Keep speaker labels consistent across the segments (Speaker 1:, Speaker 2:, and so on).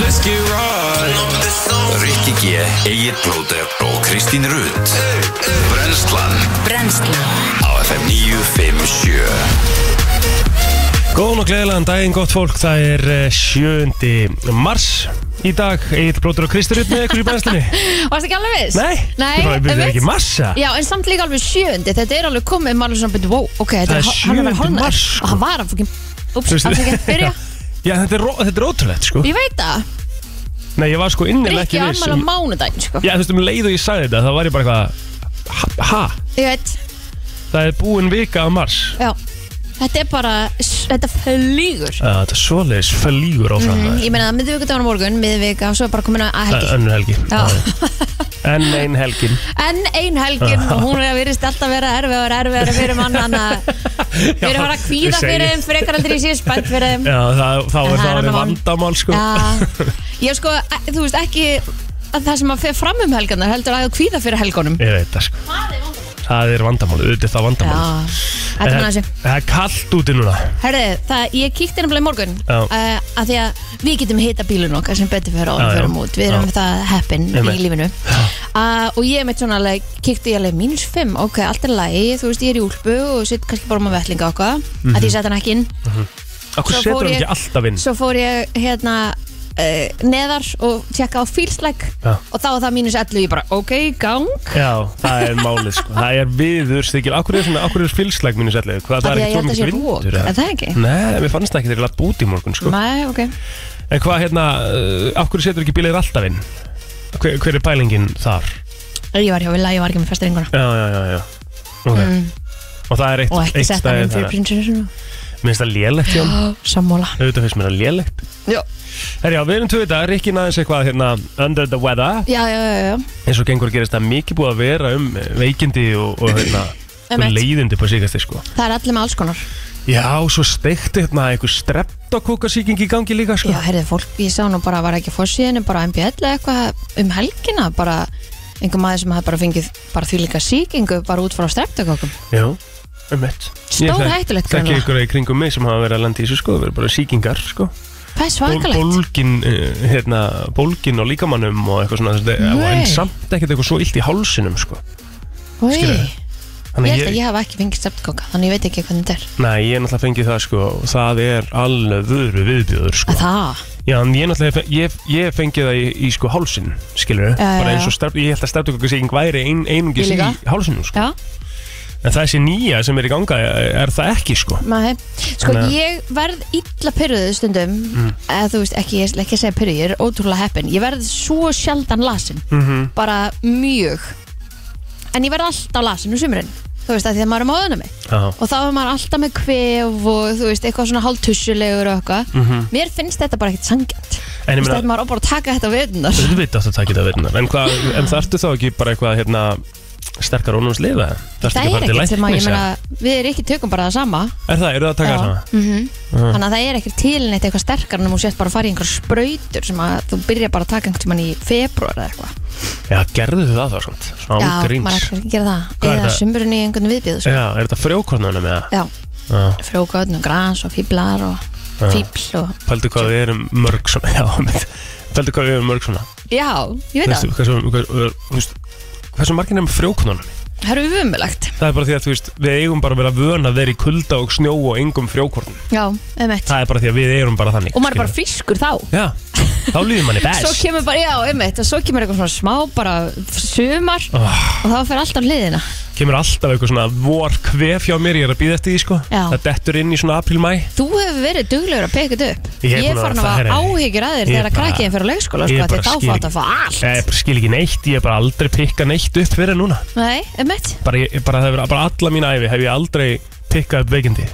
Speaker 1: Let's get right
Speaker 2: Rikki G, Egil Blóter og Kristín Rutt Brenslan
Speaker 3: Brennslan
Speaker 2: á FM 957
Speaker 4: Góðan og gleðilegan daginn, gott fólk, það er eh, 7. mars í dag, Egil Bróður og Kristur upp með ykkur í bæðslinni.
Speaker 3: Varst ekki alveg viss?
Speaker 4: Nei,
Speaker 3: Nei
Speaker 4: það er bara- það er
Speaker 3: einmitt.
Speaker 4: ekki massa.
Speaker 3: Já, en samt líka alveg sjöndi Þetta er alveg komið maður sem betur, wow, ok þetta
Speaker 4: Það er
Speaker 3: hál- hann
Speaker 4: sjöundi
Speaker 3: hálfnaður.
Speaker 4: mars, sko.
Speaker 3: Og hann var að fokkin Úps,
Speaker 4: Þú veist-
Speaker 3: hann fikk ekki byrja
Speaker 4: Já, þetta er, ró- þetta er ótrúlegt, sko.
Speaker 3: Ég veit það,
Speaker 4: Nei, ég var sko innilega
Speaker 3: Rikki
Speaker 4: ekki viss.
Speaker 3: afmæla
Speaker 4: um-
Speaker 3: mánudaginn, sko
Speaker 4: Já, þú veist, um leið og ég sagði þetta, þá var ég bara eitthvað, ha- ha,
Speaker 3: Ég veit,
Speaker 4: það er búin vika af mars.
Speaker 3: já Þetta er bara, þetta flýgur
Speaker 4: Uh, þetta er svoleiðis fölígur áfram. Mm,
Speaker 3: Ég meina, miðvikudagur á morgun, miðvika og svo er bara komin að
Speaker 4: Það er
Speaker 3: Mhm, helgi
Speaker 4: önnur helgi.
Speaker 3: Já.
Speaker 4: En ein helgin.
Speaker 3: En ein helgin og hún er að virðist alltaf vera erfiðar, erfiðar fyrir mann Þannig að við erum bara að
Speaker 4: ég
Speaker 3: kvíða
Speaker 4: segi-
Speaker 3: fyrir þeim frekar heldur í sér spennt fyrir þeim
Speaker 4: Já, það, þá
Speaker 3: En það er
Speaker 4: er það orðið
Speaker 3: annað mál.
Speaker 4: vandamál, sko.
Speaker 3: Já, ég sko, e- þú veist ekki að það sem að fer fram um helgarnar heldur að það kvíða fyrir helgunum
Speaker 4: Ég veit það, sko. Það er vandamál, auðvitað er það
Speaker 3: Já,
Speaker 4: vandamál.
Speaker 3: þetta er næsi
Speaker 4: Það er kallt úti núna
Speaker 3: Herðu, það, ég kíkti nefnilega í morgun
Speaker 4: Já.
Speaker 3: uh, að því að við getum hita bílun okkar sem betur fyrir áður
Speaker 4: Já, já.
Speaker 3: fyrir út við erum
Speaker 4: Já.
Speaker 3: það heppin í
Speaker 4: Einmitt.
Speaker 3: lífinu uh, og ég meitt svona alveg kíkti ég alveg mínus 5, ok, allt er lægi þú veist, ég er í úlpu og sitt kannski bara með vettlinga okkar að því ég sett hann ekki inn
Speaker 4: Akkur
Speaker 3: Svo
Speaker 4: Mhm. setur
Speaker 3: fór
Speaker 4: hann
Speaker 3: ég-
Speaker 4: ekki alltaf inn
Speaker 3: svo fór ég hérna uh, neðar og tjekka á fílslæk
Speaker 4: Já.
Speaker 3: og þá var það mínus 11 ég bara, ok, gang
Speaker 4: Já, það er málið sko Það er viður stikil Akkur er svona, akkur er fylslæg mínu sérlega Hvað
Speaker 3: Af
Speaker 4: það er
Speaker 3: því að
Speaker 4: ekki
Speaker 3: ég held
Speaker 4: svo
Speaker 3: að sé
Speaker 4: mikið
Speaker 3: rok,
Speaker 4: vindur
Speaker 3: er það ekki?
Speaker 4: Nei, mér fannst það ekki þegar ég lapp út í morgun sko
Speaker 3: Nei, ok
Speaker 4: En hvað hérna, uh, akkur setur ekki bílir alltaf inn hver, hver er pælingin þar?
Speaker 3: Ég var hjá Villa, ég var ekki með fasta ringuna
Speaker 4: Já, já, já, já Ok Og það er eitt,
Speaker 3: Mm. Og ekki
Speaker 4: eitt
Speaker 3: sett hann
Speaker 4: stæði
Speaker 3: inn fyrir
Speaker 4: þar
Speaker 3: prinsessinu
Speaker 4: Minnst það lélegt hjá hann
Speaker 3: Ó, Sammála
Speaker 4: Auðvitað finnst mér það lélegt
Speaker 3: Já,
Speaker 4: Herjá, við erum tvö þetta Rikkin aðeins eitthvað hérna Under the weather
Speaker 3: já, já, já, já.
Speaker 4: eins og gengur að gerist það er mikið búið að vera um eh, veikindi og, og, hérna, og
Speaker 3: Emmett.
Speaker 4: leiðindi på síkastir sko.
Speaker 3: Það er allir með alls konar
Speaker 4: Já, svo steikti hérna einhver streptokokasíking í gangi líka sko.
Speaker 3: Já, heyrðu, fólk, ég sá nú bara, var ekki fórsíðinu bara MBL eða eitthvað um helgina bara einhver maður sem hafði bara fengið bara því líka sýkingu bara út frá streptakokkum
Speaker 4: Já, um mitt
Speaker 3: Stórhættulegt
Speaker 4: Það ekki
Speaker 3: greinilega.
Speaker 4: ykkur í kringum mig sem hafa verið að landa í þessu sko, það verið bara síkingar sko.
Speaker 3: Það er
Speaker 4: Ból,
Speaker 3: svakalegt
Speaker 4: bólgin, eh, hérna, bólgin og líkamannum og eitthvað svona þetta,
Speaker 3: Nei.
Speaker 4: en samt ekkert eitthvað svo illt í hálsinum sko.
Speaker 3: Oj,
Speaker 4: skilurðu.
Speaker 3: Ég
Speaker 4: Þannig
Speaker 3: held að ég hef ekki fengið streptakokka þannig ég veit ekki hvernig þetta er
Speaker 4: Nei, ég er náttúrulega fengið það sko og það er alveg vöru viðbjöður sko.
Speaker 3: Að Það,
Speaker 4: Já, en ég náttúrulega, ég, ég fengi það í, í sko hálsin, skilur
Speaker 3: Já, já,
Speaker 4: bara eins
Speaker 3: já.
Speaker 4: og stert, ég held að stertökokasíking væri ein, einungis
Speaker 3: Ég
Speaker 4: í
Speaker 3: líka.
Speaker 4: hálsinu, sko.
Speaker 3: já
Speaker 4: En þessi nýja sem er í ganga er, er það ekki, sko.
Speaker 3: Nei, sko
Speaker 4: Þannig að- Mm.
Speaker 3: ég verð illa pyrruðu stundum eða þú veist ekki, ég ætla ekki að segja pyrruð ég er ótrúlega heppin, ég verð svo sjaldan lasin,
Speaker 4: Mhm.
Speaker 3: bara mjög en ég verð alltaf lasin úr sumurinn, þú veist að því að maður er máðan að mig
Speaker 4: Já,
Speaker 3: og þá er maður alltaf með kvef og þú veist, eitthvað svona hálftussulegur og eitthvað, mér finnst þetta bara ekkert sangjant,
Speaker 4: Mhm.
Speaker 3: þú
Speaker 4: En ég
Speaker 3: veist
Speaker 4: meina-
Speaker 3: að maður á bara að taka þetta á veðunar
Speaker 4: þú veit að það takir það verðinar. En, hva, en þarftu þá ekki bara eitthvað, hérna, sterkar ónúms liða?
Speaker 3: það
Speaker 4: Þarftu
Speaker 3: er
Speaker 4: ekki að fara til
Speaker 3: ekkert sem að, ég
Speaker 4: læknis? eða?
Speaker 3: meina við er ekki tökum bara það sama Mhm.
Speaker 4: Er það, eru það að taka
Speaker 3: Já.
Speaker 4: það? Mm.
Speaker 3: Þannig að það er ekkert tilinnitt eitthvað sterkar en þú sést bara að fara í einhver spröytur sem að þú byrjar bara að taka einhvern tímann í februar eða eitthvað.
Speaker 4: Já, gerðu þið það þá, svona, svona án
Speaker 3: Já, maður
Speaker 4: gríns.
Speaker 3: ætlar ekki að gera það.
Speaker 4: Hvað er
Speaker 3: Eða
Speaker 4: það?
Speaker 3: sumurinn í einhvern viðbjöðu. Sko.
Speaker 4: Já, er þetta frjókornunum eða?
Speaker 3: Já,
Speaker 4: Já.
Speaker 3: frjókautn og grans og fíblar og
Speaker 4: Já.
Speaker 3: fíbl og...
Speaker 4: Pældu hvað við erum mörg svona, já, einmitt. Pældu hvað við erum mörg svona.
Speaker 3: Já, ég veit
Speaker 4: Veistu,
Speaker 3: það.
Speaker 4: hversu, hversu, hversu, hversu margir nefnum frjóknunum?
Speaker 3: Það eru umulagt.
Speaker 4: Það er bara því að þú veist, við eigum bara að vera vön að vera í kulda og snjó og engum frjókornum.
Speaker 3: Já, einmitt.
Speaker 4: Það er bara því að við eigum bara þannig.
Speaker 3: Og maður er bara
Speaker 4: skilurðu.
Speaker 3: frískur þá.
Speaker 4: Já, þá líður manni
Speaker 3: Svo
Speaker 4: best.
Speaker 3: kemur bara, já, einmitt, og svo kemur eitthvað svona smá, bara sumar
Speaker 4: Oh,
Speaker 3: og þá fer allt á hliðina.
Speaker 4: kemur alltaf eitthvað svona vor kvef hjá mér, ég er að býða eftir því sko.
Speaker 3: Já.
Speaker 4: Það dettur inn í svona apríl-mæ.
Speaker 3: Þú hefur verið duglegur að peka þetta upp.
Speaker 4: Ég er
Speaker 3: Ég er
Speaker 4: búin að
Speaker 3: farin að
Speaker 4: vera
Speaker 3: hafa
Speaker 4: það, herri.
Speaker 3: áhyggjur að þér
Speaker 4: Ég
Speaker 3: þegar að
Speaker 4: bara-
Speaker 3: krakkiðin fyrir á leikskóla,
Speaker 4: Ég
Speaker 3: sko,
Speaker 4: bara
Speaker 3: því þá
Speaker 4: skil
Speaker 3: fátt að fá allt.
Speaker 4: Ég bara skil ekki neitt, ég er bara aldrei pikka neitt upp fyrir en núna.
Speaker 3: Nei, einmitt.
Speaker 4: Bara, ég, bara, það hefur, bara alla mína æfi hef ég aldrei pikkað upp veikindi.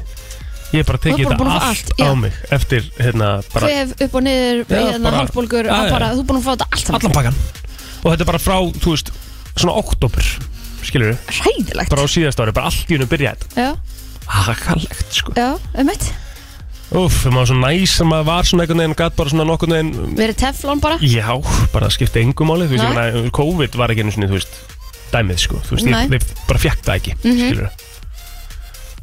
Speaker 4: Ég hef bara tekið
Speaker 3: bara
Speaker 4: þetta
Speaker 3: búin að fá
Speaker 4: allt,
Speaker 3: allt, já.
Speaker 4: á mig eftir hérna bara
Speaker 3: kvef upp og niður
Speaker 4: Já,
Speaker 3: hérna,
Speaker 4: bara-
Speaker 3: hálfbólgur,
Speaker 4: Já, já.
Speaker 3: bara, þú er búin að fá þetta allt saman.
Speaker 4: allan pakkan og þetta er bara frá, þú veist, svona oktober skilur við,
Speaker 3: Hræðilegt.
Speaker 4: bara á síðast ári, bara allt í unum byrja þetta
Speaker 3: Já,
Speaker 4: akalegt sko
Speaker 3: já, einmitt.
Speaker 4: uff, maður var svo næs sem maður var svona einhvern veginn gatt bara svona nokkurn veginn
Speaker 3: Verið teflón bara.
Speaker 4: já, bara það skipti engum máli þú veist,
Speaker 3: Nei.
Speaker 4: ég meina, COVID var ekki einu svona, þú veist dæmið sko, þú veist,
Speaker 3: Nei. Mhm.
Speaker 4: ég, ég bara fjekk það ekki mm -hmm. skilur við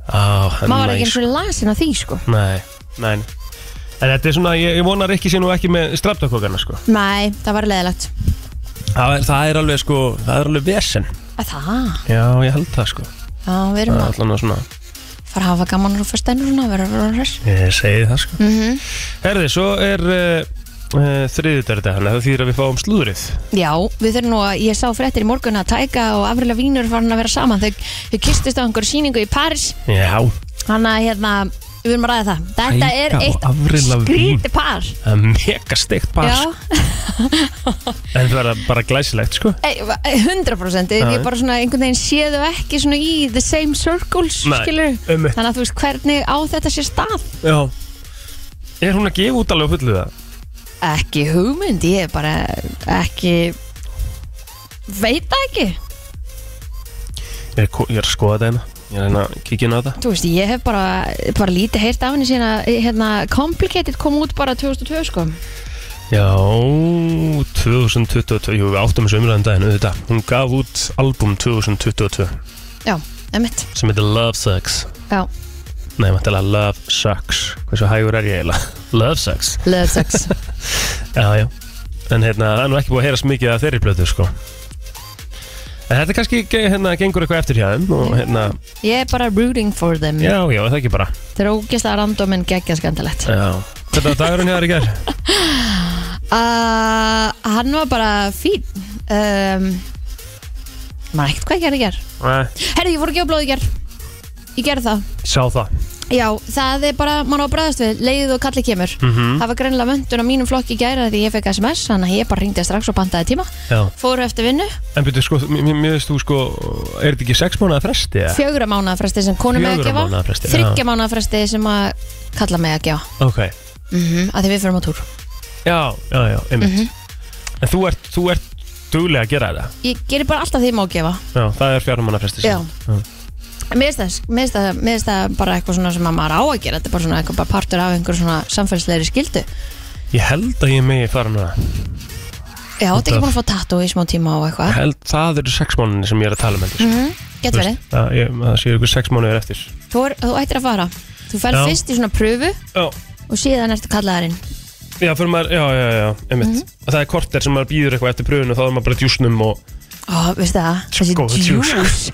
Speaker 4: á, það er
Speaker 3: Maður var
Speaker 4: næs,
Speaker 3: ekki eins og lasin að því, sko.
Speaker 4: sko. nei, nei En þetta er svona, ég, ég vonar ekki sé nú ekki með strafdakokana sko
Speaker 3: Nei, það var leðilegt
Speaker 4: það er, það er alveg sko, það er alveg vesen
Speaker 3: Það,
Speaker 4: Já, ég held það sko
Speaker 3: já, við erum
Speaker 4: Það er
Speaker 3: að
Speaker 4: allan að svona,
Speaker 3: fara að hafa gaman á fyrstæðinu svona, vera að vera hress
Speaker 4: ég segi það sko
Speaker 3: mm
Speaker 4: Herði, svo er uh, uh, þriðudagur dag, þannig að það þýðir að við fáum slúðrið
Speaker 3: Já, við þurfum nú að, ég sá fréttir í morgun að Tæka og Afrila Vínur farin að vera saman þau, þau kistist á einhver sýningu í Paris
Speaker 4: Já,
Speaker 3: Þannig að hérna, við erum að ræða það Þetta
Speaker 4: Tæka
Speaker 3: er
Speaker 4: og
Speaker 3: eitt
Speaker 4: Avril Lavigne.
Speaker 3: skríti par
Speaker 4: það er mega steikt par
Speaker 3: Já,
Speaker 4: sko. En það er bara glæsilegt sko
Speaker 3: Ei, va- ei, 100%
Speaker 4: Já.
Speaker 3: ég bara svona einhvern veginn séðu ekki svona í the same circles
Speaker 4: Nei,
Speaker 3: skilur
Speaker 4: einmitt.
Speaker 3: þannig að þú veist hvernig á þetta sér stað
Speaker 4: Já Er hún að gefa út alveg á fullu það?
Speaker 3: ekki hugmynd, ég er bara ekki veit það ekki
Speaker 4: Ég er, ko- ég er að skoða þetta hérna Ég er að reyna að kíkja inn á þetta
Speaker 3: þú veist, ég hef bara, bara lítið heyrt af henni síðan að hérna, Complicated kom út bara 2002 sko
Speaker 4: Já, 2022 Jú, við áttum þessu umræðum daginn auðvitað Hún gaf út album 2022
Speaker 3: já, emitt
Speaker 4: sem heitir Love Sucks
Speaker 3: já,
Speaker 4: Nei, mæntilega Love Sucks Hversu hægur er ég eiginlega? Love Sucks
Speaker 3: Love Sex
Speaker 4: Já, já En hérna, það er nú ekki búið að heyrast mikið af þeirri blötu, sko En þetta kannski ge- hérna, gengur eitthvað eftir hjá þeim og hérna,
Speaker 3: ég er bara rooting for them
Speaker 4: já, já, það ekki bara
Speaker 3: þetta er ógeðslega random en geggja skandalett
Speaker 4: Já Þetta var dagurinn hjá þér í gær
Speaker 3: Uh, hann var bara fín um, maður ekkert hvað ég gerði í ger
Speaker 4: Nei,
Speaker 3: herru ég fór að gefa blóð í ger ég gerði það
Speaker 4: sá það
Speaker 3: já það er bara maður á að bræðast við leiðið og kallið kemur
Speaker 4: Mhm.
Speaker 3: það var greinlega möndun á mínum flokki í gæra því ég fekk sms þannig að ég bara ringdi strax og pantaði tíma
Speaker 4: Já
Speaker 3: fóru eftir vinnu
Speaker 4: En byrju, sko, mér- mér mér veist þú, sko, er þetta ekki sex mánuða fresti, eða?
Speaker 3: fjögra mánuða fresti sem konum með að
Speaker 4: Fjögurra
Speaker 3: gefa
Speaker 4: mánaða fresti, já.
Speaker 3: þryggja mánuða fresti sem að kalla með að gefa
Speaker 4: Ok
Speaker 3: mm
Speaker 4: Mhm.
Speaker 3: -hmm, að því við fyrir á túr
Speaker 4: Já, já, já, einmitt
Speaker 3: Mhm.
Speaker 4: En þú ert, þú ert duglega að gera þetta
Speaker 3: ég gerir bara alltaf því ég má gefa
Speaker 4: Já, það er fjárum manna fresti
Speaker 3: Já. Mér finnst það- mér finnst það mér finnst það bara eitthvað svona sem að maður á að gera Þetta er bara svona eitthvað bara partur af einhver svona samfélagslegri skildu
Speaker 4: Ég held að ég megi fara núna
Speaker 3: Já, þetta er ekki búin að fá tattoo í smá tíma og
Speaker 4: Ég
Speaker 3: eitthvað
Speaker 4: held, það eru sex mánuðin sem ég er að tala um, með
Speaker 3: Ah. mm -hmm. Gett verið,
Speaker 4: Það, ég, það séu ykkur sex mánuðir eftir
Speaker 3: þú, er, þú ættir að fara Þú ferð
Speaker 4: Já.
Speaker 3: fyrst í svona pröfu
Speaker 4: Já,
Speaker 3: og síðan ertu kallaðarinn
Speaker 4: já, fyrir maður, já, já, já, einmitt
Speaker 3: Mhm.
Speaker 4: Og það er korter sem maður býður eitthvað eftir pröfun og þá er maður bara í djúsnum og
Speaker 3: Ó, veistu það, þessi
Speaker 4: Sko, juice.
Speaker 3: juice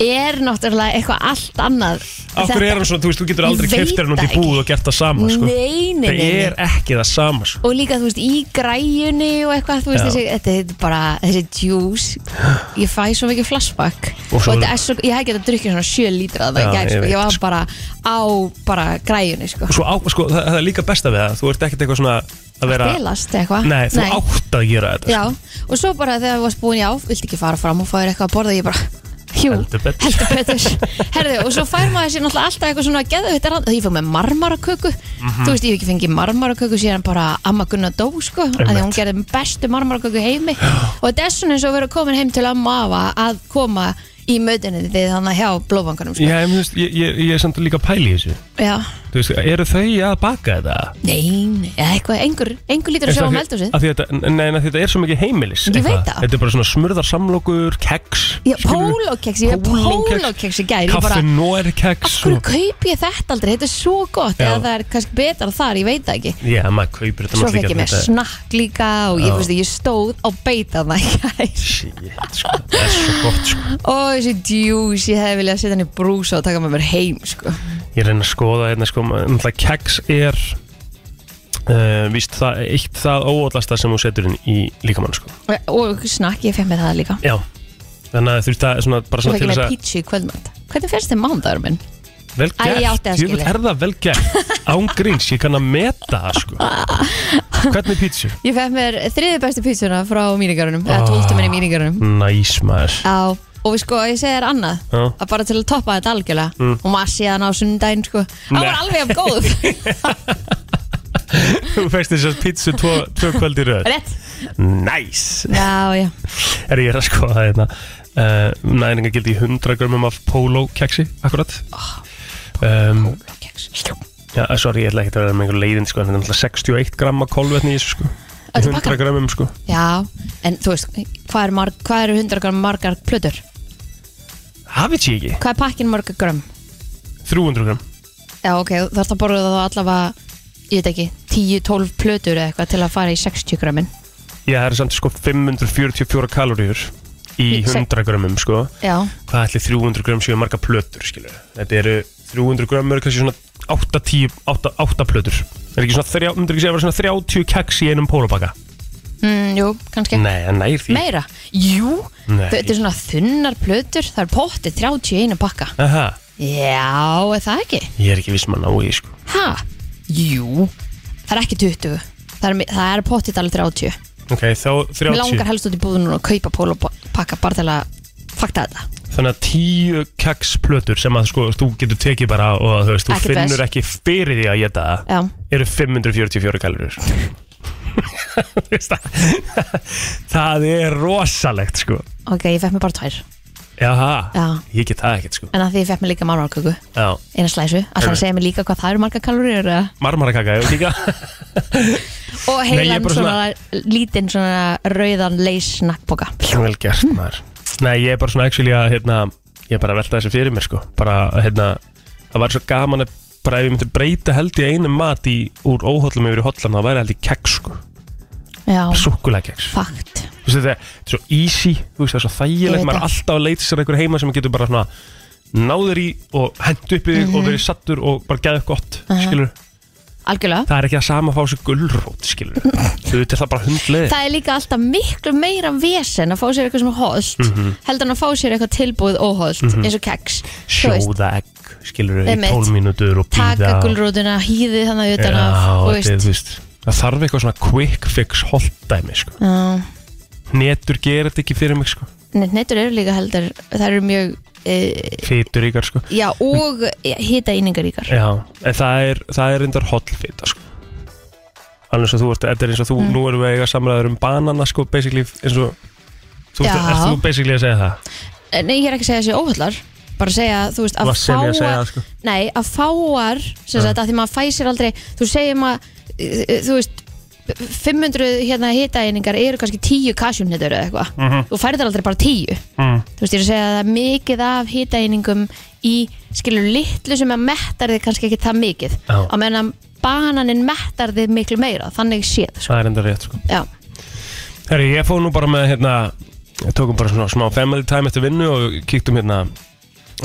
Speaker 3: er náttúrulega eitthvað allt annað
Speaker 4: Af hverju er hann svona, þú veist, þú getur
Speaker 3: Ég
Speaker 4: aldrei
Speaker 3: veit
Speaker 4: keftir hann út í
Speaker 3: það
Speaker 4: búð og gert það sama, sko
Speaker 3: Nei, nei,
Speaker 4: Það
Speaker 3: nei, nei.
Speaker 4: er ekki það sama, sko
Speaker 3: Og líka, þú veist, í græjunni og eitthvað, þú veist,
Speaker 4: Já.
Speaker 3: þessi, þetta er bara, þessi juice, ég fæ svo mikið flashback
Speaker 4: Og
Speaker 3: og,
Speaker 4: svo-
Speaker 3: þetta er svo, ég hef getað drukkið svona 7 lítra
Speaker 4: Já,
Speaker 3: það í gæð,
Speaker 4: ég
Speaker 3: sko,
Speaker 4: veit,
Speaker 3: ég var
Speaker 4: sko.
Speaker 3: bara á bara græjunni, sko,
Speaker 4: Og svo á, sko, það, það er líka besta við það Þú ert ekkert eitthvað svona að vera
Speaker 3: spilast eitthvað.
Speaker 4: Nei, þú átt að gera
Speaker 3: sko.
Speaker 4: þetta sko.
Speaker 3: Já, og svo bara þegar þú varst búin, já, viltu ekki fara fram og fá þér eitthvað að borða, ég bara, hjú,
Speaker 4: Heldur betur.
Speaker 3: heldur betur. Herðu, og svo fær maður sér náttúrulega alltaf eitthvað svona geðvitt rann, ég fór með marmaraköku,
Speaker 4: Mhm.
Speaker 3: þú veist, ég hef ekki fengið marmaraköku síðan bara amma Gunnar Dó, sko, að því að hún gerði bestu marmaraköku heimi og þetta er svona eins og vera komin heim til amma afa að koma í mötunni þið þannig hjá blóðbankanum, sko.
Speaker 4: Já, ég, veist, ég, ég, ég er samt líka að pæla í þessu
Speaker 3: Já,
Speaker 4: Þú veist, eru þau að baka þetta?
Speaker 3: nei, nei, eða eitthvað, einhver, einhver lítur að sjá um eldhúsið.
Speaker 4: Af því að þetta- Nei, en af því að þetta er svo mikið heimilis
Speaker 3: Ég veit
Speaker 4: eitthvað.
Speaker 3: það.
Speaker 4: Þetta er bara svona smurðarsamlokur, keks
Speaker 3: Já,
Speaker 4: skilurðu?
Speaker 3: pólókex, ég hef
Speaker 4: Pólókex.
Speaker 3: pólókex í gær, ég bara,
Speaker 4: Kaffi
Speaker 3: Af
Speaker 4: Norkex
Speaker 3: hverju kaup ég þetta aldrei? Þetta er svo gott
Speaker 4: Já.
Speaker 3: eða það er kannski betra þar, ég veit það ekki
Speaker 4: Já, maður kaupir
Speaker 3: Svo
Speaker 4: þetta náttúrulega
Speaker 3: fekk ég
Speaker 4: ekki
Speaker 3: mér
Speaker 4: þetta-
Speaker 3: snakk líka og
Speaker 4: Já.
Speaker 3: ég, veist, ég stóð á beita það
Speaker 4: Shit, sko, það er svo gott sko.
Speaker 3: Og þessi djús, ég hefði viljað setja hann í brúsa og taka með mér heim sko.
Speaker 4: Ég reyna að skoða hérna sko, náttúrulega keks er uh, víst það, eitt það óóðlasta sem þú setur inn í líkamann sko.
Speaker 3: Og snakk, ég fekk með það líka
Speaker 4: Já, þannig að þú veist það er svona, bara
Speaker 3: Svo
Speaker 4: svona
Speaker 3: fekk
Speaker 4: til
Speaker 3: ég
Speaker 4: þess
Speaker 3: með
Speaker 4: að
Speaker 3: pítsu í kvöldmönd Hvernig fyrst þið mándagur minn?
Speaker 4: vel
Speaker 3: Æ, ég
Speaker 4: gert,
Speaker 3: átti það
Speaker 4: Djöfull
Speaker 3: skilið.
Speaker 4: er það vel gert án gríns, ég kann að meta það sko. Hvernig pítsu?
Speaker 3: Ég fekk mér þriði bestu pítsuna frá míningarunum Eða
Speaker 4: Ah.
Speaker 3: tóltum minni míningarunum
Speaker 4: Næs maður
Speaker 3: Já, og við sko, ég segi þér annað
Speaker 4: Já.
Speaker 3: að bara til að toppa þetta algjörlega og maður sé hann á sundaginn sko hann var
Speaker 4: Mm. Nei.
Speaker 3: alveg af góð,
Speaker 4: Þú fegst þess að pítsu tvo, tvo kvöld í röð
Speaker 3: rétt
Speaker 4: Næs
Speaker 3: Já, já,
Speaker 4: Er ég er að skoða hérna uh, Næringa gildi 100 grömmum af polo keksi Akkurat
Speaker 3: Ah,
Speaker 4: um, já, eh, Sorry, ég ætla ekki að vera með einhver leiðin sko, en Þetta er alltaf 61 gramma kolvetni í þessu sko Í
Speaker 3: Öllu
Speaker 4: 100
Speaker 3: pakkanum?
Speaker 4: grömmum sko
Speaker 3: Já, en þú veist, hvað eru marg, hvað er 100 gram margar plötur?
Speaker 4: Hafið ég ekki?
Speaker 3: Hvað er pakkin margar gram?
Speaker 4: 300 gramm
Speaker 3: Já, ok, þú þarfst að borða það þá allavega, ég veit ekki, 10-12 plötur eða eitthvað til að fara í 60 grammin
Speaker 4: Já, það eru samt sko 544 kaloríur í
Speaker 3: Í se-
Speaker 4: 100 grömmum sko
Speaker 3: Já,
Speaker 4: Hvað ætli 300 grömm séu marga plötur skilur Þetta eru 300 grömm eru kannski svona 8, 10, 8, 8 plötur Það er ekki svona, 3, myndir ekki segja að vera svona 30 keks í einum pólabaka
Speaker 3: mm, jú, kannski
Speaker 4: Nei, það nær því
Speaker 3: Meira, jú
Speaker 4: Nei.
Speaker 3: Þetta er svona þunnar plötur Það er pottið 31 pakka
Speaker 4: Aha,
Speaker 3: Já, er það ekki?
Speaker 4: ég er ekki viss mann á því sko
Speaker 3: Ha? Jú Það er ekki 20 Það er, mi- það er pottið alveg 30
Speaker 4: Ok, þá
Speaker 3: Mér langar
Speaker 4: 30
Speaker 3: helst út í búðunum og kaupa pól og pakka bara til að fakta þetta
Speaker 4: Þannig að 10 keks plötur sem að sko þú getur tekið bara og þú veist, þú
Speaker 3: Ekkert
Speaker 4: finnur
Speaker 3: vesen.
Speaker 4: ekki fyrir því að geta það
Speaker 3: Já,
Speaker 4: eru 544 kalorir Það er rosalegt sko
Speaker 3: ok, ég fekk mér bara tvær
Speaker 4: Jaha,
Speaker 3: Já.
Speaker 4: ég get það ekkert sko
Speaker 3: En að því ég fekk mér líka marmarköku
Speaker 4: Já.
Speaker 3: Eina slæsu, alltaf að segja mér líka hvað það eru margar kalorir eða?
Speaker 4: Marmarakaka, ég líka
Speaker 3: Og
Speaker 4: Nei, ég er
Speaker 3: heilan
Speaker 4: bara
Speaker 3: svona, lítinn svona rauðan leys snakkboka
Speaker 4: Vel gert maður Nei, ég er bara svona actually að hérna, ég er bara að velta þessu fyrir mér sko bara, hérna, það var svo gaman að bara ef ég myndi breyta held í einu mat í, úr óhóllum yfir í hóllan þá væri held í keks sko,
Speaker 3: Já,
Speaker 4: súkulegkeks
Speaker 3: fakt
Speaker 4: þú veist þetta er þetta er svo easy þú veist það er svo
Speaker 3: Ég
Speaker 4: þægilegt,
Speaker 3: veit
Speaker 4: maður er
Speaker 3: það.
Speaker 4: alltaf að leita sér einhver heima sem getur bara svona náður í og hendu upp í þig
Speaker 3: Mhm.
Speaker 4: og verið sattur og bara geða upp gott, skilur
Speaker 3: Algjörlega
Speaker 4: það er ekki að sama að fá sér gullrót, skilur þú veit það er bara hundleið
Speaker 3: Það er líka alltaf miklu meira vesen að fá sér eitthvað sem er hoðst
Speaker 4: Mhm.
Speaker 3: heldur en að fá sér eitthvað tilbúið óhoðst eins og keks Þú veist,
Speaker 4: sjóða egg, skilur í
Speaker 3: Einmitt.
Speaker 4: 12 mínútur og
Speaker 3: Taka
Speaker 4: býða
Speaker 3: gulrótuna, hýði þannig utan
Speaker 4: Já,
Speaker 3: af þú
Speaker 4: þetta er,
Speaker 3: veist.
Speaker 4: þú veist, það þarf eitthvað svona quick fix holdæmi, sko
Speaker 3: Já,
Speaker 4: netur gerir þetta ekki fyrir mig, sko
Speaker 3: ne- Nettur eru líka heldur Það eru mjög e,
Speaker 4: fitur ykkar, sko
Speaker 3: Já, og hýta íningaríkar
Speaker 4: Já, en það er, það er reyndar hollfita sko. Alveg eins og þú ert, þetta er eins og þú,
Speaker 3: Mm.
Speaker 4: nú erum við að eiga samræður um banana sko, basically eins og Þú ert,
Speaker 3: Já.
Speaker 4: ert þú basically að segja það?
Speaker 3: Nei, ég er ekki að segja þessi óhullar Bara að segja, þú veist,
Speaker 4: Þú
Speaker 3: að
Speaker 4: varst sem ég að segja
Speaker 3: fáar
Speaker 4: það sko
Speaker 3: Nei, að fáar sem sagt, að því maður fæsir aldrei þú segir maður, eh, eh, þú veist 500 hérna hitaeiningar eru kannski 10 kasjumnetur eða eitthvað þú færðar aldrei bara 10
Speaker 4: mm.
Speaker 3: þú veist, ég er að segja að það er mikið af hitaeiningum í skilur litlu sem að mettar þið kannski ekki það mikið
Speaker 4: Já.
Speaker 3: á meðan bananinn mettar þið miklu meira, þannig séð sko.
Speaker 4: Það er enda rétt sko
Speaker 3: Já,
Speaker 4: Herri, ég fóð nú bara með hérna Ég tókum bara svona smá family time eftir vinnu og kíktum hérna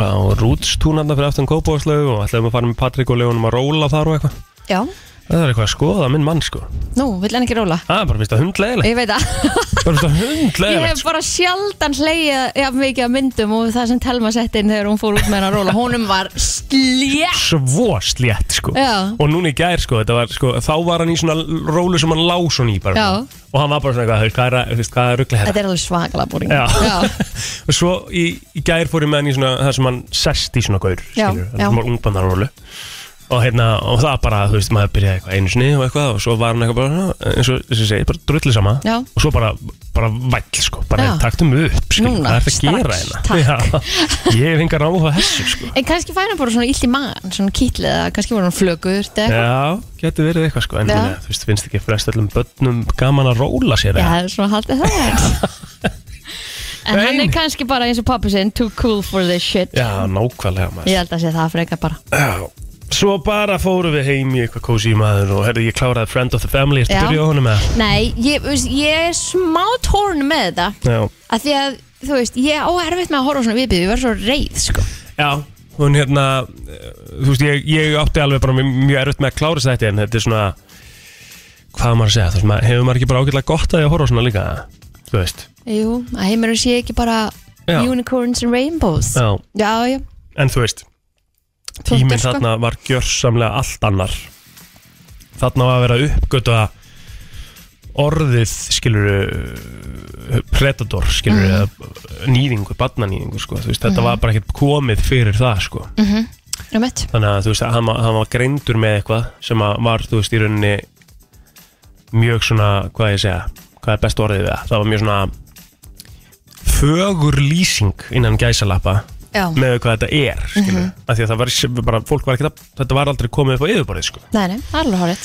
Speaker 4: á rútstúnarna fyrir aftan kópáðslegu og ætlaðum að fara með Patrik og Leonum að róla þar og eitthvað
Speaker 3: já,
Speaker 4: Það er eitthvað að skoða minn mann sko
Speaker 3: nú, vill hann ekki róla
Speaker 4: Það er bara fyrst að hundlegilegt
Speaker 3: Ég veit að
Speaker 4: Bara fyrst að sko.
Speaker 3: Ég
Speaker 4: hundlegilegt
Speaker 3: hef bara sjaldan hleyið jafn mikið af myndum og það sem Telma sett inn þegar hún fór út með hennar róla Honum var slétt
Speaker 4: svo slétt sko
Speaker 3: Já.
Speaker 4: og núna í gær sko, þetta var, sko þá var hann í svona rólu sem hann lá svona í bara,
Speaker 3: Já.
Speaker 4: og hann var bara svona eitthvað, þú veist, hvað er, að- þú veist, hvað er ruggla
Speaker 3: Þetta
Speaker 4: hérna
Speaker 3: er alveg svakalega búring
Speaker 4: Já. og svo í, í gær fór ég með hann í svona það sem hann sest í svona gaur
Speaker 3: Já,
Speaker 4: skilur,
Speaker 3: já.
Speaker 4: sem var ungbannarólu og, hérna, og það bara, þú veist, maður byrjaði eitthvað einu sinni og eitthvað og svo var hann eitthvað bara eins og þessi segi, bara drullið sama
Speaker 3: Já.
Speaker 4: og svo bara, bara væll sko, bara
Speaker 3: Já.
Speaker 4: taktum upp skilur,
Speaker 3: Núna,
Speaker 4: hvað er það
Speaker 3: strax,
Speaker 4: að gera hérna Já, ég hef engar áhuga á þessu sko
Speaker 3: En kannski fær hann bara svona illt í maðan Svona kýtlið eða kannski voru hann flögur eða eitthvað.
Speaker 4: Já, getur verið eitthvað sko En
Speaker 3: Já.
Speaker 4: minna, þú veist, finnst ekki flest öllum börnum gaman að róla sér
Speaker 3: Já,
Speaker 4: eða?
Speaker 3: það er svona haldið það En hann
Speaker 4: Nei.
Speaker 3: er kannski bara eins og pappi sinn Too cool for this shit
Speaker 4: Já, nákvæmlega maður
Speaker 3: Ég held að sé það frekar bara
Speaker 4: Já. Svo bara fórum við heim í eitthvað kósi maður og herði ég kláraði Friend of the Family Ertu
Speaker 3: Já.
Speaker 4: að byrja á honum með
Speaker 3: Nei, ég, þú veist, ég er smá tórn með þetta
Speaker 4: Já,
Speaker 3: Af því að, þú veist, ég á erfitt með að horfa á svona viðbyrð Ég var svo reið, sko
Speaker 4: Já. hún hérna eh, Þú veist, ég, ég átti alveg bara mjög mjög erfitt með að klára þetta En þetta er svona Hvað á maður að segja, þú veist, maður, hefur maður ekki bara ágætlega gott að ég að horfa á svona líka Þú veist
Speaker 3: Jú, að heimurum sé ekki bara
Speaker 4: Já.
Speaker 3: Unicorns and Rainbows
Speaker 4: Já.
Speaker 3: já, já
Speaker 4: En þú veist,
Speaker 3: Flott er,
Speaker 4: tíminn
Speaker 3: sko.
Speaker 4: þarna var gjörsamlega allt annar þarna var að vera að uppgöta orðið skilur predator skilur mm. nýðingu, barnanýðingu sko. þú veist, þetta var bara ekkert komið fyrir það sko.
Speaker 3: Um eitt
Speaker 4: þannig að þú veist, hann, var- hann var greindur með eitthvað sem að var þú veist, í rauninni mjög svona, hvað ég segja hvað er best orðið við það, það var mjög svona fögur lýsing innan gæsalappa
Speaker 3: Já,
Speaker 4: með hvað þetta er
Speaker 3: Mhm.
Speaker 4: skilur, mm af því að það var sem- bara, fólk var ekki að, þetta var aldrei komið upp á yfirborðið sko.
Speaker 3: nei, nei, það er alveg horrið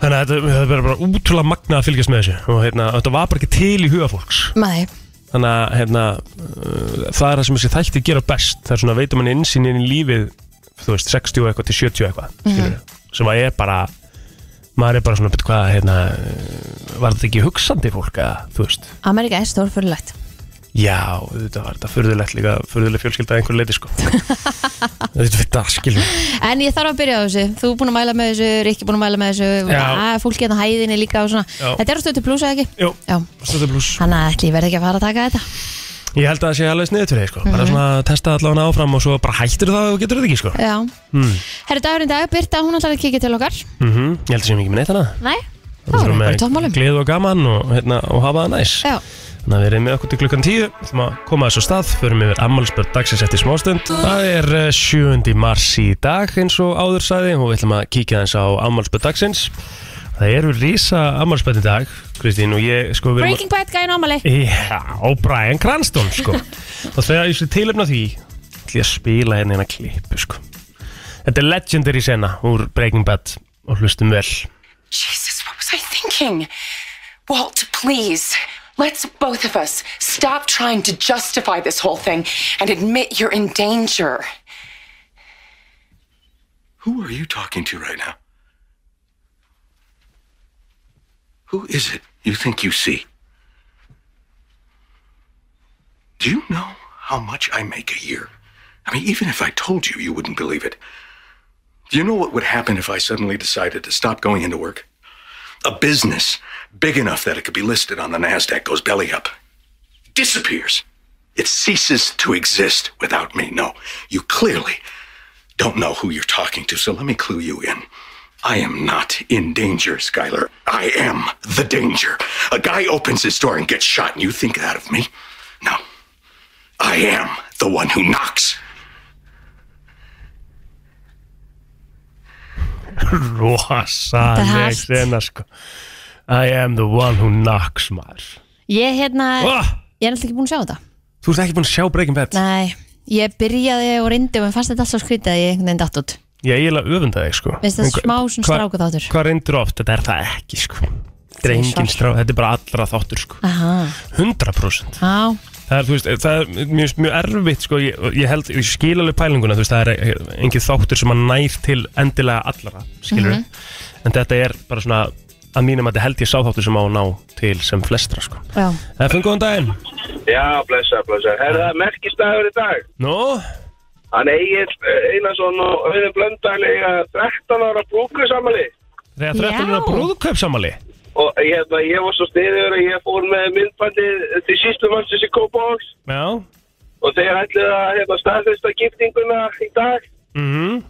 Speaker 4: þannig að þetta, þetta var bara útrúlega magnað að fylgjast með þessu og hérna, þetta var bara ekki til í huga fólks
Speaker 3: Nei,
Speaker 4: þannig að hérna, uh, það er það sem þessi þætti gera best það er svona veitum hann
Speaker 3: Mhm.
Speaker 4: innsýn inn í lífið þú veist, 60 og eitthvað til 70 og eitthvað skilur, sem að er bara maður er bara svona, betur hvað, hérna, var þetta ekki hugsandi fólk að, þú veist,
Speaker 3: Amerika er stórfurlegt
Speaker 4: já, þetta var þetta furðulegt líka, furðuleg fjölskylda að einhver leiti, sko. þetta fyrir það, skiljum.
Speaker 3: En ég þarf að byrja á þessu, þú er búin að mæla með þessu Rikki búin að mæla með þessu,
Speaker 4: Já.
Speaker 3: að, fólki hérna á hæðinni líka og svona,
Speaker 4: Já.
Speaker 3: þetta er á stötu pluss eða ekki?
Speaker 4: Jú,
Speaker 3: Já,
Speaker 4: stöðu blús.
Speaker 3: þannig að ætli ég verði ekki að fara að taka þetta
Speaker 4: Ég held að það sé alveg sniðið til þeir, sko. Bara svona að testa allavega áfram og svo bara hættir það og getur þetta ekki, sko.
Speaker 3: Mhm. Já,
Speaker 4: Mm.
Speaker 3: herri dagurinn í dag, Birta hún ætlar að kíkja til okkar
Speaker 4: Mm Ég held að sé mikið með neitt hana.
Speaker 3: Nei,
Speaker 4: Við
Speaker 3: þá erum
Speaker 4: þurfum
Speaker 3: við bara
Speaker 4: með
Speaker 3: í tópmálum
Speaker 4: Gleði og gaman og, hérna, og hafa það næs.
Speaker 3: Já,
Speaker 4: Þannig að við erum með okkur til klukkan 10 Þú ætlum að koma þessu á stað Förum yfir ammálspörð dagsins eftir smástund Það er eh, 7. mars í dag eins og áður sæði og við ætlum að kíkja þess á ammálspörð dagsins Það eru rísa ammálspörð í dag Kristín og ég sko við erum-
Speaker 3: Breaking Bad gæði námali
Speaker 4: Já, og Brian Cranston sko Og þegar ég sé tilöfna því ætlum ég að spila hérna hérna klippu sko Þetta er legendary sena úr Breaking Bad og hlustum vel
Speaker 5: Jesus, what was I thinking? Walt, please, let's both of us stop trying to justify this whole thing and admit you're in danger.
Speaker 6: Who are you talking to right now? Who is it you think you see? Do you know how much I make a year? I mean, even if I told you, you wouldn't believe it. Do you know what would happen if I suddenly decided to stop going into work? A business big enough that it could be listed on the NASDAQ goes belly up, disappears. It ceases to exist without me. No, you clearly don't know who you're talking to, so let me clue you in. I am not in danger, Skylar. I am the danger. A guy opens his door and gets shot, and you think that of me? No. I am the one who knocks.
Speaker 4: rosaleg
Speaker 3: hart.
Speaker 4: sena sko I am the one who knocks maður
Speaker 3: Ég hérna,
Speaker 4: oh,
Speaker 3: ég er alltaf ekki búin að sjá þetta
Speaker 4: Þú ert ekki búin að sjá Breaking Bad
Speaker 3: Nei, ég byrjaði og reyndi og mér fannst þetta alls svo skrítið að ég einhvern veginn datt út
Speaker 4: Ég er eiginlega öfunda þig sko
Speaker 3: Finnst það
Speaker 4: En hva-
Speaker 3: smá svona
Speaker 4: hva-
Speaker 3: stráka þáttur?
Speaker 4: Hvað reyndur oft, þetta er það ekki sko Þetta er engin
Speaker 3: Þrisvar.
Speaker 4: stráka, þetta er bara allra þáttur sko
Speaker 3: Aha,
Speaker 4: 100%
Speaker 3: já,
Speaker 4: Það er, þú veist, það er mjög, mjög erfitt sko Ég, ég held, ég skil alveg pælinguna Þú veist, það er engin þáttur sem að nær til endilega allra Skilur
Speaker 3: Mhm.
Speaker 4: En þetta er bara svona Að mínum að þetta held ég sá þáttur sem á að ná til sem flestra sko
Speaker 3: já
Speaker 4: FN, góðan daginn
Speaker 7: Já, blessa, blessa. Er það merkistæður í dag?
Speaker 4: Nú,
Speaker 7: Hann Egil Einarsson og Auðin Blöndal eiga 13 ára brúkusamali
Speaker 4: þegar 13 ára
Speaker 3: Já.
Speaker 4: brúðkaupsamali
Speaker 7: og hérna, ég var svo stiður að ég fór með myndbandið til sístu mannsins í Kópavóks
Speaker 4: Já
Speaker 7: og þeir ætluðu að hérna, staðfesta giftinguna í dag
Speaker 4: mm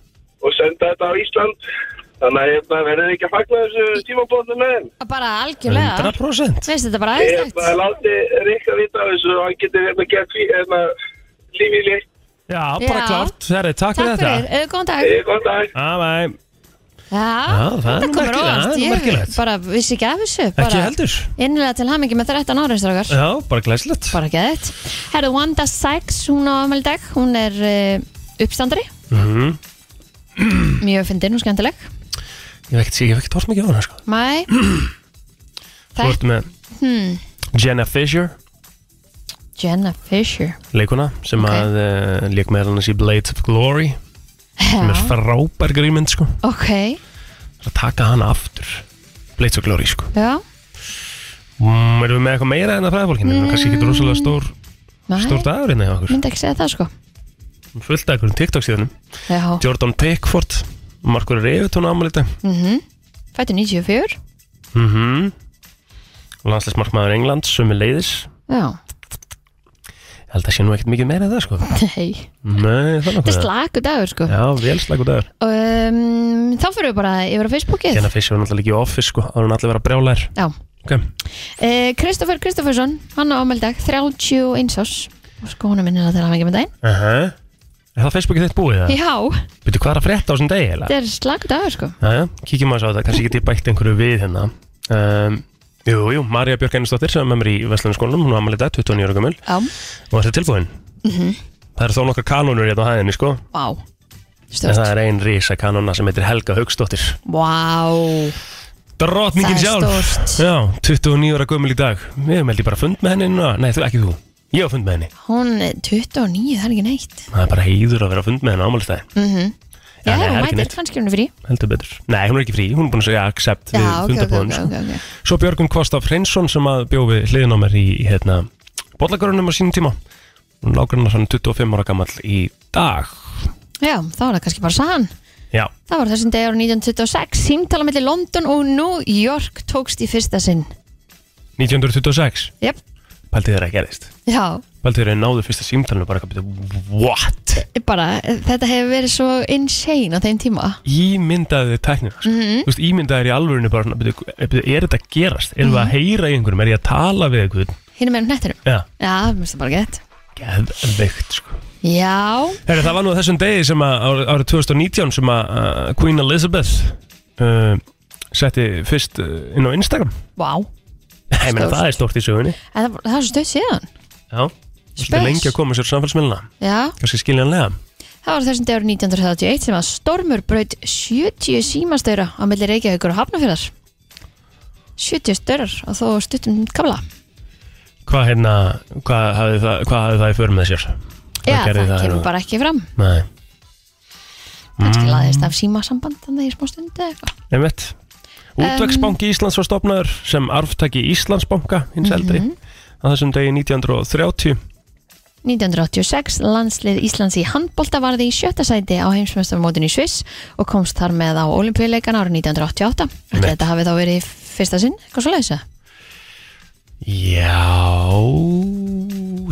Speaker 7: og senda þetta á Ísland. Þannig að hérna, verður þið ekki að fagna þessu tímabóðnum með þeim.
Speaker 3: Bara algjörlega,
Speaker 4: 100%
Speaker 3: veist þetta bara
Speaker 7: Ég
Speaker 3: aðeinslegt
Speaker 7: hérna, láti Rikka vita af þessu og hann getur hérna, gert því hérna, lífið líkt.
Speaker 4: Já, bara
Speaker 3: Já.
Speaker 4: klárt, það er takk fyrir
Speaker 3: Takk fyrir,
Speaker 4: þetta
Speaker 3: eða góðan dag
Speaker 7: Góðan dag.
Speaker 4: Æ, Já,
Speaker 3: Já,
Speaker 4: það er
Speaker 3: þetta
Speaker 4: nú
Speaker 3: komur
Speaker 4: merkilegt, það
Speaker 3: óvart
Speaker 4: er nú
Speaker 3: Ég
Speaker 4: merkilegt.
Speaker 3: bara vissi ekki af þessu
Speaker 4: ekki
Speaker 3: bara
Speaker 4: heldur
Speaker 3: Innilega til hamingi með 13 ára strákar
Speaker 4: Já, bara glæslegt
Speaker 3: Bara ekki þetta Herðu, Wanda Sykes, hún á afmæli í dag Hún er uh, uppstandari
Speaker 4: Mhm.
Speaker 3: Mjög fyndin og skemmtileg
Speaker 4: Ég hef ekkert ég hef ekkert hort mikið á hana sko
Speaker 3: Mæ hmm,
Speaker 4: Þú ert með Jenna Fisher,
Speaker 3: Jenna Fisher
Speaker 4: leikuna sem
Speaker 3: Ok.
Speaker 4: að uh, leik með hann í Blades of Glory sem er
Speaker 3: Já,
Speaker 4: frábær grímynd sko
Speaker 3: ok,
Speaker 4: Það er að taka hana aftur Blades of Glory sko
Speaker 3: já
Speaker 4: mm, Erum við með eitthvað meira en að fræðafólkinu? Mm. Kanski ekki rosalega stór,
Speaker 3: Mæ,
Speaker 4: stór dagur innan hjá okkur
Speaker 3: myndi ekki segja það sko
Speaker 4: Fullt af einhverjum TikTok síðanum
Speaker 3: Já,
Speaker 4: Jordan Pickford, Markur Revitón ámælita
Speaker 3: Mhm. fættu 94
Speaker 4: mm -hmm. Landslæsmarkmaður England, sumi leiðis
Speaker 3: Já,
Speaker 4: Ég held að sé nú ekkert mikið meira en það sko
Speaker 3: nei
Speaker 4: Nei, það er
Speaker 3: Þetta
Speaker 4: nokkuð
Speaker 3: er slaku dagur sko
Speaker 4: Já, vel slagur dagur
Speaker 3: um, Þá fyrir við bara yfir á Facebookið
Speaker 4: Jenna Fischer var náttúrulega ekki í office sko Það var hún allir vera brjálæðir
Speaker 3: Já
Speaker 4: Ok,
Speaker 3: Eh, Kristoffer Kristoffersson, hann á ámeldag 31 árs og sko hún er minnilega til að hafa ekki með daginn
Speaker 4: uh Er það Facebookið þitt búið það?
Speaker 3: Já,
Speaker 4: Býttu hvað er að frétta á þessum degi eða?
Speaker 3: þetta er slagur dagur sko
Speaker 4: Jæja, kíkjum aðeins á þetta Kanski get ég bætt einhverju við hérna um, Jú, jú, Marja Björk Einnarsdóttir sem er með mér í Vestlandskólanum Hún var ammæli dag, 29 ára gömul
Speaker 3: Já, Mhm.
Speaker 4: Og þetta er tilbúin Það eru þó nokkar kanónur hérna á hæðinni sko
Speaker 3: vá
Speaker 4: En það
Speaker 3: Stort,
Speaker 4: er ein risa kanóna sem heitir Helga Haugsdóttir
Speaker 3: vá
Speaker 4: Drotningin
Speaker 3: Það er
Speaker 4: sjálf Já, 29 ára gömul í dag Ég meldi bara fund með henni núna Nei, þú, ekki þú Ég á fund með henni
Speaker 3: Hún er 29, það er ekki neitt
Speaker 4: Það er bara heiður að vera að fund með henni ámálistæði
Speaker 3: Mhm. Já,
Speaker 4: nei,
Speaker 3: hún
Speaker 4: það er ekki
Speaker 3: mætir
Speaker 4: neitt.
Speaker 3: kannski hún er frí
Speaker 4: heldur betur Nei, hún er ekki frí, hún er búin að segja accept
Speaker 3: Já,
Speaker 4: við
Speaker 3: ok,
Speaker 4: fundabóðum
Speaker 3: ok, ok,
Speaker 4: sko.
Speaker 3: ok, ok.
Speaker 4: Svo Björgum Kostaf Hreinsson sem að bjó við hliðin á mér í í, hérna, bollagörunum á sínum tíma Hún lágur hennar hann 25 ára gamall í dag
Speaker 3: Já, þá var það kannski bara sann
Speaker 4: Já,
Speaker 3: Það var þessum degur 1926 Símtala milli London og New York tókst í fyrsta sinn
Speaker 4: 1926,
Speaker 3: Jep,
Speaker 4: pæltið þeirra gerðist
Speaker 3: já
Speaker 4: Pæltið þeirra náðu fyrsta símtalinu bara eitthvað byrju, What?
Speaker 3: bara, þetta hefur verið svo insane á þeim tíma
Speaker 4: Ímyndaði tæknina sko.
Speaker 3: Mhm.
Speaker 4: Þú veist, ímyndaði í alvörinu bara svona, byrju, byrju, Er þetta að gerast? Erum við
Speaker 3: Mhm.
Speaker 4: að heyra í einhverjum? Er ég að tala við einhverjum?
Speaker 3: hinn er með um hnettinum
Speaker 4: Já,
Speaker 3: já, mér finnst það bara gett
Speaker 4: geðveikt sko
Speaker 3: já,
Speaker 4: Herri, það var nú á þessum degi sem að árið ári 2019 sem að uh, Queen Elizabeth uh, setti fyrst uh, inn á Instagram
Speaker 3: vá
Speaker 4: Ég meina
Speaker 3: Stórt.
Speaker 4: það er stórt í sögunni
Speaker 3: En það, var- það er svo stöð síðan
Speaker 4: Já,
Speaker 3: Spes.
Speaker 4: svolítið lengi að koma sér samfélsmilna
Speaker 3: já,
Speaker 4: Kanski skiljanlega
Speaker 3: það var þessum degur 1931 sem að stormur braut 70 símastöra á milli Reykjavíkur og Hafnafjörðar 70 störar og þó stuttum kabla
Speaker 4: Hvað hérna, hvað hafði það, hvað hafði það í förum með sér?
Speaker 3: já, það,
Speaker 4: gerði
Speaker 3: kemur
Speaker 4: hérna?
Speaker 3: bara ekki fram
Speaker 4: Nei, Mm.
Speaker 3: kannski laðist af símasamband þannig í smá stund eða eitthvað
Speaker 4: einmitt
Speaker 3: Um,
Speaker 4: Útvegsbanki Íslands var stopnaður sem arftaki Íslandsbanka hins eldri
Speaker 3: Mhm.
Speaker 4: á þessum degi 1930
Speaker 3: 1986 landslið Íslands í handbolta varði í sjötta sæti á heimsmeistarmótinu í Sviss og komst þar með á olimpíuleikana árið 1988. Ætli
Speaker 4: Einmitt.
Speaker 3: Þetta hafi þá verið í fyrsta sinn, eitthvað svo leiðis að?
Speaker 4: Já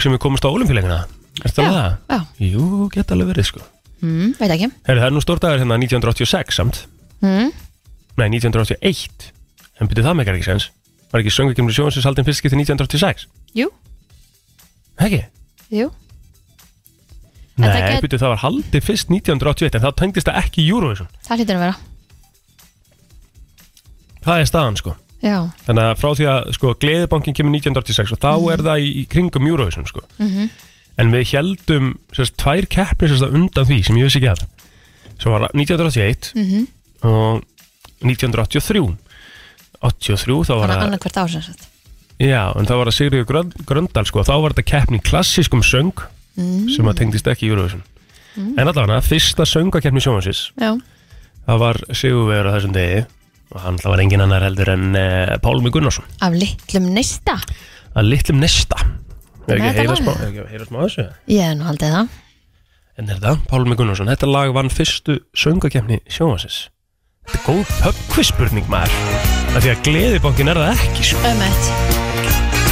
Speaker 4: sem við komumst á olimpíuleikina Ertu með það?
Speaker 3: já,
Speaker 4: Jú, geta alveg verið sko
Speaker 3: mm, veit ekki.
Speaker 4: Heri, Það er nú stórdagur hérna 1986 samt
Speaker 3: Mm.
Speaker 4: Nei, 1981 En byrju það megar ekki sens Var ekki söngakemur sjónsins haldin fyrst skipti 1986
Speaker 3: Jú,
Speaker 4: Ekki?
Speaker 3: jú, Þetta
Speaker 4: Nei,
Speaker 3: get-
Speaker 4: byrju það var haldið fyrst 1981 En þá tengdist það ekki í Eurovision
Speaker 3: það hlýtur að vera.
Speaker 4: Það er staðan sko
Speaker 3: Já,
Speaker 4: Þannig að frá því að sko gleðibankin kemur 1986 Og þá
Speaker 3: Mhm.
Speaker 4: er það í, í kringum Eurovision sko En við heldum sérst, tvær keppnir sérst, undan því sem ég vissi ekki að Sem var 1981
Speaker 3: Mhm.
Speaker 4: Og 1983 83 þá var
Speaker 3: þannig
Speaker 4: það
Speaker 3: annað hvert ár sem sagt.
Speaker 4: Já, en þá var það Sigriður Grönd, Gröndal sko, og þá var þetta keppni í klassískum söng
Speaker 3: Mm.
Speaker 4: sem að tengdist ekki í Eurovision en allavega, fyrsta söngakeppni sjóhansins
Speaker 3: Já,
Speaker 4: það var Sigurvegur á þessum degi og hann alltaf var engin annar heldur en uh, Pálmi Gunnarsson
Speaker 3: af litlum neista.
Speaker 4: að litlum nesta
Speaker 3: Nei,
Speaker 4: er ekki að
Speaker 3: þetta
Speaker 4: heyra
Speaker 3: var
Speaker 4: smá,
Speaker 3: það.
Speaker 4: er ekki að heyra smá af þessu
Speaker 3: Ég hef nú haldið það.
Speaker 4: en er það, Pálmi Gunnarsson, þetta lag vann fyrstu söngakeppni sjóhansins Þetta er góð pubquizspurning maður af því að gleðibankin er það ekki sko.
Speaker 3: Ömmet.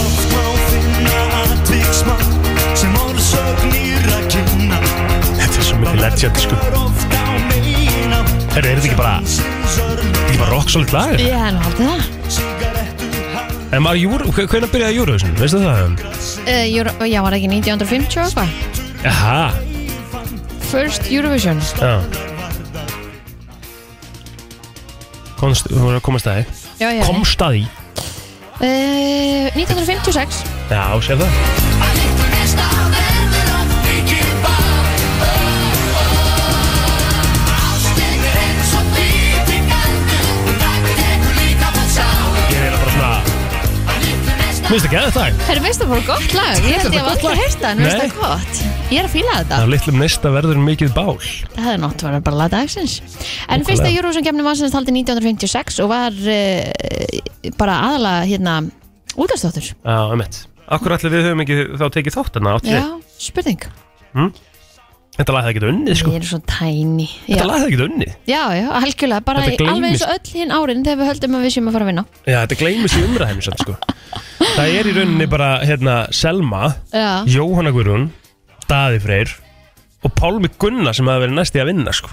Speaker 1: Oft má finna atviksma sem orðsögnir að kynna
Speaker 4: Þetta er svo mikið legend sko.
Speaker 1: Var oft á meina
Speaker 4: Herru, er þetta ekki bara,
Speaker 1: Sem sörn
Speaker 4: ekki bara rock solid lag?
Speaker 3: Ég hef nú haldið það.
Speaker 1: Sigarettu hann
Speaker 4: En var Júru, hvernig byrjaði Júruvísun, veistu það?
Speaker 3: Uh, Euro, já, var það ekki 1950 og eitthvað.
Speaker 4: Jaha,
Speaker 3: First Eurovision.
Speaker 4: já Komst, þú voru að komast að því
Speaker 3: Já, já.
Speaker 4: Komst að því
Speaker 3: Uh, 1956.
Speaker 4: Já, sér það Ég er eiginlega bara svona Minnst ekki að þetta
Speaker 3: Herru, veist það bara gott lag? Ég held ég að aldrei heyrta en veist það
Speaker 4: Nei.
Speaker 3: gott Ég er að fíla þetta
Speaker 4: Af litlum næsta verður mikið bál
Speaker 3: Það hefði nátt verið bara laga dagsins En fyrsta Eurovision kemni var sem sagt haldin 1956 og var uh, bara aðalega hérna útastóttur
Speaker 4: Já, emitt Akkur allir við höfum ekki þá tekið þátt þarna átti Hm?
Speaker 3: Já, spurning
Speaker 4: Þetta lagði það ekki unnið sko
Speaker 3: Ég er svo tæni Já,
Speaker 4: Þetta lagði það ekki unnið
Speaker 3: já, já algjörlega bara
Speaker 4: Þetta
Speaker 3: í- alveg
Speaker 4: gleymist.
Speaker 3: eins og öll hinn árin þegar við höldum að við séum að fara að vinna
Speaker 4: Já, þetta gleymist í umræðinu samt sko Það er í rauninni bara, hérna, Selma
Speaker 3: Já,
Speaker 4: Jóhanna Guðrún, Daði Freyr og Pálmi Gunnar sem hafa verið næsti að vinna sko.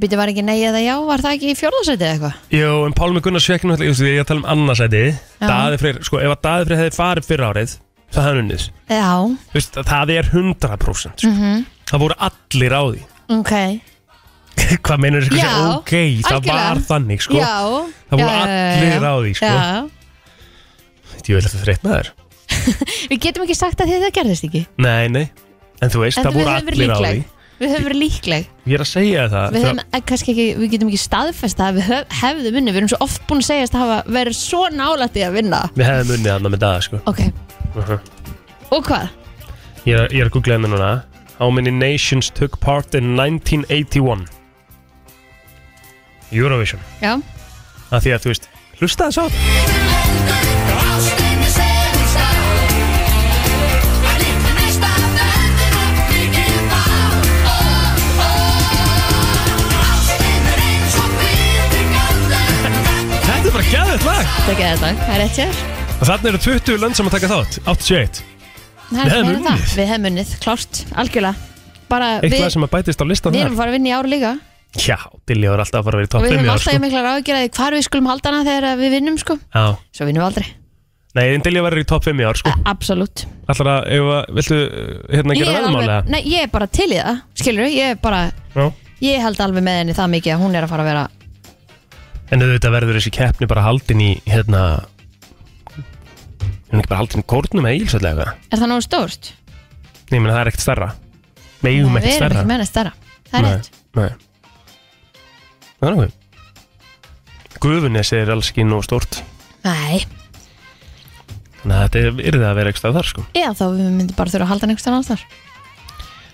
Speaker 3: býtu var ekki nei eða já var það ekki í fjórðarsæti eða eitthvað?
Speaker 4: Jó, en Pálmi Gunnars fekk náttúrulega, ég, ég er að tala um annarsæti
Speaker 3: Já.
Speaker 4: Daði Freyr, sko, ef að Daði Freyr hefði farið fyrra árið það hefði hann unnið,
Speaker 3: Já,
Speaker 4: Þú veist, það er 100% sko. það voru allir á því
Speaker 3: Mhm. ok
Speaker 4: hvað meinar þessi,
Speaker 3: Já,
Speaker 4: ok, það
Speaker 3: algjörlega.
Speaker 4: var þannig sko.
Speaker 3: Já
Speaker 4: Það voru
Speaker 3: já, já, já.
Speaker 4: allir á því, sko.
Speaker 3: Já,
Speaker 4: ég vil eftir þreitt með þér
Speaker 3: við getum ekki sagt að þetta gerðist ekki
Speaker 4: nei, nei, en þú veist,
Speaker 3: En
Speaker 4: það
Speaker 3: við
Speaker 4: voru
Speaker 3: höfum verið
Speaker 4: allir á því
Speaker 3: líkleg Við höfum verið líkleg
Speaker 4: ég er að segja það
Speaker 3: Við, höfum, eh, kannski ekki, við getum ekki staðfest að við höf, hefðum unni Við erum svo oft búin að segjast að hafa verið svo nálætti að vinna
Speaker 4: við hefðum unnið hann með Daði sko.
Speaker 3: Ok,
Speaker 4: Þú
Speaker 3: Og hvað?
Speaker 4: Ég er, ég er að googla henni núna How many nations took part in 1981? Eurovision
Speaker 3: Já,
Speaker 4: að Því að þú veist, hlusta þess á þetta. Þetta er bara gæðið lag
Speaker 3: þetta er þetta, það er rétt sér
Speaker 4: Og þarna eru 20 lönd sem að taka þátt 81
Speaker 3: Það
Speaker 4: Við
Speaker 3: er
Speaker 4: hefðum
Speaker 3: meira en það.
Speaker 4: unnið.
Speaker 3: Við hefum unnið, klárt, algjörlega Bara,
Speaker 4: Eitt
Speaker 3: við,
Speaker 4: lag sem að bætist á listan
Speaker 3: við
Speaker 4: þar
Speaker 3: erum að fara að vinna í ár líka
Speaker 4: Já, Dilljó er alltaf að fara að vera í
Speaker 3: Og
Speaker 4: topp
Speaker 3: við
Speaker 4: 5
Speaker 3: höfum
Speaker 4: ár,
Speaker 3: alltaf
Speaker 4: sko.
Speaker 3: sko. miklar ágjör að hvar við skulum halda hana þegar að við vinnum sko
Speaker 4: Já,
Speaker 3: Svo vinnum við aldrei,
Speaker 4: nei, en Dilljó verður í topp 5 ár sko.
Speaker 3: absolutt
Speaker 4: Alltaf að, ef að, viltu uh, hérna
Speaker 3: Ég
Speaker 4: gera
Speaker 3: er
Speaker 4: verðmálega?
Speaker 3: alveg, nei, ég er bara til í það, skilur Ég er bara,
Speaker 4: Já
Speaker 3: ég held alveg með henni það mikið að hún er að fara að vera
Speaker 4: En auðvitað verður þessi keppni bara haldin í hérna Hún er ekki bara haldin í kórnum eða ílsöldlega eitthvað
Speaker 3: Er það nógu stórt?
Speaker 4: Nei, menn það er ekkert stærra Megum
Speaker 3: Nei, Við
Speaker 4: ekkert
Speaker 3: erum
Speaker 4: stærra
Speaker 3: ekki með henni stærra, það er
Speaker 4: Nei,
Speaker 3: rétt
Speaker 4: Nei Það er nokkuð Gufunes er alls ekki nóg stórt
Speaker 3: Nei,
Speaker 4: Þannig að þetta er yrði að vera ekki stað þar sko
Speaker 3: eða þá við myndum bara þurfa að halda hann einhvers staðar annars þar.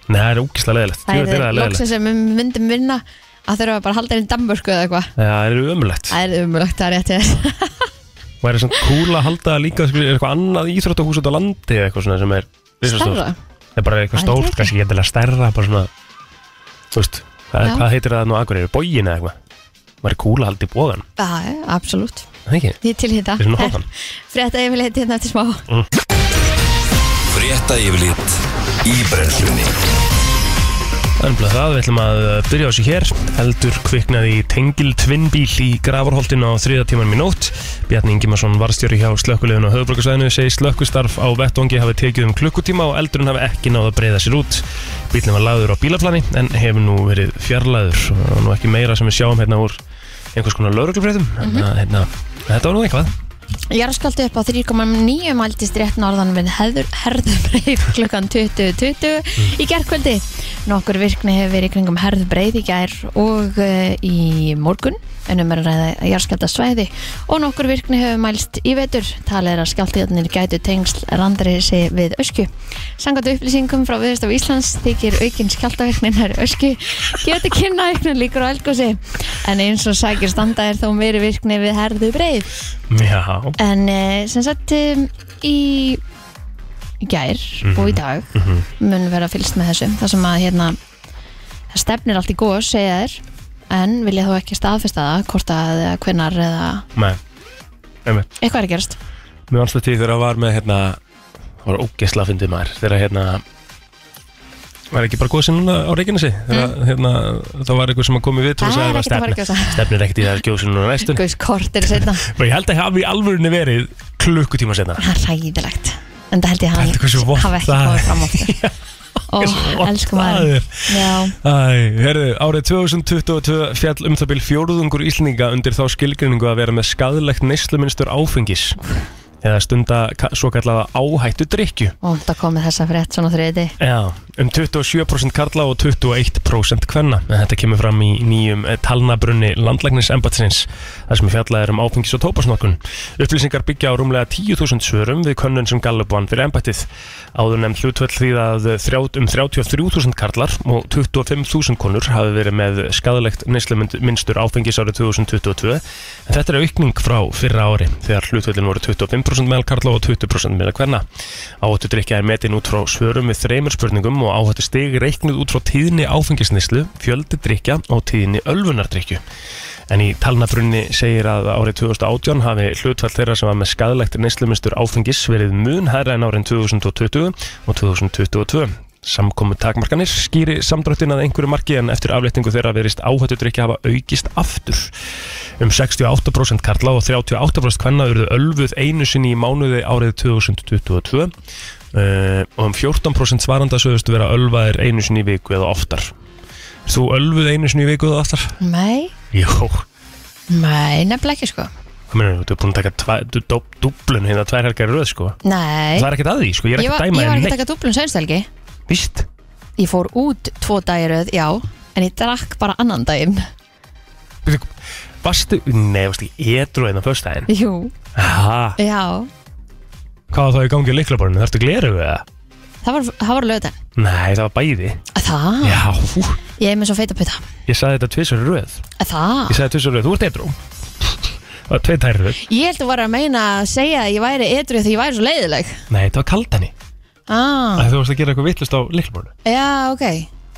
Speaker 4: Nei, það er úkislega leðilegt
Speaker 3: Það er
Speaker 4: það leðilegt
Speaker 3: loksins sem við myndum vinna að þurfa bara að halda hann í Danmörku eða eitthvað
Speaker 4: Það er ömulegt
Speaker 3: Það er umulagt, það er rétt ég
Speaker 4: Og er svona kúla að halda líka sko, eitthvað annað íþróttahús út á landi eða eitthvað svona sem er risastórt.
Speaker 3: Stærra?
Speaker 4: Það er bara
Speaker 3: Það
Speaker 4: eitthvað
Speaker 3: er
Speaker 4: stórt,
Speaker 3: ekki.
Speaker 4: kannski getilega stærra bara svona, þú veist hvað,
Speaker 3: Já.
Speaker 4: hvað heitir það nú akkur eru, bógin eða eitthvað maður er kúla haldið í bógan,
Speaker 3: Já, já, absolutt
Speaker 4: það ekki
Speaker 3: Ég er til í þetta
Speaker 4: Við erum að fá hann. Mm.
Speaker 3: Frétta yfirleitt hérna eftir smá
Speaker 2: Frétta yfirlit í brennslunni
Speaker 4: Þannig að það, við ætlum að uh, byrja á þessu hér Eldur kviknaði í tengil tvinnbíl í gravarholtin á þriða tímanum í nótt Bjarni Ingimarsson varstjóri hjá slökkuleginu á höfuborgarsvæðinu segir slökkustarf á vettvangi hafi tekið um klukkutíma og eldurinn hafi ekki náð að breyða sér út Bílinn var lagður á bílaflani en hefur nú verið fjarlæður og nú ekki meira sem við sjáum hérna úr einhvers konar lauruglufréttum
Speaker 3: Mhm.
Speaker 4: mm hérna, Þetta var nú eitthvað
Speaker 3: Jarðskjálfti upp á 3,9 mæltist rétt norðan við heður, herðubreið klukkan 20.20 í gerkvöldi. Nokkur virkni hefur verið í kringum herðubreið í gær og uh, í morgun en um er að ræða jarðskjálta svæði og nokkur virkni hefur mælst í vetur talið er að skjálftiðarnir gætu tengsl randri sig við ösku. Sangat upplýsingum frá viðstof Íslands þykir aukinn skjáltaverknin er ösku getur kynna auknin líkur á elgósi en eins og sækir standa er þó meiri virkni við herðubreið
Speaker 4: Já,
Speaker 3: En uh, sem sagt um, í í gær og
Speaker 4: Mhm.
Speaker 3: í dag mun vera fylgst með þessu þar sem að hérna það stefnir allt í góð, segja þér en vilja þú ekki staðfesta það hvort að eða hvenar eða
Speaker 4: nei,
Speaker 3: eitthvað er að gerast
Speaker 4: Mér vannst þetta í þegar að var með hérna Það var ógesla að fyndið maður Þegar hérna Var ekki bara góðsinn núna á Reykjanesi Þegar mm. hérna Það var eitthvað sem að komi við til og
Speaker 3: Það er
Speaker 4: sagði
Speaker 3: ekkert
Speaker 4: að
Speaker 3: að fara að
Speaker 4: stefna
Speaker 3: gjósa.
Speaker 4: Stefnir ekkert í það að gjóðsinn núna næstun
Speaker 3: Guðs kort er setna,
Speaker 4: Og ég held að hafi í alvörinu verið klukkutíma senna
Speaker 3: það er ræðilegt en það held ég að
Speaker 4: Pældu hversu
Speaker 3: hann
Speaker 4: vont
Speaker 3: hafa ekki
Speaker 4: það er.
Speaker 3: komið fram ofta
Speaker 4: hversu
Speaker 3: og
Speaker 4: vont
Speaker 3: elsku
Speaker 4: það
Speaker 3: maður
Speaker 4: er.
Speaker 3: Já,
Speaker 4: Æ, herðu, árið 2022 fjall um það byrj fjóruðungur íslninga undir þá skilgrinningu að vera með skadlegt neysluminstur áfengis eða stunda ka- svo kallaða áhættu drykju
Speaker 3: og það komið þessa frétt svona þriði
Speaker 4: Já, um 27% karla og 21% kvenna. En Þetta kemur fram í nýjum eh, talnabrunni landlæknisembatinsins, þar sem fjallað er um áfengis og tópasnokkun. Upplýsingar byggja á rúmlega 10.000 svörum við könnun sem Gallup vann fyrir embatið. Áður nefn hlutvöld því að þrjá- um 33.000 karlar og 25.000 konur hafi verið með skadalegt minnstur áfengis árið 2022. En þetta er aukning frá fyrra ári þegar hlutvöldin voru 25% meðal karla og 20% meðal kvenna. Áhættu drikja er metin út frá svörum við þreymur spurningum og áhættu stig reiknuð út frá tíðni áfengisnislu, fjöldi drikja og tíðni ölvunardrikju. En í talnabrunni segir að árið 2018 hafi hlutfall þeirra sem var með skadalegt neyslumistur áfengis verið mun herra en árin 2020 og 2022. Samkomu takmarkanir skýri samdráttin að einhverju marki en eftir afléttingu þeirra verist áhættu drikja hafa aukist aftur. Um 68% karla og 38% kvenna urðu ölfuð einu sinni í mánuði árið 2022 uh, og um 14% svaranda sögðustu vera ölvaðir einu sinni í viku eða oftar. Ert Þú ölvuð einu sinni í viku eða oftar?
Speaker 3: Nei,
Speaker 4: Jó,
Speaker 3: nei, nefnilega ekki sko
Speaker 4: hvað meina, þú er búin að taka tva, du, du, dublun hérna tvær helgar í röð sko.
Speaker 3: Nei,
Speaker 4: Það er ekkert að því sko, ég er
Speaker 3: ég
Speaker 4: ekki
Speaker 3: var,
Speaker 4: að
Speaker 3: ég
Speaker 4: dæma
Speaker 3: var ekki
Speaker 4: þér
Speaker 3: að taka dublun sænstelgi
Speaker 4: neitt, víst?
Speaker 3: Ég fór út tvo dagiröð, já En ég drakk bara annan daginn
Speaker 4: Bíddu, hérna Varstu, nei, varstu ekki edru einn á föstudaginn?
Speaker 3: Jú,
Speaker 4: Ha,
Speaker 3: já
Speaker 4: Hvað var það í gangi í liklaborinu? Þarftu gleru við það?
Speaker 3: Það var, það var lögðan
Speaker 4: Nei, það var bæði
Speaker 3: Það,
Speaker 4: Já, hú,
Speaker 3: ég er með svo feita pita
Speaker 4: ég sagði þetta tvisar röð
Speaker 3: Það,
Speaker 4: Ég sagði tvisar röð, þú ert eitrú Það var tvei tær röð
Speaker 3: ég held að vera að meina að segja að ég væri edru því ég væri svo leiðileg
Speaker 4: Nei, þetta var kaldani
Speaker 3: ah,
Speaker 4: að Þú varst að gera eitthvað vittlust á liklaborinu
Speaker 3: Já, ok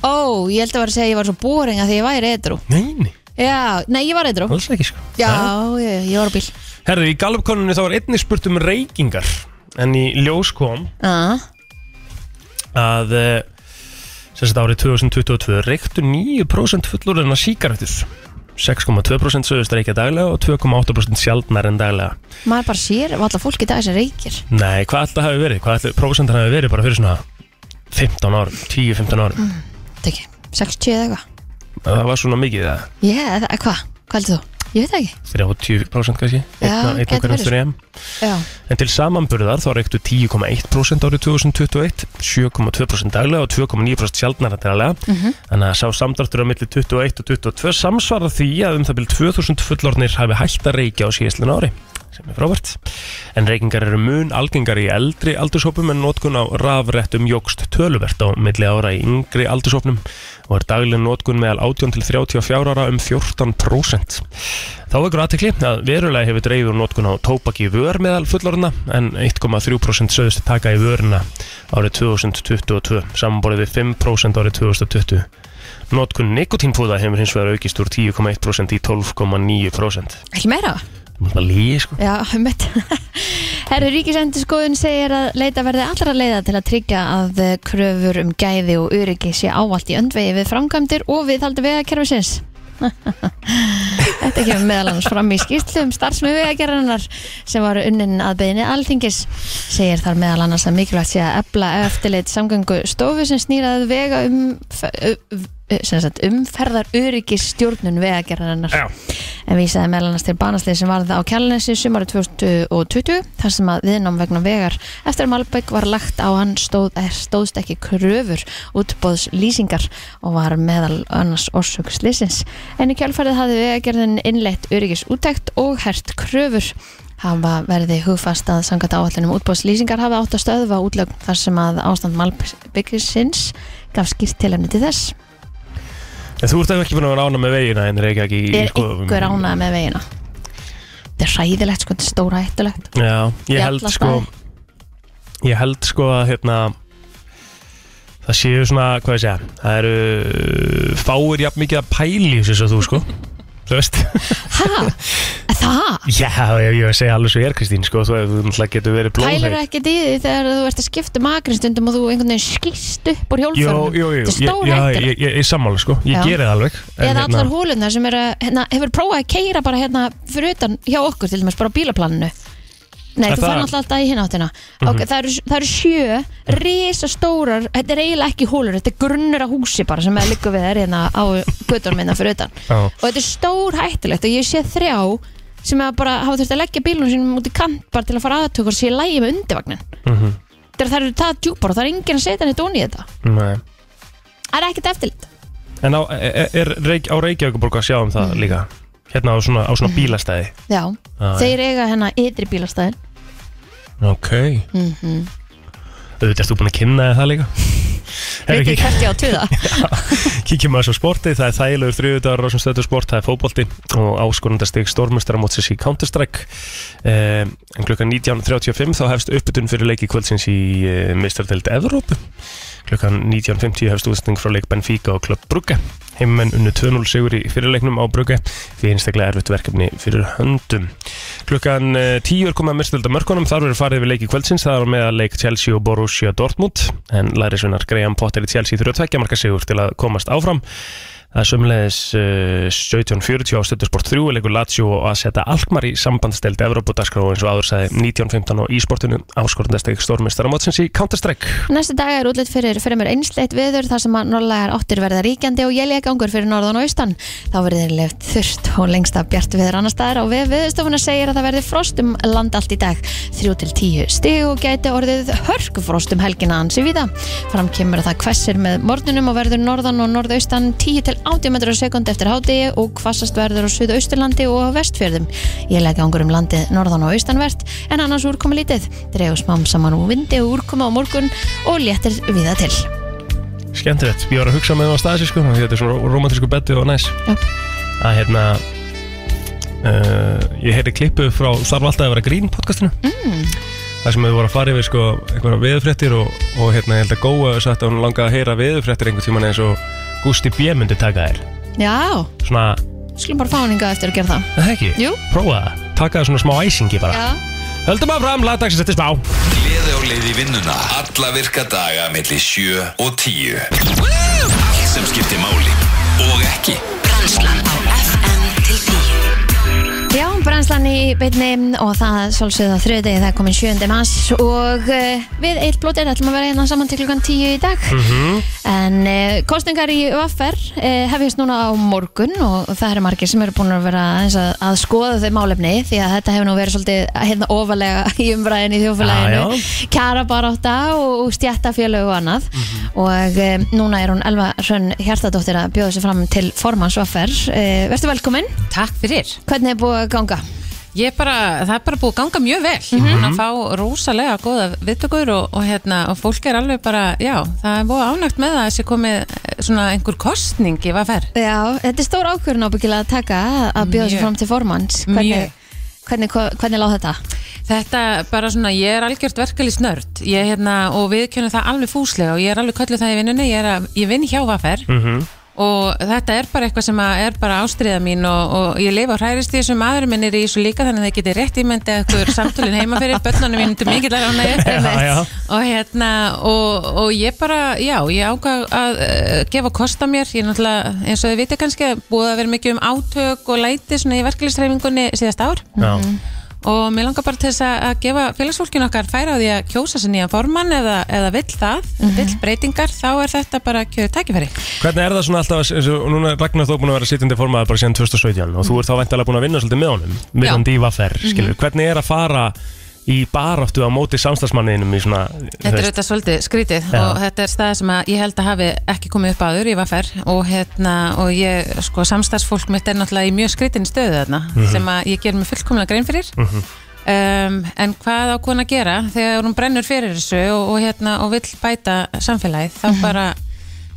Speaker 3: Ó, ég held að vera að segja að ég var svo boring að því ég væri edru
Speaker 4: Nei, nei,
Speaker 3: Já, nei, ég var edru Já,
Speaker 4: alls ekki sko
Speaker 3: ég, ég var á bíl
Speaker 4: Herðu, í galvkonunni þá var einnig spurt um reykingar En í ljós kom
Speaker 3: ah,
Speaker 4: að eh, sem sagt árið 2022 reyktu 9% fullorðina síkaretur 6,2% sögust reykja daglega og 2,8% sjaldnar en daglega
Speaker 3: Maður bara sér alltaf fólk í dag sem reykir
Speaker 4: Nei, hvað alltaf hafi verið? Hvað alltaf prósentar hafi verið bara fyrir svona 15 árum, 10-15 árum
Speaker 3: Þetta Mm, ekki, 60 eða eitthvað
Speaker 4: Það var svona mikið það,
Speaker 3: Já, yeah, eh, hvað, hvað heldur þú? Ég veit það ekki
Speaker 4: 30% kannski
Speaker 3: Já,
Speaker 4: einn
Speaker 3: gæti
Speaker 4: okkar
Speaker 3: verið.
Speaker 4: eftir EM
Speaker 3: Já,
Speaker 4: En til samanburðar þá reyktu 10,1% árið 2021, 7,2% daglega og 2,9% sjaldnara daglega.
Speaker 3: Mhm.
Speaker 4: Þannig að sá samdartur á milli 21 og 22 samsvara því að um það byrjum 2000 fullornir hafi hægt að reykja á síðastlun ári sem er frábært. En reykingar eru mun algengar í eldri aldurshópum en notkun á rafrættum jógst töluvert á milli ára í yngri aldurshópnum og er dagleg notkun meðal 18 til 34 ára um 14%. Þá vekur aðtekli að verulega hefur dreifur notkun á tóbaki í vör meðal fullorðina en 1,3% sögðust taka í vörina árið 2022 samanborið við 5% árið 2020. Notkun nikotínpúða hefur hins vegar aukist úr 10,1% í 12,9%.
Speaker 3: ekki meira
Speaker 4: Þú mátt bara líði sko.
Speaker 3: Já, einmitt. Herru Ríkisendiskoðun segir að leita verði allra leiða til að tryggja að kröfur um gæði og öryggi sé ávallt í öndvegi við framkvæmdir og við haldi vegakerfisins. Þetta kemur meðal annars fram í skýrslu um starfsmi vegagerðarinnar sem var unnin að beðinni alþingis. Segir þar meðal annars að mikilvægt sé að ebla eftirleitt samgöngu stofu sem snýraði vega um, sem sagt, umferðar öryggis stjórnun vegagerðarinnar
Speaker 4: Já.
Speaker 3: en vísaði meðal annars til banaslið sem varð á Kjallnesi sumarið 2020 þar sem að viðnám vegna vegar eftir að Malbæk var lagt á hann stóð, eh, stóðst ekki kröfur útbóðs lýsingar og var meðal annars orsök slisins en í kjálfærið hafði vegagerðin innleitt öryggis útækt og hert kröfur hafa verði hugfast að sangat áallunum útbóðslýsingar hafa átt að stöðva útlögn þar sem að ástand Malbækisins gaf skýrt tilefni til þess
Speaker 4: En þú ert ekki búin að vera ána með vegina en reykja ekki í
Speaker 3: er einhver ánað með veginna þetta er hræðilegt sko, þetta er stóra hættulegt
Speaker 4: Já, ég
Speaker 3: Í
Speaker 4: held
Speaker 3: alla
Speaker 4: sko Ég held sko að hérna Það séu svona, hvað ég segja Það eru uh, fáir jafn mikið að pæli í þessu og þú sko Þú veist
Speaker 3: Hæ? Það?
Speaker 4: Já, ég, ég segja alveg svo ég er Kristín sko Þú, þú náttúrulega getur verið
Speaker 3: Pælar
Speaker 4: blóðhætt
Speaker 3: ekki því þegar þú ert að skipta makri stundum og þú einhvern veginn skýst upp úr
Speaker 4: Jó,
Speaker 3: hjólförnum
Speaker 4: jú, jú,
Speaker 3: Þetta er
Speaker 4: ég,
Speaker 3: stóra
Speaker 4: já,
Speaker 3: hættulegt
Speaker 4: ég, ég, ég sammála sko, ég
Speaker 3: Já.
Speaker 4: geri það alveg en
Speaker 3: Eða
Speaker 4: hérna-
Speaker 3: allar hólunar sem eru, að- hérna, hefur prófað að keira bara hérna fyrir utan hjá okkur til dæmis, bara á bílaplaninu Nei,
Speaker 4: Er
Speaker 3: þú
Speaker 4: það- Mhm.
Speaker 3: fann alltaf alltaf í hinn áttina okay, það, eru, það eru sjö, risastórar Þetta er eiginlega ekki hólur, þetta er grunnur af húsi bara sem er liggur við þær hérna á göttunum minna fyrir utan
Speaker 4: Já.
Speaker 3: og þetta er stór hættulegt og ég sé þrjá sem að bara hafa þurft að leggja bílunum sínum út í kant bara til að fara aðtökur sé lægi með undirvagnin mm
Speaker 4: Mhm.
Speaker 3: -hmm. þegar það eru það djúpar og það er enginn að setja neitt onni í þetta
Speaker 4: Nei.
Speaker 3: Það er ekkert eftirlit
Speaker 4: En á, e, er, er, reik, á Reykjavíkuborg að sjá um
Speaker 3: Mm.
Speaker 4: það líka Hérna á svona, á svona bílastæði
Speaker 3: Já,
Speaker 4: Já,
Speaker 3: Mm. þeir eiga hérna ytri bílastæðin
Speaker 4: Ok mm Auðvitað erst þú búin að kynna þér það líka Herra,
Speaker 3: Veit ég
Speaker 4: kík-
Speaker 3: hvert ég á tuða
Speaker 4: Kíkjum aðeins á sporti, það er þægilegur þriðudagur á sem stöðu sport, það er fótbolti og áskonundastig stormestara mótsins í Counter-Strike um, en klukkan 19.35 þá hefst uppbytun fyrir leiki kvöldsins í uh, mistardelt Evrópu klukkan 19.50 hefst útsending frá leik Benfica og Klubb Brugge heimenn unnu 2-0 sigur í fyrirleiknum á Brugge því einstaklega erfitt verkefni fyrir höndum klukkan eh, 10 er komið að mistölda mörkunum þar verður farið við leiki kvöldsins það er með að leik Chelsea og Borussia Dortmund en lærisvinnar Graham Potter í Chelsea þurfa að tvekja marka sigur til að komast áfram það er sömulegis uh, 17.40 á Stöðusport 3 leikur Lazio og að setja Alkmaar í sambandsteldi Evropadaskra og eins og áður sagði 19.15 á ísportinu áskorundasteg stórmestara mótsins í Counter-Strike
Speaker 3: Næstu dag er útlitt fyrir fremur einsleitt viður þar sem að norðlegar áttir verða ríkjandi og jæljagangur fyrir norðan og austan. Þá verður þeir left þurrt og lengst af bjart viður annar staðar og við viðstofuna segir að það verði frost um land allt í dag. 3-10 stig og gæti orðið hörgufrost um helgina ansi víða. Fram kemur að það hvessir með morgunum og verður norðan og norðaustan 10-11 80 metrar á sekund eftir hádegi og hvassast verður á suðausturlandi og á vestfjörðum. Ég legg ángur um landið norðan og austanvert en annars úrkomi lítið. Dregur smám saman úr vindi og úrkoma á morgun og léttir viða til.
Speaker 4: Skemmtilegt, ég var að hugsa með það á stasi sko, því þetta er svona romantísku betti og næs
Speaker 3: Já.
Speaker 4: að hérna uh, ég heyrði klippu frá þarf alltaf að vera grín podcastinu mm. þar sem við vorum að fara yfir sko einhverja veðurfréttir og, og hérna ég held að góa og sagt að hún langaði að heyra veðurfréttir einhvern tíman eins og Gusti B. myndi taka þér
Speaker 3: Já,
Speaker 4: svona,
Speaker 3: skulum bara fá hann hingað eftir að gera það.
Speaker 4: er það ekki?
Speaker 3: Jú.
Speaker 4: Prófa það, taka það svona smá æsingi bara
Speaker 3: Já.
Speaker 4: Höldum að fram, lagdagsins eftir smá
Speaker 2: Gleði á leið í vinnuna Alla virka daga millir 7 og 10 Allt sem skiptir máli Og ekki
Speaker 8: Brennslan á FM til 10
Speaker 3: Já, brænslan í beinni og það svolsögða þriðdegi, það er komin 7. mars og uh, við eitt blótið ætlum að vera hérna saman til klukkan 10 í dag
Speaker 4: Mhm.
Speaker 3: en uh, kostningar í UFR uh, hefjast núna á morgun og það eru margir sem eru búin að vera aðeins að, að skoða þau málefni því að þetta hefur nú verið svolítið hérna ofalega í umræðinu í
Speaker 4: Já,
Speaker 3: þjófélaginu
Speaker 4: já.
Speaker 3: kjara barátta og, og stjættafélög og annað
Speaker 9: Mhm.
Speaker 3: og um, núna er hún Elva Hrönn Hjartadóttir að bjóða sér fram til formans offer. Uh, verður velkomin,
Speaker 9: Takk fyrir.
Speaker 3: hvernig er búið að ganga?
Speaker 9: Ég bara, það er bara búið að ganga mjög vel. Ég er búin að fá rosalega góða viðtökur og, og, hérna, og fólk er alveg bara, já, það er búið ánægt með það að þessi komið eh, svona einhver kostning í hvað fer.
Speaker 3: Já, þetta er stór ákvörðun ábyggilega að taka að bjóða sér
Speaker 9: Mjög.
Speaker 3: fram til formans
Speaker 9: Mjög.
Speaker 3: hvernig, hvernig, hvernig láð þetta?
Speaker 9: Þetta bara svona, ég er algjört verkalist nörd ég, hérna, og við kjönum það alveg fúslega og ég er alveg kölluð það í vinnunni, ég, er að- ég vinn hjá Vaffer og þetta er bara eitthvað sem að er bara ástriða mín og, og ég lifa og hræðist í þessu maður minn er í þessu líka þannig að þið getið rétt ímyndið eitthvað samtölin heima fyrir börnunum mínum til mikill að
Speaker 4: Já, já.
Speaker 9: og hérna og, og ég bara, já, ég ákvað að uh, gefa kost á mér, ég náttúrulega eins og þið vitið kannski, búið að vera mikið um átök og læti svona í verkefliðsreifingunni síðast ár
Speaker 4: Já,
Speaker 9: og mér langar bara til þess að að gefa félagsfólkinu okkar færa á því að kjósa sér nýjan formann eða, eða vill það,
Speaker 4: Mhm.
Speaker 9: vill breytingar þá er þetta bara kjöðu tækifæri
Speaker 4: Hvernig er það svona alltaf, eins og núna er Ragnar þó búin að vera sitjandi formaður bara síðan 2017 og þú ert þá væntalega búin að vinna svolítið með honum, með
Speaker 9: Já. Mhm.
Speaker 4: hann dívafer, skilur. Hvernig er að fara í baráttu á móti samstagsmanninum í svona, þú
Speaker 9: Þetta er
Speaker 4: veist,
Speaker 9: auðvitað svolítið skrítið
Speaker 4: Já.
Speaker 9: og þetta er staði sem að ég held að hafi ekki komið upp aður í Vaffer og, hérna, og ég, sko, samstarfsfólk mitt er náttúrulega í mjög skrítinni stöðu þarna
Speaker 4: Mhm.
Speaker 9: sem að ég ger mig fullkomlega grein fyrir um, en hvað á kona að gera þegar hún brennur fyrir þessu og, og, hérna, og vill bæta samfélagið þá
Speaker 4: Mhm.
Speaker 9: bara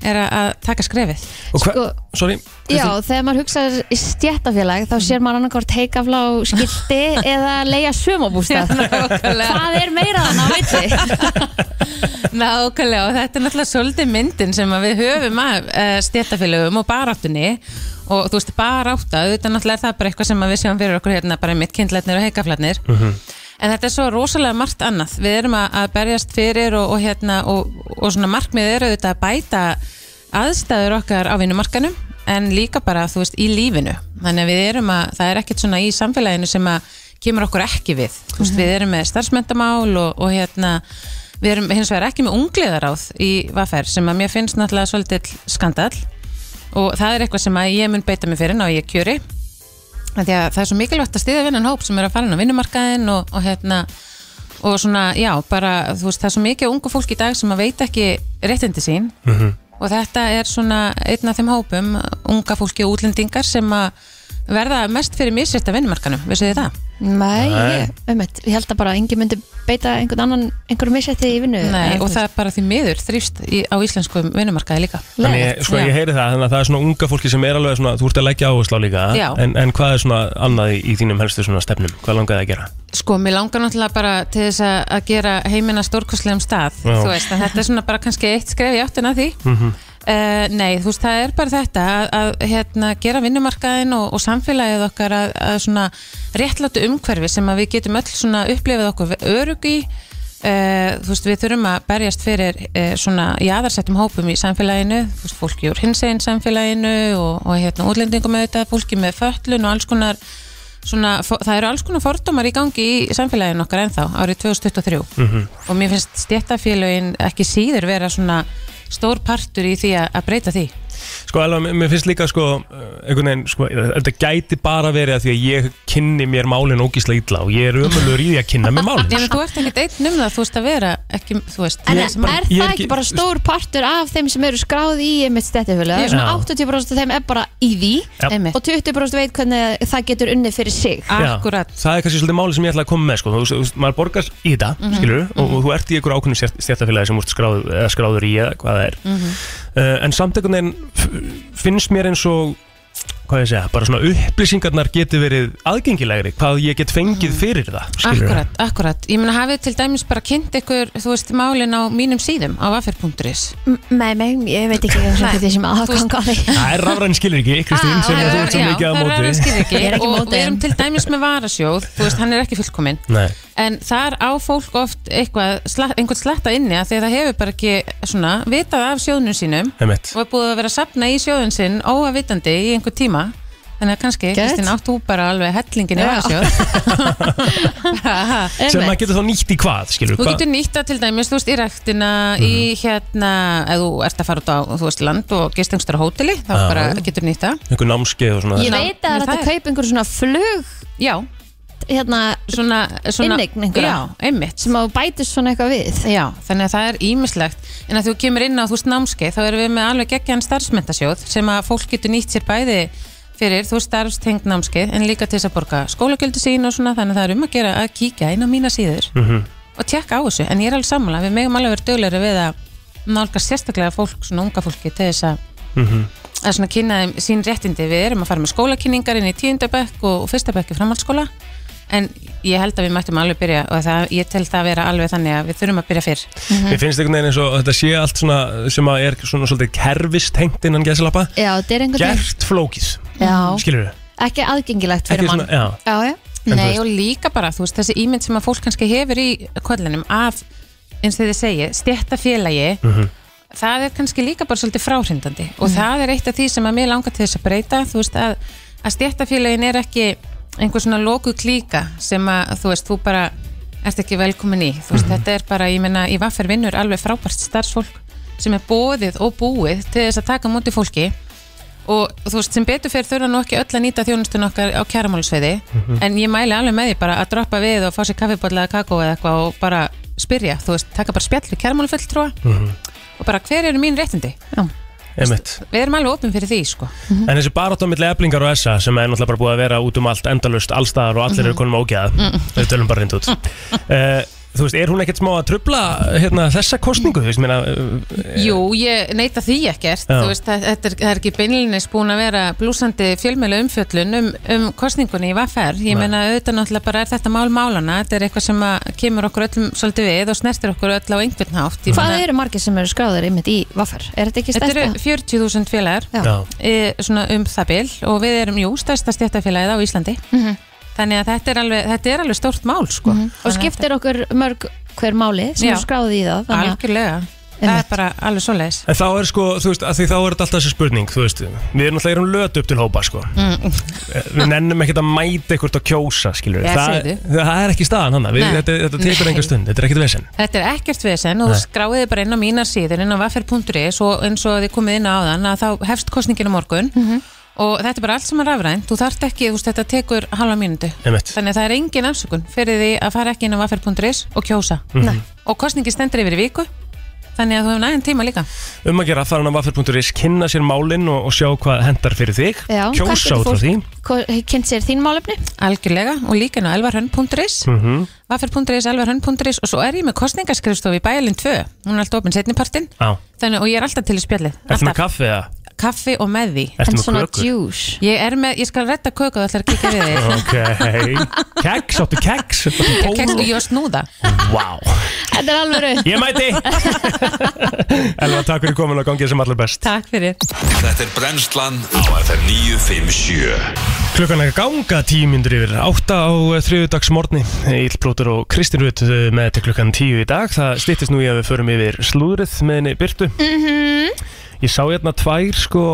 Speaker 9: er að- að taka skrefið
Speaker 4: og hver,
Speaker 3: sko-
Speaker 4: sorry,
Speaker 3: Já, þegar maður hugsaður í stjættafélag
Speaker 9: Mhm.
Speaker 3: þá sér maður annarkort heikafla á skilti eða leia sömabústað
Speaker 9: nákvæmlega.
Speaker 3: Hvað er meira þannig að veitli?
Speaker 9: Nákvæmlega og þetta er náttúrulega svolítið myndin sem að við höfum af uh, stjættafélögum og baráttunni og þú veist barátta, auðvitað náttúrulega er það bara eitthvað sem að við sjáum fyrir okkur hérna bara mitt kindlætnir og heikaflætnir
Speaker 7: Mhm.
Speaker 9: en þetta er svo rosalega margt annað við erum að, að berjast fyrir og, og hérna og, og svona markmið eru auðvitað að bæta aðstæður okkar á vinnumarkanum en líka bara þú veist í lífinu þannig að við erum að það er ekkert svona í samfélaginu sem að kemur okkur ekki við þú veist við erum með starfsmendamál og, og hérna Við erum hins vegar ekki með ungliðaráð í Vaffer sem að mér finnst náttúrulega svolítill skandal og það er eitthvað sem að ég mun beita mig fyrir ná ég kjöri Af því að það er svo mikilvægt að stiðja vinnan hóp sem er að fara inn á vinnumarkaðin og, og hérna og svona, já, bara þú veist, það er svo mikið ungu fólk í dag sem að veit ekki réttindi sín
Speaker 4: Mhm.
Speaker 9: -hmm. og þetta er svona einn af þeim hópum unga fólki og útlendingar sem að verða mest fyrir misrætt af vinnumarkanum, vissu þið það?
Speaker 3: Nei, ég, um ég held að bara engin myndi beita einhvern annan einhverju missetti í vinnu
Speaker 9: Nei,
Speaker 3: Eða,
Speaker 9: og
Speaker 3: þú
Speaker 9: það er bara því miður þrýst í, á íslenskum vinnumarkaði líka
Speaker 3: veist,
Speaker 4: Þannig,
Speaker 3: leiðinlegt.
Speaker 4: ég- sko, ég heyri það, þannig að það er svona unga fólki sem er alveg svona, þú ert að leggja áherslu á líka,
Speaker 9: Já.
Speaker 4: en, en hvað er svona annað í, í þínum helstu svona stefnum, hvað langaði að gera?
Speaker 9: Sko, mér langar náttúrulega bara til þess að, að gera heimina stórkostlegum stað
Speaker 4: Já. Mm.
Speaker 9: þú veist, en þetta er svona bara kannski eitt skref í áttina að því Eh, Nei, þú veist, það er bara þetta að, að hérna, gera vinnumarkaðin og, og samfélagið okkar að, að svona réttlátu umhverfi sem að við getum öll svona upplifið okkur örug í Uh, þú veist, við þurfum að berjast fyrir uh, svona jaðarsettum hópum í samfélaginu þú veist, fólki úr hinsegin samfélaginu og, og hérna útlendingum auðvitað fólki með föllun og alls konar svona, fó- það eru alls konar fordómar í gangi í samfélaginu okkar ennþá árið 2023 og mér finnst stjættafélögin ekki síður vera svona stór partur í því að, að breyta því
Speaker 4: Sko alveg, mér- mér finnst líka sko eh, einhvern veginn, sko, þetta gæti bara verið að því að ég kynni mér málin ógíslega illa og ég er ömulur í því að kynna mér málin
Speaker 9: En þú ert ekkert einn um það, þú veist að vera ekki, þú veist,
Speaker 3: En
Speaker 9: ég-
Speaker 3: er það
Speaker 4: ég er
Speaker 3: ekki
Speaker 4: ekki-
Speaker 3: bara stór partur af þeim sem eru skráð í einmitt stættifölu?
Speaker 9: Já.
Speaker 3: Svona 80% af þeim er bara í því
Speaker 4: Já.
Speaker 9: Einmitt.
Speaker 3: og 20% veit hvernig það getur unnið fyrir sig.
Speaker 4: Já,
Speaker 9: akkurat
Speaker 4: Það er kannski svolítið máli sem ég ætla að koma með sko. þú, þú, þú, maður borgar í þetta,
Speaker 3: Mhm.
Speaker 4: mm og, og þú ert í einhverju ákveðnum stjættafélagi sem þú ert skráð, eða skráður í eða hvað það er
Speaker 3: Mhm.
Speaker 4: uh, en samt einhvern veginn f- finnst mér eins og hvað ég segja, bara svona upplýsingarnar geti verið aðgengilegri, hvað ég get
Speaker 3: Mhm.
Speaker 4: fengið fyrir það, skilur
Speaker 9: Akkurat, akkurat. Ég meina hafið til dæmis bara kynnt ykkur, þú veist, málin á mínum síðum á vaffer.is.
Speaker 3: Nei, nei, ég veit ekki hvað
Speaker 9: Nei.
Speaker 3: það sem aðgang að því.
Speaker 4: Það er rafræn skilur ekki, Kristín,
Speaker 3: Ah,
Speaker 4: sem
Speaker 3: já,
Speaker 4: þú ert svo mikið að
Speaker 9: það er aðra
Speaker 4: móti
Speaker 9: skilríki.
Speaker 3: Ég er ekki á
Speaker 9: og
Speaker 3: móti
Speaker 9: við erum
Speaker 3: þeim.
Speaker 9: til dæmis með varasjóð, þú veist, hann er ekki fullkominn.
Speaker 4: Nei,
Speaker 9: En þar á fólk oft eitthvað, sla- einhvern slatta inni að því að það hefur bara ekki svona vitað af sjóðnum sínum
Speaker 4: einmitt
Speaker 9: og er búið að vera að sapna í sjóðun sinn óavitandi í einhver tíma. Þannig að kannski,
Speaker 3: Gett.
Speaker 9: Kristín, átt þú bara alveg hellingin í
Speaker 3: Já.
Speaker 9: varasjóð.
Speaker 4: sem maður getur þá nýtt í hvað, Mhm. skilur
Speaker 9: Þú getur nýtt það til dæmis, þú veist, í rektina, í hérna, ef þú ert að fara út á, þú veist, land og gistengstur á hóteli, þá
Speaker 4: Já.
Speaker 9: bara getur nýtt það.
Speaker 4: einhver námskeið og svona
Speaker 3: Ég
Speaker 4: þess-
Speaker 3: veit að
Speaker 9: Nei,
Speaker 3: þetta
Speaker 9: það er-
Speaker 3: kaup einhver svona flug
Speaker 9: Já,
Speaker 3: hérna,
Speaker 9: svona, svona
Speaker 3: Inneign einhverja.
Speaker 9: Já, einmitt
Speaker 3: sem að þú bætist svona eitthvað við.
Speaker 9: Já, þannig að það er ímislegt en að þú kemur inn á þú veist námskeið þá erum við með alveg geggjan starfsmyndasjóð sem að fólk getur nýtt sér bæði fyrir þú veist starfstengt námskeið en líka til þess að borga skólagöldu sín og svona þannig að það er um að gera að kíkja inn á mína síður
Speaker 4: Mhm,
Speaker 9: -hmm. og tjekka á þessu, en ég er alveg sammála við megum alveg verið döglegri við að nálga sérstaklega fólk, svona unga fólki til þess að
Speaker 4: mhm.
Speaker 3: Mhm.
Speaker 9: að svona kynna þeim sín réttindi við erum að fara með skólakynningar inn í tíundabökk og, og fyrstabökk í framhaldsskóla en ég held að við mættum alveg byrja og það, ég tel það að vera alveg þannig að við þurfum að byrja fyrr
Speaker 3: Mhm.
Speaker 4: Mér finnst einhvern veginn eins og þetta sé allt svona sem að er svona svolítið kerfistengt innan gæsalappa
Speaker 3: Já, þetta er einhvern veginn.
Speaker 4: Gert flókið,
Speaker 3: Já.
Speaker 4: skilur við
Speaker 3: Ekki aðgengilegt fyrir
Speaker 4: Ekki
Speaker 3: mann.
Speaker 4: svona, já.
Speaker 3: já, já.
Speaker 4: En þú
Speaker 9: Nei,
Speaker 4: veist-
Speaker 9: og líka bara, þú veist, þessi ímynd sem að fólk kannski hefur í kollinum af, eins og þið segi, stjættafélagi það er kannski líka bara svolítið fráhrindandi og það er eitt af því sem að mér langar til þess að breyta þú veist, að, að stjættafélagin er ekki einhver svona loku klíka sem að, þú veist, þú bara ert ekki velkomin í, þú veist, þetta er bara ég meina, í vaffer vinnur alveg frábært starfsfólk sem er bóðið og búið til þess að taka á móti fólki og þú veist sem betur fyrir þurfa nú ekki öll að nýta þjónustun okkar á kjæramálusveiði en ég mæli alveg með því bara að droppa við og fá sér kaffibólla eða kakó eða eitthvað og bara spyrja, þú veist, taka bara spjall við kjæramálufulltrúa og bara hver eru mín réttindi
Speaker 4: Mhm. Einmitt.
Speaker 9: við erum alveg opin fyrir því sko
Speaker 4: En þessi barátt á milli eblingar og essa sem er náttúrulega bara búið að vera út um allt endalust allstaðar og allir eru
Speaker 9: Mm.
Speaker 4: konum ágæða við tölum bara reynd út uh, Þú veist, er hún ekkert smá að trubla hérna, þessa kostningu? Þú veist, meina, uh,
Speaker 9: Jú, ég neita því ekkert
Speaker 4: Já.
Speaker 9: þú veist, það, þetta er, það er ekki beinlinis búin að vera blúsandi fjölmjölu umfjöllun um, um kostningunni í Vaffer ég
Speaker 4: Nei.
Speaker 9: meina auðvitað náttúrulega bara er þetta mál málana þetta er eitthvað sem að kemur okkur öllum svolítið við og snertir okkur öll á einhvern hátt Ég
Speaker 3: Hvað
Speaker 9: meina-
Speaker 3: eru margir sem eru skráðir einmitt í vaffar? Er þetta ekki
Speaker 9: Þetta eru
Speaker 3: stærsta?
Speaker 9: 40.000 félagar
Speaker 3: Já.
Speaker 4: já.
Speaker 9: e, svona um það bil og við erum, jú, stærsta stjættafélagið á Íslandi þannig að þetta er alveg, þetta er alveg stórt mál sko.
Speaker 3: Mhm. Og skiptir okkur mörg hver máli sem
Speaker 9: Já.
Speaker 3: eru skráðið í það. þannig að-
Speaker 9: algjörlega, það er
Speaker 3: Einmitt.
Speaker 9: bara alveg svoleiðis
Speaker 4: En þá er sko, þú veist, að því þá er þetta alltaf þessi spurning Þú veist, við erum alltaf erum lötu upp til hópa sko.
Speaker 3: Mm.
Speaker 4: Eh, Við nennum ekkert að mæta ekkert að kjósa, skilur
Speaker 9: Já,
Speaker 4: það,
Speaker 9: segðu.
Speaker 4: það er ekki staðan hann við,
Speaker 9: Nei.
Speaker 4: þetta, þetta tekur
Speaker 9: Nei.
Speaker 4: enga stund, þetta er ekkert vesen
Speaker 9: Þetta er ekkert vesen og
Speaker 4: Nei.
Speaker 9: skráiði bara inn á mínar síður inn á vaffer.is og eins og þið komið inn á þann að þá hefst kostningin á morgun
Speaker 3: Mhm.
Speaker 9: og þetta er bara allt saman rafrænt þú þarft ekki, þú veist, þetta tekur halva mínútu
Speaker 4: Einmitt.
Speaker 9: þannig að það er engin afsökun fyrir því að fara ekki inn á vaffer.is og kjósa
Speaker 4: Mhm.
Speaker 3: Nei.
Speaker 9: og kostningin stendur yfir í viku þannig að þú hefur nægum tíma líka
Speaker 4: um að gera farin á vaffer.is, kynna sér málinn og, og sjá hvað hendar fyrir þig
Speaker 3: Já,
Speaker 4: kjósa út frá því
Speaker 3: því Kynnt sér þín málefni
Speaker 9: Algjörlega og líka inn á elvarhönn.is mm
Speaker 4: Mhm.
Speaker 9: -hmm. Vaffer.is, elvarhönn.is og svo er ég með kostningaskrifstof í bæjalinn 2 hún er alltaf opinn setnipartin
Speaker 4: Já.
Speaker 9: Þannig, og ég er alltaf til í spjallið
Speaker 4: Ertu með
Speaker 9: alltaf,
Speaker 4: kaffi eða?
Speaker 9: kaffi og með því
Speaker 4: Ertu
Speaker 3: En
Speaker 4: með
Speaker 3: svona
Speaker 4: kökur?
Speaker 3: juice
Speaker 9: ég, er með, ég skal redda köku og ætlar að kíkja við þig
Speaker 4: Ok, keks, áttu keks Áttu
Speaker 9: Ég kemst
Speaker 4: pól?
Speaker 9: ekki að snúða
Speaker 4: Vá,
Speaker 3: Þetta er alveg rauð
Speaker 4: ég mæti Elva, takk fyrir komin og gangið sem allir best
Speaker 9: Takk fyrir
Speaker 2: Þetta er brennslan á FM 957
Speaker 4: Klukkan er að ganga tímindur yfir Átta á eh, þriðudags morgni Ílplótur og Kristín Rutt eh, með til klukkan tíu í dag Það styttist nú í að við förum yfir slúðrið með henni Byrtu Ég sá hérna tvær sko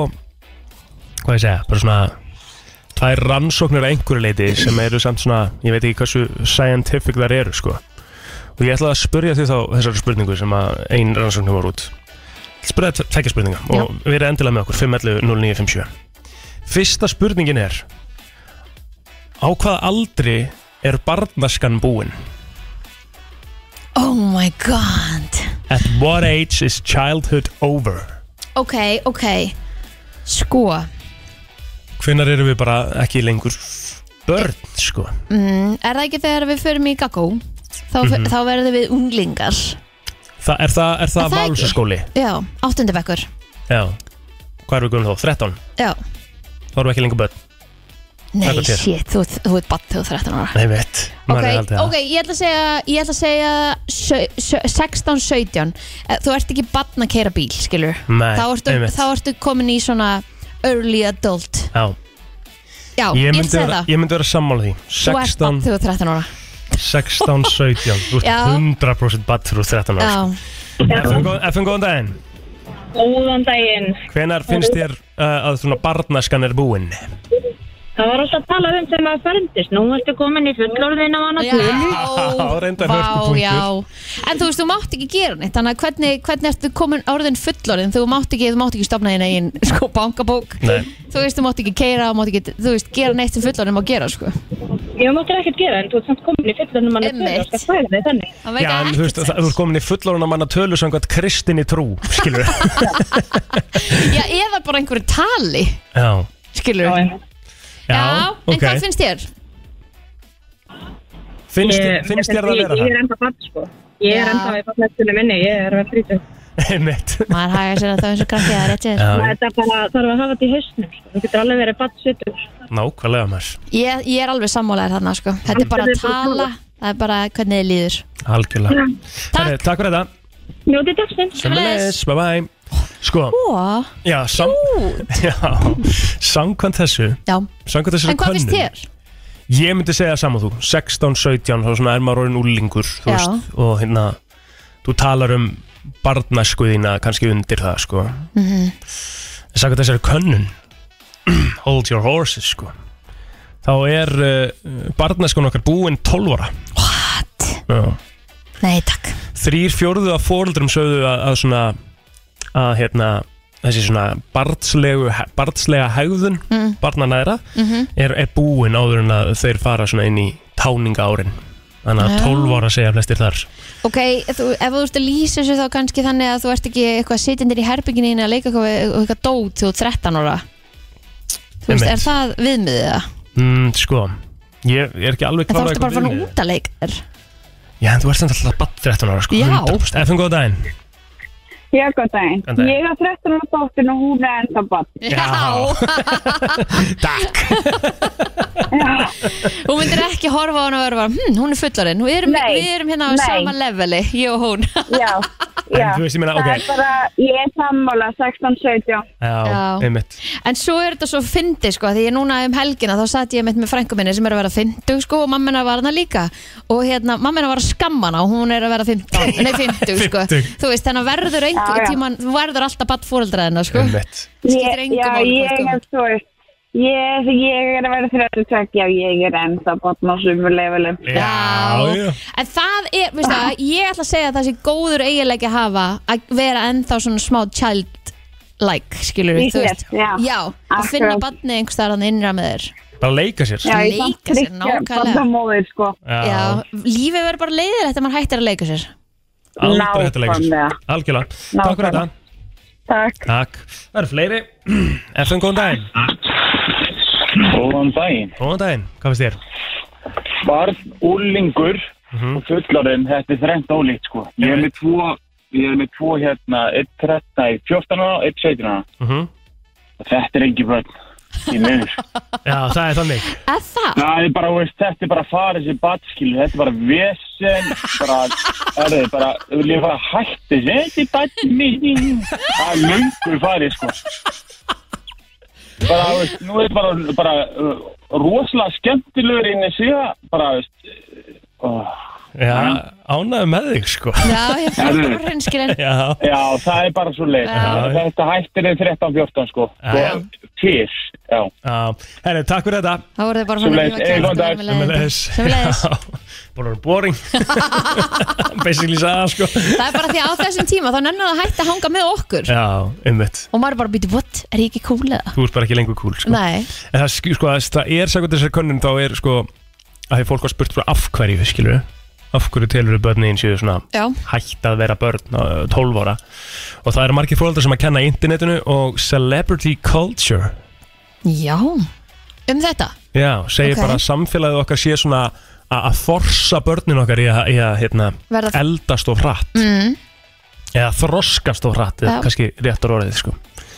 Speaker 4: Hvað ég segja, bara svona Tvær rannsóknir að einhverju leiti sem eru samt svona, ég veit ekki hversu scientific þar eru sko Og ég ætlaði að spurja því þá þessari spurningu sem að ein rannsóknir var út Ætlaði Spurðið tvekja spurninga og verið endilega með okkur 511-0957 Fyrsta spurningin er Á hvaða aldri er barnaskan búin?
Speaker 3: Oh my god
Speaker 4: At what age is childhood over?
Speaker 3: Ok, ok Sko
Speaker 4: Hvenær eru við bara ekki lengur börn, sko?
Speaker 3: mm, Er það ekki þegar við förum í gaggó þá, mm
Speaker 4: Mhm.
Speaker 3: þá verðum við unglingar
Speaker 4: Þa, er það, er
Speaker 3: Er það
Speaker 4: það
Speaker 3: ekki?
Speaker 4: valsaskóli?
Speaker 3: Já, áttundabekkur
Speaker 4: Já Hvað erum við gömum þá? 13?
Speaker 3: Já,
Speaker 4: Þá erum við ekki lengur börn
Speaker 3: nei,
Speaker 4: Þakka þér.
Speaker 3: shit, þú, ert- þú ert batt þegar þú ert 13 ára
Speaker 4: Nei, veit
Speaker 3: Ok, ok, ég ætla að segja, ég ætla að segja sjö- sjö- 16, 17 Eh, Þú ert ekki barn að keira bíl, skilur
Speaker 4: Nei,
Speaker 3: þá, ertu,
Speaker 4: einmitt.
Speaker 3: þá ertu komin í svona early adult
Speaker 4: Já,
Speaker 3: Já, ég,
Speaker 4: ég
Speaker 3: ég
Speaker 4: myndi,
Speaker 3: segi
Speaker 4: vera,
Speaker 3: það
Speaker 4: ég myndi vera sammála því
Speaker 3: Þú ert barn
Speaker 4: 16,
Speaker 3: þegar þú ert 13 ára
Speaker 4: 16, 17 Þú ert
Speaker 3: Já.
Speaker 4: 100% badd fyrir 13 ára
Speaker 3: Já,
Speaker 4: FM, góð- FM, góðan daginn
Speaker 10: Góðan daginn.
Speaker 4: Hvenar finnst þér uh, að svona barnaskan er búin?
Speaker 10: Það var alltaf að tala um þegar maður ferndist. Nú ertu komin í fullorðin á annað tölu.
Speaker 4: Á, reyndar
Speaker 3: vá,
Speaker 4: hörkupunktur.
Speaker 3: já En þú veist, þú mátt ekki gera neitt Þannig að hvernig, hvernig ertu komin orðin fullorðin Þú mátt ekki, þú mátt ekki stopna þín einn sko, bankabók
Speaker 4: Nei.
Speaker 3: Þú veist, þú mátt ekki keira Þú mátt ekki, þú veist, gera neitt sem fullorðin má gera sko.
Speaker 10: Ég máttir ekkert gera en þú ert samt komin í fullorðin á annað tölu og skal færa þig þannig.
Speaker 4: Já, en þú veist, það- þú ert komin í fullorðan að manna tölu samkvæmt kristinni trú, skilur
Speaker 3: Já, eða bara einhverju tali
Speaker 4: Já,
Speaker 3: Skilur Já, en
Speaker 4: ok.
Speaker 3: hvað finnst þér?
Speaker 4: Finnst,
Speaker 10: Ég-
Speaker 4: finnst þér það
Speaker 10: ég-
Speaker 4: að vera
Speaker 10: Ég er
Speaker 4: það?
Speaker 10: enda fatt sko. Ég er
Speaker 3: Já.
Speaker 10: enda í fattnættunum minni, ég er vel frítið.
Speaker 4: Einmitt
Speaker 3: Maður hægja sér að það er eins og krakkið að rétti
Speaker 4: Já.
Speaker 10: Þetta er bara, þarf að hafa þetta í hausnum sko. Þú getur alveg verið fattsvittur.
Speaker 4: Nákvæmlega mér
Speaker 3: ég, ég er alveg sammálaðir þarna sko. Þetta er bara að tala Það er bara hvernig þið líður
Speaker 4: Algjörlega
Speaker 10: Mm.
Speaker 4: Herri, Takk fyrir þetta
Speaker 10: Njótið dagsins.
Speaker 4: Sömmulegis, bye bye Sko,
Speaker 3: Ó,
Speaker 4: já, sam, já Samkvæmt þessu
Speaker 3: Já,
Speaker 4: Samkvæmt þessu
Speaker 3: en hvað finnst þér?
Speaker 4: Ég myndi segja saman þú 16, 17, þá svona er maður orðin úlingur Þú
Speaker 3: Já.
Speaker 4: veist, og hérna Þú talar um barnasku þína kannski undir það, sko En
Speaker 3: Mm -hmm.
Speaker 4: samkvæmt þessari könnun Hold your horses, sko Þá er uh, barnaskun okkar búin 12 ára What? Já
Speaker 3: Nei, takk
Speaker 4: þrýr fjórðu af fóreldrum sögðu að, að svona að hérna þessi svona barnslegu, barnslega hegðun mm. barnanæðra
Speaker 11: Mhm.
Speaker 4: er, er búin áður en að þeir fara svona inn í táninga árin þannig að
Speaker 3: Já.
Speaker 4: 12 ára segja flestir þar
Speaker 3: Ok, þú, ef þú ert að lýsa þessu þá kannski þannig að þú ert ekki eitthvað sitjandir í herbygginu inn að leika eitthvað, við- eitthvað dót þú ert 13 ára Þú veist,
Speaker 4: Einmitt.
Speaker 3: er það viðmiðið það?
Speaker 4: mm, sko, ég, ég er ekki alveg
Speaker 3: En þá ertu
Speaker 4: klár á
Speaker 3: bara
Speaker 4: eitthvað
Speaker 3: að fara
Speaker 4: viðmið.
Speaker 3: út að leika þér
Speaker 4: já, en þú ert samt alltaf bara 13 ára sko,
Speaker 3: Já.
Speaker 4: 100%. ef hún góða daginn
Speaker 12: Já, góð daginn.
Speaker 4: Góðan daginn.
Speaker 12: Ég er 13 ára dóttin og hún er enda bann.
Speaker 4: Já.
Speaker 3: Hún myndir ekki horfa á hana og vera bara, hm, hún er fullarinn Við erum,
Speaker 12: Nei,
Speaker 3: við erum hérna á
Speaker 12: nei.
Speaker 3: sama leveli, ég og hún
Speaker 12: Já,
Speaker 4: já. En þú veist, ég meina,
Speaker 12: það
Speaker 4: ok.
Speaker 12: er bara, ég er sammála 16-17.
Speaker 4: já,
Speaker 3: Já.
Speaker 4: einmitt
Speaker 3: En svo er þetta svo fyndi sko Því ég núna um helgina þá satt ég mitt með frænku minni sem er að vera 50 sko og mammina var hana líka og hérna, mammina var að skamma hana og hún er að vera 15, nei 50 sko
Speaker 4: 50.
Speaker 3: Þú veist, þannig að verður
Speaker 12: Já,
Speaker 3: einhver
Speaker 12: já.
Speaker 3: tíman þú verður alltaf batt fóreldraðina sko
Speaker 4: Einmitt.
Speaker 3: Skiptir engu
Speaker 12: já,
Speaker 3: máli
Speaker 12: ég
Speaker 3: sko. hvað þú ert
Speaker 12: er
Speaker 3: gömul.
Speaker 12: svo, ég, ég er að vera 32, já, ég er enda bann á sumu levelum.
Speaker 4: já.
Speaker 3: En það er, veist það, ég ætla að segja að það sé góður eiginleiki að hafa að vera ennþá svona smá child-like, skilur
Speaker 12: Yes,
Speaker 3: þú veist
Speaker 12: já.
Speaker 3: að finna
Speaker 12: Akkurat.
Speaker 3: barnið einhvers þar hann innra með þér
Speaker 4: bara leika sér
Speaker 12: Já, ég
Speaker 3: Leika
Speaker 12: samt
Speaker 3: sér,
Speaker 12: þriggja
Speaker 3: nákvæmlega.
Speaker 12: barna móðir, sko.
Speaker 3: Já, lífið verður bara leiðir eftir að maður hættir að leika sér
Speaker 4: aldrei hægt að leika
Speaker 12: Nákvæmlega.
Speaker 4: sér algjörlega, takk fyrir þetta
Speaker 12: Takk.
Speaker 4: Takk. Það eru fleiri. FM, góðan daginn.
Speaker 13: Góðan daginn.
Speaker 4: Góðan daginn. Hvað finnst þér?
Speaker 13: Barn, úlingur
Speaker 4: Mhm.
Speaker 13: og fullarinn, þetta er þrengt ólíkt sko. Ég er með tvo, ég er með tvo hérna, 1, 13, nei, 14 ára og 1, 17 ára.
Speaker 4: Uh -huh.
Speaker 13: Þetta er ekki börn. Í miður.
Speaker 4: Já, það er þannig.
Speaker 3: Að það?
Speaker 13: Það er bara, veist, þetta er bara farið sér batskil, þetta er bara vesen, bara, er þið bara, við viljum bara hætti, þetta er batn mín. Það er löngu farið sko. Bara, veist, nú er bara, bara uh, rosalega skemmtilegur inn í síða, bara, veist, oh.
Speaker 4: Já, ánægðu með þig, sko.
Speaker 3: Já, ég fyrir bara hreinskilin
Speaker 4: Já.
Speaker 13: Já, það er bara svo leið.
Speaker 4: Já.
Speaker 13: Þetta hættir er 13-14 sko.
Speaker 4: Já.
Speaker 13: Og fyrr, Já
Speaker 4: Herri, takk fyrir þetta
Speaker 3: Þá voru þið bara farin að rífa kjánum,
Speaker 4: Sömulegis
Speaker 3: Sömulegis
Speaker 4: Búin að vera boring Basically sagði það sko
Speaker 3: Það er bara því að á þessum tíma þá nennar það að hætta að hanga með okkur
Speaker 4: Já, einmitt
Speaker 3: Og maður er bara býti, what, er ég ekki cool eða?
Speaker 4: Þú ert bara ekki lengur cool sko
Speaker 3: Nei,
Speaker 4: En það, sk- sko, það- það er sagði þessari könnun þá er sko að því fólk var spurt frá af hverju skilur af hverju telur börnin séu svona
Speaker 3: Já.
Speaker 4: hætt að vera börn á 12 ára og það eru margir fólkdrar sem að kenna internetinu og celebrity culture
Speaker 3: já Um þetta?
Speaker 4: Já, segir
Speaker 3: Ok.
Speaker 4: bara að samfélagið okkar sé svona a- að forsa börnin okkar í að, í að hérna,
Speaker 3: Verða-
Speaker 4: eldast of hratt
Speaker 3: Mm.
Speaker 4: eða þroskast of hratt eða
Speaker 3: Já.
Speaker 4: kannski réttar orðið sko.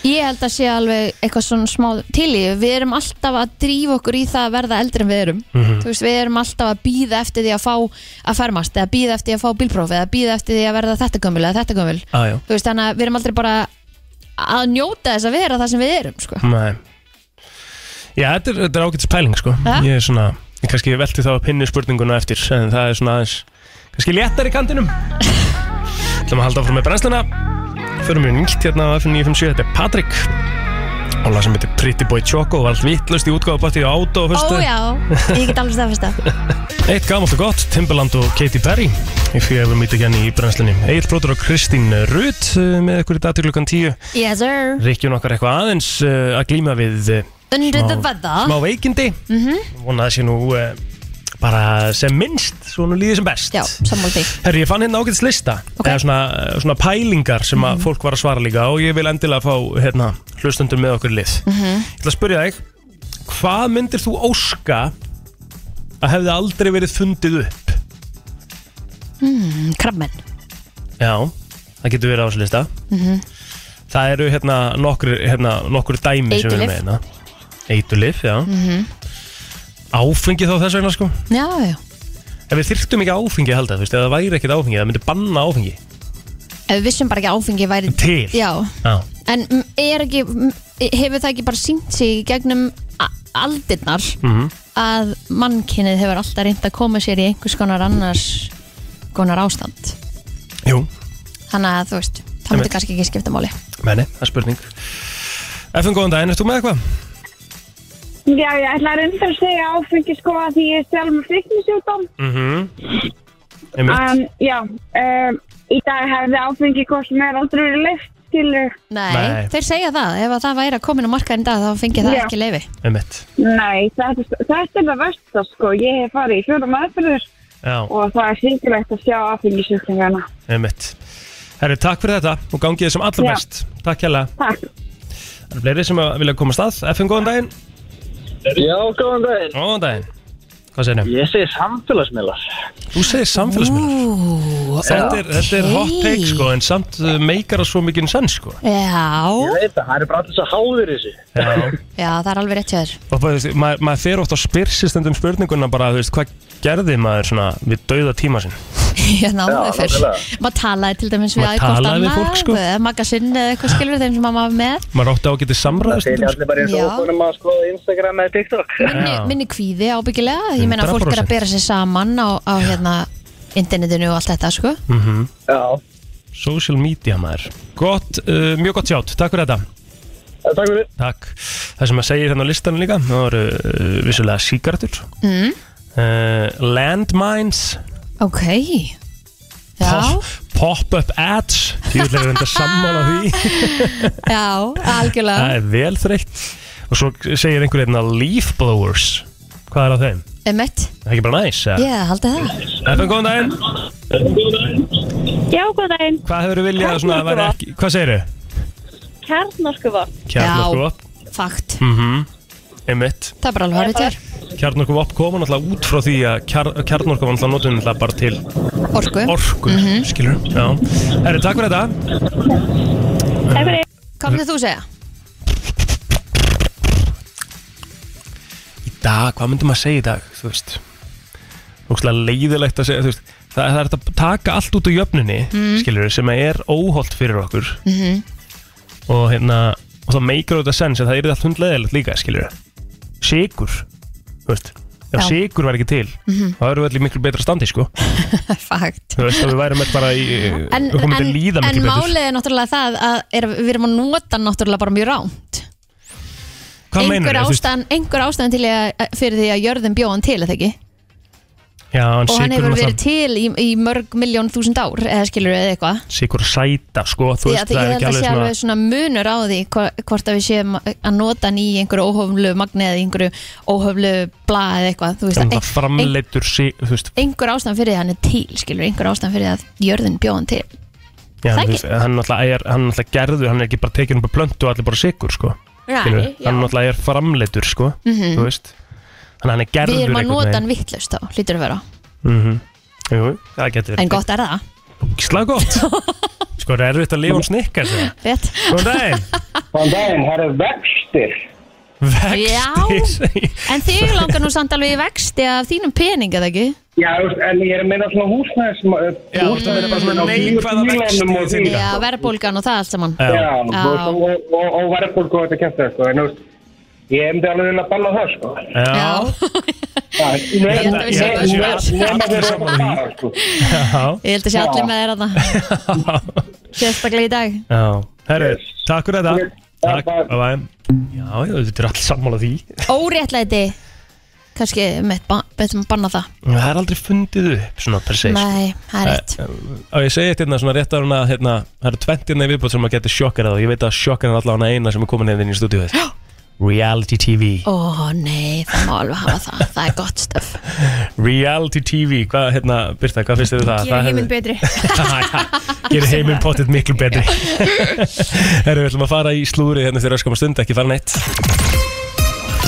Speaker 3: Ég held að sé alveg eitthvað svona smá til í Við erum alltaf að drífa okkur í það að verða eldri en við erum
Speaker 4: Mhm.
Speaker 3: Þú veist, við erum alltaf að býða eftir því að fá að fermast eða býða eftir því að fá bílprófi eða býða eftir því að verða þetta gömul eða þetta gömul
Speaker 4: ah,
Speaker 3: Þú veist, þannig að við erum aldrei bara að njóta þess að vera það sem við erum sko.
Speaker 4: Nei Já, þetta er, þetta er ágætis pæling sko
Speaker 3: Ha?
Speaker 4: Ég er svona, ég kannski velti þá að pinni spurninguna eftir En það er svona aðeins Kannski léttar í kantinum Það maður halda áfram með brennsluna Förum við nýtt hérna á F957 Þetta er Patrik Og lag sem heitir Pretty Boy Choco Og allt vittlust í útgáfabatið á átó á
Speaker 3: Ó
Speaker 4: föstudaginn.
Speaker 3: já, ég get alveg staðfesta
Speaker 4: Eitt gamalt og gott, Timbaland og Katy Perry If you ever meet again hérna í brennslunni Egil Bróður og Kristín Rut Með ykkur í dag til klukkan 10
Speaker 3: Yes sir
Speaker 4: Rikkjum okkar eitthvað aðeins uh, að glýma við uh,
Speaker 3: Under
Speaker 4: smá-
Speaker 3: the weather
Speaker 4: Smá veikindi
Speaker 3: mm
Speaker 4: vona að það sé nú eh, bara sem minnst, svo nú líði sem best Já,
Speaker 3: sammála því
Speaker 4: Herri, ég fann hérna ágætis lista eða svona, eh, svona pælingar sem að fólk var að svara líka og ég vil endilega fá hérna, hlustundur með okkur í lið
Speaker 1: Mhm.
Speaker 4: Ég ætla að spyrja þig hvað myndir þú óska að hefði aldrei verið fundið upp?
Speaker 3: mm, Krabmenn
Speaker 4: Já, það getur verið á þessu lista
Speaker 3: mm
Speaker 4: Það eru hérna nokkur, hérna, nokkur dæmi sem við erum með hérna Eitulif, já
Speaker 3: Mhm.
Speaker 4: Áfengi þá þess vegna sko
Speaker 3: Já, já
Speaker 4: Ef við þyrftum ekki áfengi held að, þú veist, ef það væri ekkert áfengi, það myndi banna áfengi.
Speaker 3: Ef við vissum bara ekki að áfengi væri
Speaker 4: Til.
Speaker 3: Já,
Speaker 4: Já.
Speaker 3: en mm, er ekki mm, hefur það ekki bara sínt sig í gegnum a- aldirnar
Speaker 4: Mhm.
Speaker 3: að mannkinnið hefur alltaf reynd að koma sér í einhvers konar annars konar ástand
Speaker 4: Jú.
Speaker 3: þannig að þú veist, það
Speaker 4: Einmitt.
Speaker 3: myndi kannski ekki skipta máli
Speaker 4: Meni, það er spurning. FN, góðan daginn, erst þú með eitthvað?
Speaker 12: Já, ég ætla að reynda að segja áfengi sko að því ég er sjálf með fíknisjúkdóm.
Speaker 4: Mhm.
Speaker 12: En
Speaker 4: Einmitt.
Speaker 12: já, um, í dag hefði áfengi hvort Sko, sem er aldrei verið leift skilur.
Speaker 3: Nei,
Speaker 4: Nei.
Speaker 3: þeir segja það, ef að það væri að komin á markaðin dag þá fengi það
Speaker 12: Já.
Speaker 3: ekki leifi
Speaker 4: Einmitt.
Speaker 12: Nei, þetta, þetta er það versta sko. Ég hef farið í fjórum aðferður
Speaker 4: Já,
Speaker 12: og það er sýkilegt að sjá áfengisjúkdómana.
Speaker 4: einmitt. Herri, takk fyrir þetta og gangið þið sem allra
Speaker 12: Já.
Speaker 4: best. Takk hella.
Speaker 12: Takk.
Speaker 4: Það eru fleiri sem að vilja koma að stað. FN, góðan daginn.
Speaker 11: Já, góðan daginn
Speaker 4: Góðan daginn. Hvað segir þið?
Speaker 11: Ég segi samfélagsmiðlar
Speaker 4: Þú segir samfélagsmiðlar. Þetta er, þetta er hot
Speaker 3: ok.
Speaker 4: take sko, en samt uh, meikar það svo mikið senn sko.
Speaker 3: Já,
Speaker 11: Ég veit það, það eru bara allir svo háður þessu
Speaker 4: Já.
Speaker 3: já, það er alveg rétt hjá þér
Speaker 4: og bara, þú veist, maður, maður fer oft á spyrsistendum spurninguna bara, þú veist, hvað gerði maður svona við dauða tíma sinn
Speaker 3: Ég náðu
Speaker 4: Já,
Speaker 3: fyrr
Speaker 4: nákvæmlega.
Speaker 3: Maður talaði til dæmis við
Speaker 4: Maður
Speaker 3: æ, hvort
Speaker 4: talaði við
Speaker 3: annað,
Speaker 4: fólk, sko.
Speaker 3: eða magasinn eða eitthvað skilur þeim sem maður var með
Speaker 4: maður átti á að geta samræðast
Speaker 11: Það er allir bara eins
Speaker 3: Já.
Speaker 11: og okkurum að skoða Instagram eða TikTok
Speaker 3: minni, minni kvíði ábyggilega ég meina að fólk
Speaker 11: 100%.
Speaker 3: er að bera sér saman á, á hérna internetinu og allt þetta sko
Speaker 4: mm -hmm.
Speaker 11: Já
Speaker 4: Social media maður Gott, uh, mjög gott sjátt, takk fyrir þetta
Speaker 11: Takk fyrir
Speaker 4: Takk Það sem að segja þannig á listanum líka það voru uh, vissulega síkartur
Speaker 3: mm,
Speaker 4: uh, Landmines
Speaker 3: ok já,
Speaker 4: Pop-up ads Ég ætla að reynda að sammála því
Speaker 3: já, algjörlega
Speaker 4: Það er vel þreytt Og svo segir einhver einna leaf blowers Hvað er á þeim?
Speaker 3: emmett,
Speaker 4: Er Það ekki bara næs? eða?
Speaker 3: ég haldi það
Speaker 4: Efum góðan daginn
Speaker 14: Já, góðan daginn
Speaker 4: Hvað hefur viljað að svona væri ekki Hvað segir þau?
Speaker 14: Kjarnorkuvopn
Speaker 4: Kjarnorkuvopn
Speaker 3: fakt
Speaker 4: mm -hmm. Einmitt
Speaker 3: það er bara alveg hárið þér
Speaker 4: Kjarnorkuvopn koma náttúrulega út frá því að kjar, kjarnorkuvopn náttúrulega notum náttúrulega bara til
Speaker 3: orku,
Speaker 4: orku mm -hmm. skilur Já Herri, takk fyrir þetta
Speaker 3: hvað myndir þú segja?
Speaker 4: Í dag, hvað myndum að segja í dag? Þú veist Ógstlega leiðilegt að segja Þú veist Það, það er hægt að taka allt út úr jöfnunni
Speaker 1: Mhm.
Speaker 4: skilur sem er óholt fyrir okkur
Speaker 1: Mhm.
Speaker 4: og hérna og það meikar auðvitað sens að það er allt hundleðilegt líka skilur sigur þú veist ef
Speaker 3: Já.
Speaker 4: sigur væri ekki til
Speaker 3: Mhm.
Speaker 4: þá erum við allir miklu betra standi sko
Speaker 3: fakt
Speaker 4: þú veist að við værum öll bara í
Speaker 3: en,
Speaker 4: við komum til
Speaker 3: en,
Speaker 4: að líða
Speaker 3: en
Speaker 4: miklu betur
Speaker 3: málið er náttúrulega það að er, við erum að nota náttúrulega bara mjög rámt
Speaker 4: Hvað meinarðu?
Speaker 3: einhver
Speaker 4: Þú veist-
Speaker 3: ástæðan, einhver ástæðan til að, fyrir því að jörðin bjóðan til eða ekki
Speaker 4: Já, hann
Speaker 3: og hann
Speaker 4: sigur
Speaker 3: hefur verið
Speaker 4: náttúrulega
Speaker 3: til í, í mörg miljón þúsund ár eða skilur eða eitthvað
Speaker 4: sigur sæta, sko, þú
Speaker 3: Því
Speaker 4: veist,
Speaker 3: að ég
Speaker 4: það er
Speaker 3: held
Speaker 4: ekki
Speaker 3: að sé
Speaker 4: alveg
Speaker 3: alveg
Speaker 4: svona
Speaker 3: svona munur á því hva- hvort að við séum að nota hann í einhverju óhöfumlu magni eða í einhverju óhöfumlu bla eða eitthvað þú veist
Speaker 4: þannig
Speaker 3: að
Speaker 4: að framleittur sig, þú veist,
Speaker 3: einhver ástæðan fyrir því að hann er til skilur einhver ástæðan fyrir því að jörðin bjóðan til
Speaker 4: já,
Speaker 3: það
Speaker 4: þú
Speaker 3: ekki?
Speaker 4: veist, hann náttúrulega er, hann náttúrulega gerður, hann er ekki bara tekinn upp að plöntu og allir bara sigur, sko,
Speaker 3: Nei,
Speaker 4: Skilurðu?
Speaker 3: já.
Speaker 4: hann náttúrulega er framleittur, sko,
Speaker 3: Mhm.
Speaker 4: þú veist, þannig að hann er gerður
Speaker 3: við erum að
Speaker 4: einhvern
Speaker 3: nota
Speaker 4: veginn.
Speaker 3: hann vittlust þá, lítur að vera
Speaker 4: mm Jú, það getur verið
Speaker 3: en gott er það,
Speaker 4: Gísla gott Sko er erfitt að lifa um snikkar sem.
Speaker 3: rétt
Speaker 4: Góðan daginn
Speaker 15: Góðan daginn, það eru vextir
Speaker 4: Vextir
Speaker 3: en þig langar nú samt alveg í vexti af þínum pening eða ekki
Speaker 15: Já, þú veist, en ég er að meina svona eh, húsnæðis Já,
Speaker 4: það verður bara svona neikvæða vexti í
Speaker 15: því
Speaker 3: já, verðbólgan og það allt saman
Speaker 15: Já, þú veist, og, og, og, og verðbólku og þetta kjæftu sko, en þú veist ég hefndi alveg vilja að banna það sko
Speaker 4: Já
Speaker 15: Já,
Speaker 4: Ég held að við séum öll þar.
Speaker 15: Allir saman því
Speaker 4: Já,
Speaker 3: ég held að sé
Speaker 15: Já.
Speaker 3: allir með þér að það sérstaklega í dag
Speaker 4: já Herru, takk fyrir þetta Takk, bye bye Já, já, þetta er alls sammála því
Speaker 3: óréttlæti kannski mitt ba- betur maður banna það
Speaker 4: Það er aldrei fundið upp svona per se sko.
Speaker 3: Nei, það er rétt.
Speaker 4: Eh, Og ég segi eitt hérna svona rétt ára að hérna, það eru 20 hérna í viðbútt sem að geta sjokkar og ég veit að sjokkar er allavega eina sem er komin hérna inn í stúdíu Reality TV
Speaker 3: ó nei, það má alveg hafa það það er gott stöf
Speaker 4: Reality TV, hvað, hérna, Birta, hvað finnst þér um það?
Speaker 16: Gera heiminn betri.
Speaker 4: Gerir heiminn pottet miklu betri Herru, við ætlum að fara í slúri hérna fyrir öskama stund, ekki fara neitt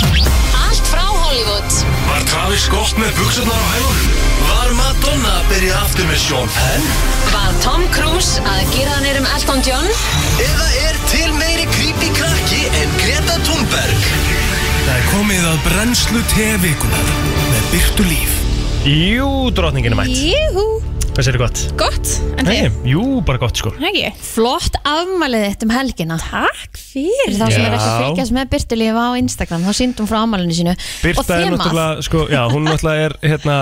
Speaker 8: Allt frá Hollywood
Speaker 2: Var Travis Scott með buksunar á hælunum? Var Madonna að byrja aftur með Sean Penn?
Speaker 8: Var Tom Cruise að gera hann um Elton John? Eða er til meiri creepy krakki en Greta Thunberg?
Speaker 2: Það er komið að brennslu tevikunar með Byrtu Líf
Speaker 4: Jú, drotningin er mætt
Speaker 3: Jú,
Speaker 4: Hvað sér gott?
Speaker 16: gott, en þið?
Speaker 4: Nei, Jú, bara gott sko
Speaker 16: Hægi
Speaker 3: Flott afmælið þitt um helgina Takk fyrir Þá sem er ekki að
Speaker 4: Já.
Speaker 3: fylgjast með Byrtulífa á Instagram Þá síndum frá afmælinu sínu Og
Speaker 4: Birta er
Speaker 3: þemað.
Speaker 4: náttúrulega, sko, já, hún náttúrulega er, hérna,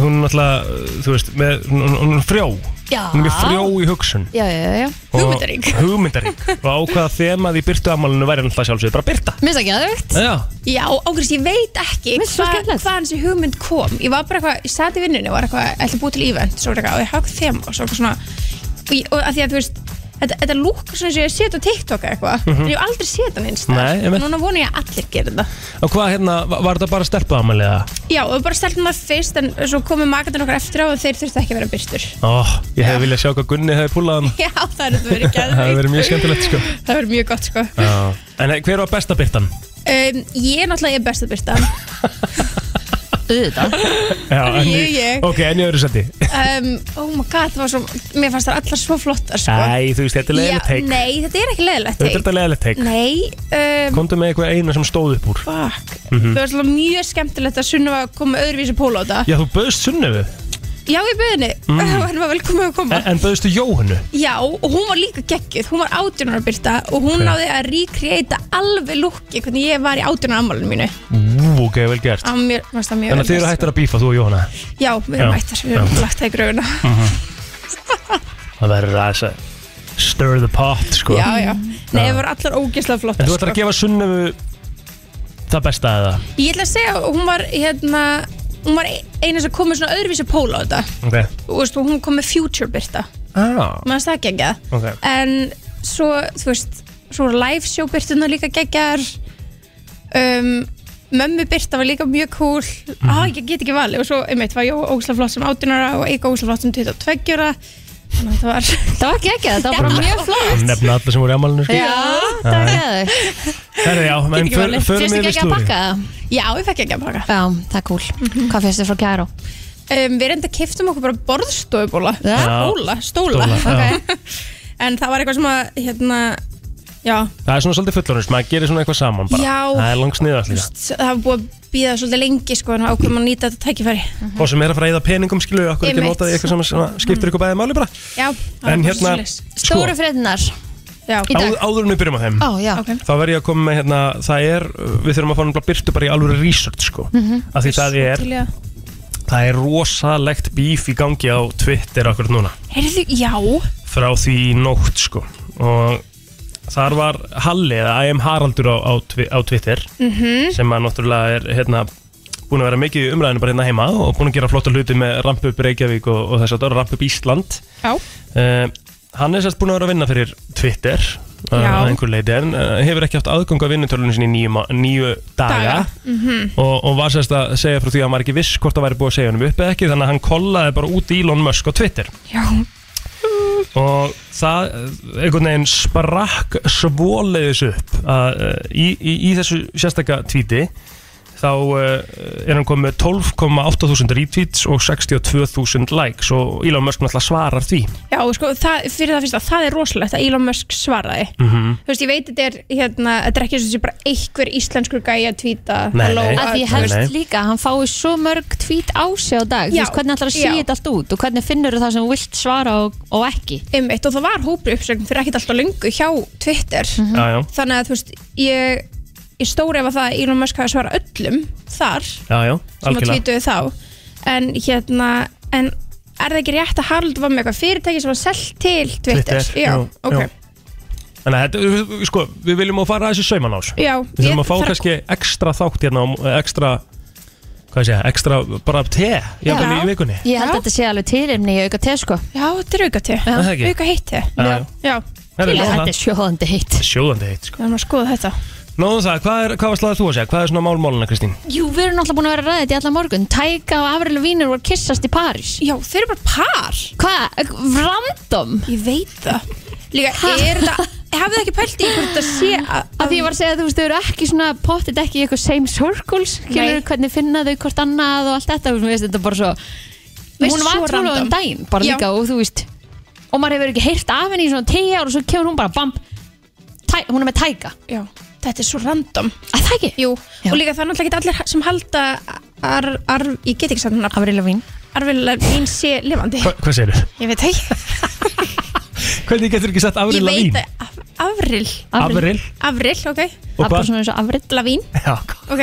Speaker 4: hún náttúrulega, þú veist, með, hún, hún er frjó
Speaker 3: Já.
Speaker 4: Hún er mjög frjó í hugsun
Speaker 3: Já, já, já, já
Speaker 4: Og- Hugmyndarík Og ákvaða þemað í Birtu afmálinu væri náttúrulega sjálfsögð bara Birta
Speaker 3: Mér finnst það geðveikt.
Speaker 4: Já,
Speaker 16: Já, ágrist, ég veit ekki hva, hvað hans hugmynd kom Ég var bara eitthvað, ég sat í vinnunni og var eitthvað ætla að búa til event, svo var eitthvað, og ég hafði þema og svo eitthvað svona, og, ég- og að því að þú veist þetta, þetta lúk svona eins og ég sé þetta á TikTok eða eitthvað,
Speaker 4: Mhm.
Speaker 16: en ég hef aldrei sé þetta neins
Speaker 4: Nei, einmitt.
Speaker 16: núna vona ég að allir gera þetta
Speaker 4: og hvað, hérna, var, var þetta bara stelpa afmæliða?
Speaker 16: Já, og bara steltum það fyrst, en svo komu makarnir okkar eftir á og þeir þurftu ekki að vera byrstur
Speaker 4: Ó, ég hef viljað sjá hvað Gunni hefði púlað hann
Speaker 16: Já, það er þetta verið
Speaker 4: Það hefði verið mjög skemmtilegt, sko
Speaker 16: Það verður mjög gott sko
Speaker 4: Já. En eh, hver var besta Birtan?
Speaker 16: um, Ég er náttúrulega ég er besta byrta
Speaker 3: Þetta
Speaker 4: Já,
Speaker 16: Ég,
Speaker 4: en í-
Speaker 16: ég.
Speaker 4: Ok, en í öðru seti
Speaker 16: um, Oh my god, það var svo Mér fannst það allar svo flottar sko
Speaker 4: Æ, þú veist, þetta er leiðilegt
Speaker 16: Já,
Speaker 4: teik
Speaker 16: Nei, þetta er ekki leiðilegt
Speaker 4: Þetta er þetta leiðilegt teik
Speaker 16: Nei um,
Speaker 4: Komdu með eitthvað eina sem stóð upp úr
Speaker 16: Fuck
Speaker 4: Mhm.
Speaker 16: Það var svolítið mjög skemmtilegt að Sunna að koma með öðruvísi pól á þetta
Speaker 4: Já, þú böðst Sunnefu
Speaker 16: Já, ég bauð henni
Speaker 4: Mm.
Speaker 16: mm. Henni var velkomin að koma
Speaker 4: En, en böðstu Jóhannu
Speaker 16: Já, og hún var líka geggjuð, hún var 18 ára byrta og hún
Speaker 4: Ok.
Speaker 16: náði að recreata alveg lukki hvernig ég var í 18 ára ammálinu mínu.
Speaker 4: Ú, ok, vel gert
Speaker 16: Á mér, varst það mjög
Speaker 4: Þannig að þið eru hættar að bífa, þú og Jóhanna
Speaker 16: Já, við erum
Speaker 4: Já.
Speaker 16: hættar, við erum
Speaker 4: Já.
Speaker 16: lagt það í gröfuna.
Speaker 4: Mhm. Það verður aðeins að stir the pot, sko
Speaker 16: Já, já. Nei, það voru allar ógeðslega flottar. sko.
Speaker 4: En þú ætlar að gefa Sunnefu það besta eða
Speaker 16: Ég ætla að segja, að hún var hérna, hún var eina sem kom með svona öðruvísi pól á þetta.
Speaker 4: Ok
Speaker 16: Þú veist, og hún kom með future byrta.
Speaker 4: ah.
Speaker 16: Mér finnst það geggjað.
Speaker 4: Ok
Speaker 16: En svo, þú veist, svo voru live show byrtuna líka geggjar. Um, mömmu byrta var líka mjög cool. Mm ég get ekki valið. Og svo, einmitt, var Jó ógeðslega flott sem 18 ára og Eika ógeðslega flott sem 22 ára. Þannig að það var...
Speaker 3: Það var geggjað, það var bara mjög flott
Speaker 4: Nefna alla sem voru í ammálinu, sko
Speaker 16: Ah,
Speaker 3: það var geðveikt.
Speaker 4: Herri, já,
Speaker 16: Get
Speaker 4: menn,
Speaker 16: ekki valið.
Speaker 4: förum
Speaker 16: Fékkstu
Speaker 4: við
Speaker 16: ekki að
Speaker 4: slúri
Speaker 16: pakka það? Já, ég fekk ekki að pakka Mhm.
Speaker 3: Já, það er cool Hvað finnst þér frá Kjæró?
Speaker 16: um, Við reynda keftum okkur bara borðstofubóla
Speaker 3: Já.
Speaker 16: Bóla, stóla
Speaker 4: Stóla, já.
Speaker 16: En það var eitthvað sem að hérna, Já,
Speaker 4: Það er svona svolítið fullorins, maður gerir svona eitthvað saman bara
Speaker 16: Já.
Speaker 4: Það er langt sniða allir
Speaker 16: það var búið að býða svolítið lengi sko, En ákveðum að nýta þetta tækifæri
Speaker 3: Mhm.
Speaker 4: Og sem er að fara að eyða peningum, skilur við okkur ekki
Speaker 16: Einmitt.
Speaker 4: notaði eitthvað sem- sem skiptir ykkur bæðið máli bara
Speaker 16: Já, það var
Speaker 4: En
Speaker 16: bara
Speaker 4: hérna,
Speaker 16: svoleiðis.
Speaker 4: sko- Stóru
Speaker 3: frednar
Speaker 16: Já,
Speaker 4: Áður, áður en við byrjum á þeim
Speaker 3: Ó, já okay.
Speaker 4: Þá verð ég að koma með hérna, það er, við þurfum að fá náttúrulega byrtu bara í alveg research sko
Speaker 3: Mhm.
Speaker 4: Af því það er,
Speaker 16: Til í að-
Speaker 4: það er rosalegt bíf í gangi á Twitter akkur núna
Speaker 16: Heyrðu, já
Speaker 4: Frá því í nótt sko Og þar var Halli eða IM Haraldur á, á, tvi- á Twitter
Speaker 16: Mhm.
Speaker 4: sem að náttúrulega er hérna búin að vera mikið í umræðinu bara hérna heima og búin að gera flotta hluti með Ramp upp Reykjavík og, og þess að það Ramp upp Ísland
Speaker 16: Já.
Speaker 4: uh, Hann er sérst búin að vera að vinna fyrir Twitter uh,
Speaker 16: Já.
Speaker 4: að einhver leiti en uh, hefur ekki haft aðgang að vinnutölunum sinni í níu, ma- níu daga, Mm.
Speaker 16: Mhm.
Speaker 4: og, og var sérst að segja frá því að hann var ekki viss hvort það væri búið að segja honum upp eða ekki þannig að hann kollaði bara út í Elon Musk á Twitter
Speaker 16: Já.
Speaker 4: og það eh, einhvern veginn sprakk svóleiðis upp að eh, í, í, í þessu sérstaka tvíti þá eh, er hann komið 12,8 þúsund retweets og 62.000 likes og Elon Musk náttúrulega svarar því
Speaker 16: Já, sko, það, fyrir það fyrst að það er rosalegt að Elon Musk svaraði
Speaker 4: mm -hmm.
Speaker 16: Þú veist, ég veit þetta er, hérna, þetta er ekki eins og sé bara einhver íslenskur gæi að tvíta
Speaker 4: Nei,
Speaker 16: halló,
Speaker 4: nei.
Speaker 3: að því
Speaker 4: Nei,
Speaker 3: helst
Speaker 4: nei.
Speaker 3: líka að hann fái svo mörg tvít á sig á dag, þú
Speaker 16: Já,
Speaker 3: veist hvernig ætlar að sé
Speaker 16: já.
Speaker 3: þetta allt út og hvernig finnur það sem þú vilt svara og, og ekki
Speaker 16: Einmitt, og það var hópur uppsögn fyrir ekkert alltaf lungu hjá Twitter
Speaker 3: Mhm.
Speaker 4: Já, já.
Speaker 16: þannig að þú veist, ég ég stóri ef að það að Elon Musk hafi svarað öllum þar,
Speaker 4: Já, já,
Speaker 16: sem að tvítuðu þá en hérna, en er það ekki rétt að Harald var með eitthvað fyrirtæki sem var selt til Twitter? já, ok
Speaker 4: já. Þannig að þetta, sko, við viljum að fara að þessu sauman ás
Speaker 16: Já,
Speaker 4: Við þurfum
Speaker 16: ég-
Speaker 4: að fá
Speaker 16: þar-
Speaker 4: kannski ekstra þátt hérna, á- ekstra, hvað sé ég, ekstra bara te, jafnvel í vikunni
Speaker 3: Ég held að þetta sé alveg tilrýmni í auka te sko
Speaker 16: Já, þetta er auka te,
Speaker 4: Er það ekki?
Speaker 16: auka heitti
Speaker 4: Já, já.
Speaker 16: já,
Speaker 4: Herra,
Speaker 16: til í
Speaker 4: nóg um
Speaker 16: það.
Speaker 4: það.
Speaker 3: Þetta er sjóðandi heitt
Speaker 4: Sjóðandi heitt, sko
Speaker 16: Við erum að skoða þetta
Speaker 4: Nóðum það, hvað, er, hvað var sláðið þú að segja? Hvað er svona málmáluna, Kristín?
Speaker 3: Jú, við erum náttúrulega búin að vera ræðið þetta í allan morgun Tæka og Avril Vínur voru að kyssast í París
Speaker 16: Já, þeir eru bara par
Speaker 3: Hvað? Eh, Random?
Speaker 16: Ég veit það Líka, er þetta, hafið þið ekki pælt í hvort það sé að
Speaker 3: Af því ég var að segja að þú veist, þau eru ekki svona pottit ekki í eitthvað same circles Kynur hvernig finna þau hvort annað og allt þetta Þú veist, þetta er bara svo
Speaker 16: Veist,
Speaker 3: Hún
Speaker 16: svo
Speaker 3: var trúlega
Speaker 16: random.
Speaker 3: um daginn, bara
Speaker 16: Já.
Speaker 3: líka og þú veist Og maður hefur ekki heyrt af henni í svona 10 ára og svo kemur hún bara bamb tæ, Hún er með tæka
Speaker 16: Já, þetta er svo random
Speaker 3: Að það ekki?
Speaker 16: Jú, og líka það er náttúrulega ekki allir sem halda ar, ar, ég get ekki sagt hann
Speaker 3: Avril Lavín
Speaker 16: Avril Lavín sé lifandi
Speaker 4: Hva, hvað segir þú?
Speaker 16: Ég veit það ekki
Speaker 4: Hvernig getur ekki sett Avril
Speaker 16: Ég veit
Speaker 4: Lavín?
Speaker 16: það, Av- Avril
Speaker 4: Avril.
Speaker 16: Avril, ok
Speaker 4: Og Ab- hvað? svona
Speaker 3: eins og Avril
Speaker 16: Lavín
Speaker 4: Já,
Speaker 16: Ok,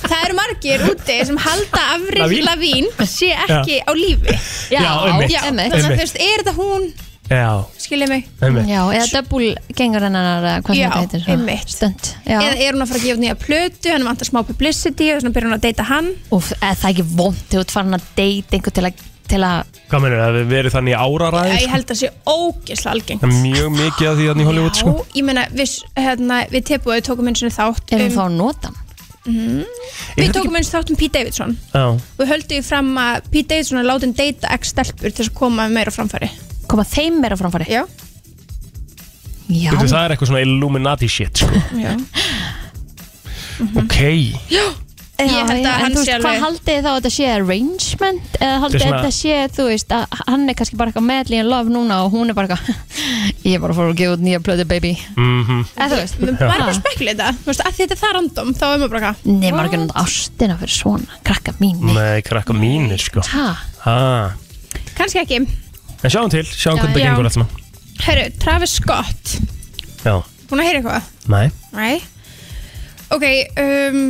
Speaker 16: það eru margir úti sem halda Avril
Speaker 4: Lavín?
Speaker 16: Lavín, sé ekki
Speaker 4: Já.
Speaker 16: á lífi
Speaker 4: Já, einmitt.
Speaker 16: Þannig að
Speaker 4: Einmitt.
Speaker 16: þú veist, er þetta hún,
Speaker 4: já,
Speaker 16: skilja mig
Speaker 4: einmitt.
Speaker 3: Já, eða döbbul gengur hennar eða hvað sem þetta heitir svona
Speaker 16: einmitt.
Speaker 3: Stönd
Speaker 16: Eða er hún að fara að gefa út nýja plötu, hann vantar smá publicity og svona byrjar hún að deyta hann
Speaker 3: Úf, eða það er ekki vond Þú ert farin að deyta einhver til að, til að
Speaker 4: Hvað mennur, það hefur verið þannig í áraræði?
Speaker 16: Ég held að það sé ógeðslega algengt
Speaker 4: Það er mjög mikið af því þannig í Hollywood, sko
Speaker 16: Já, ég meina, við, hérna, við teppuðu tókum eins og þátt
Speaker 3: Ef við fáum notan
Speaker 16: mm,
Speaker 4: Er
Speaker 16: Við
Speaker 4: þetta
Speaker 16: tókum eins og þátt um Pete Davidson
Speaker 4: Já,
Speaker 16: og höldum við fram að Pete Davidson er látin deyta x-stelpur til þess að koma meira á framfæri
Speaker 3: Koma þeim meira á framfæri?
Speaker 16: Já,
Speaker 3: já.
Speaker 4: Veitu, það er eitthvað svona Illuminati shit, sko
Speaker 16: já. Mhm.
Speaker 4: Ok,
Speaker 16: já.
Speaker 3: Já,
Speaker 16: Ég held að
Speaker 3: já, en
Speaker 16: hann sé
Speaker 3: þú veist, hvað
Speaker 16: alveg-
Speaker 3: haldið þið þá að þetta sé arrangement eða haldið
Speaker 4: Þetta er
Speaker 3: þetta
Speaker 4: svona-
Speaker 3: sé, þú veist, að hann er kannski bara eitthvað medley in love núna og hún er bara eitthvað ég er bara að fór að gefa út nýja plöðu baby
Speaker 4: mhm
Speaker 3: eða þú veist
Speaker 16: Maður er bara að spekula þetta, að þetta er það random, þá er maður bara eitthvað
Speaker 3: Nei, maður er ekki nátt ástina fyrir svona krakka mín
Speaker 4: Nei, krakka mínir, sko
Speaker 3: Ha,
Speaker 4: Ha,
Speaker 16: Kannski ekki
Speaker 4: en sjáum til, sjáum
Speaker 16: Já,
Speaker 4: hvernig það
Speaker 16: já.
Speaker 4: gengur allt saman
Speaker 16: Herru, Travis Scott,
Speaker 4: Já,
Speaker 16: búin að heyra eitthvað?
Speaker 4: næ
Speaker 16: Nei Ok, um,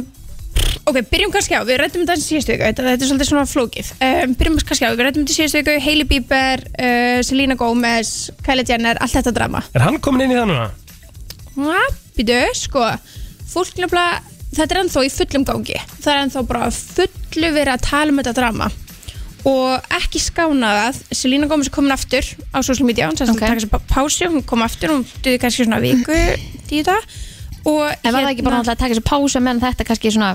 Speaker 16: ok, byrjum kannski á, við rættum þetta í síðustu viku, þetta, þetta er svolítið svona flókið um, Byrjum kannski á, við rættum þetta í síðustu viku, Hailey Bieber, uh, Selena Gomez, Kylie Jenner, allt þetta drama
Speaker 4: Er hann komin inn í það núna?
Speaker 16: Hva? Býtu, sko, fólk nefnilega, þetta er ennþá í fullum gangi Það er ennþá bara á fullu verið að tala um þetta drama Og ekki skánað að Selena Gomez er komin aftur á social media, hún sérst að taka sér pá- pásu, hún kom aftur, hún duði kannski svona viku í þetta Og hérna-
Speaker 3: en var það ekki bara náttúrulega að taka sér pása meðan þetta kannski svona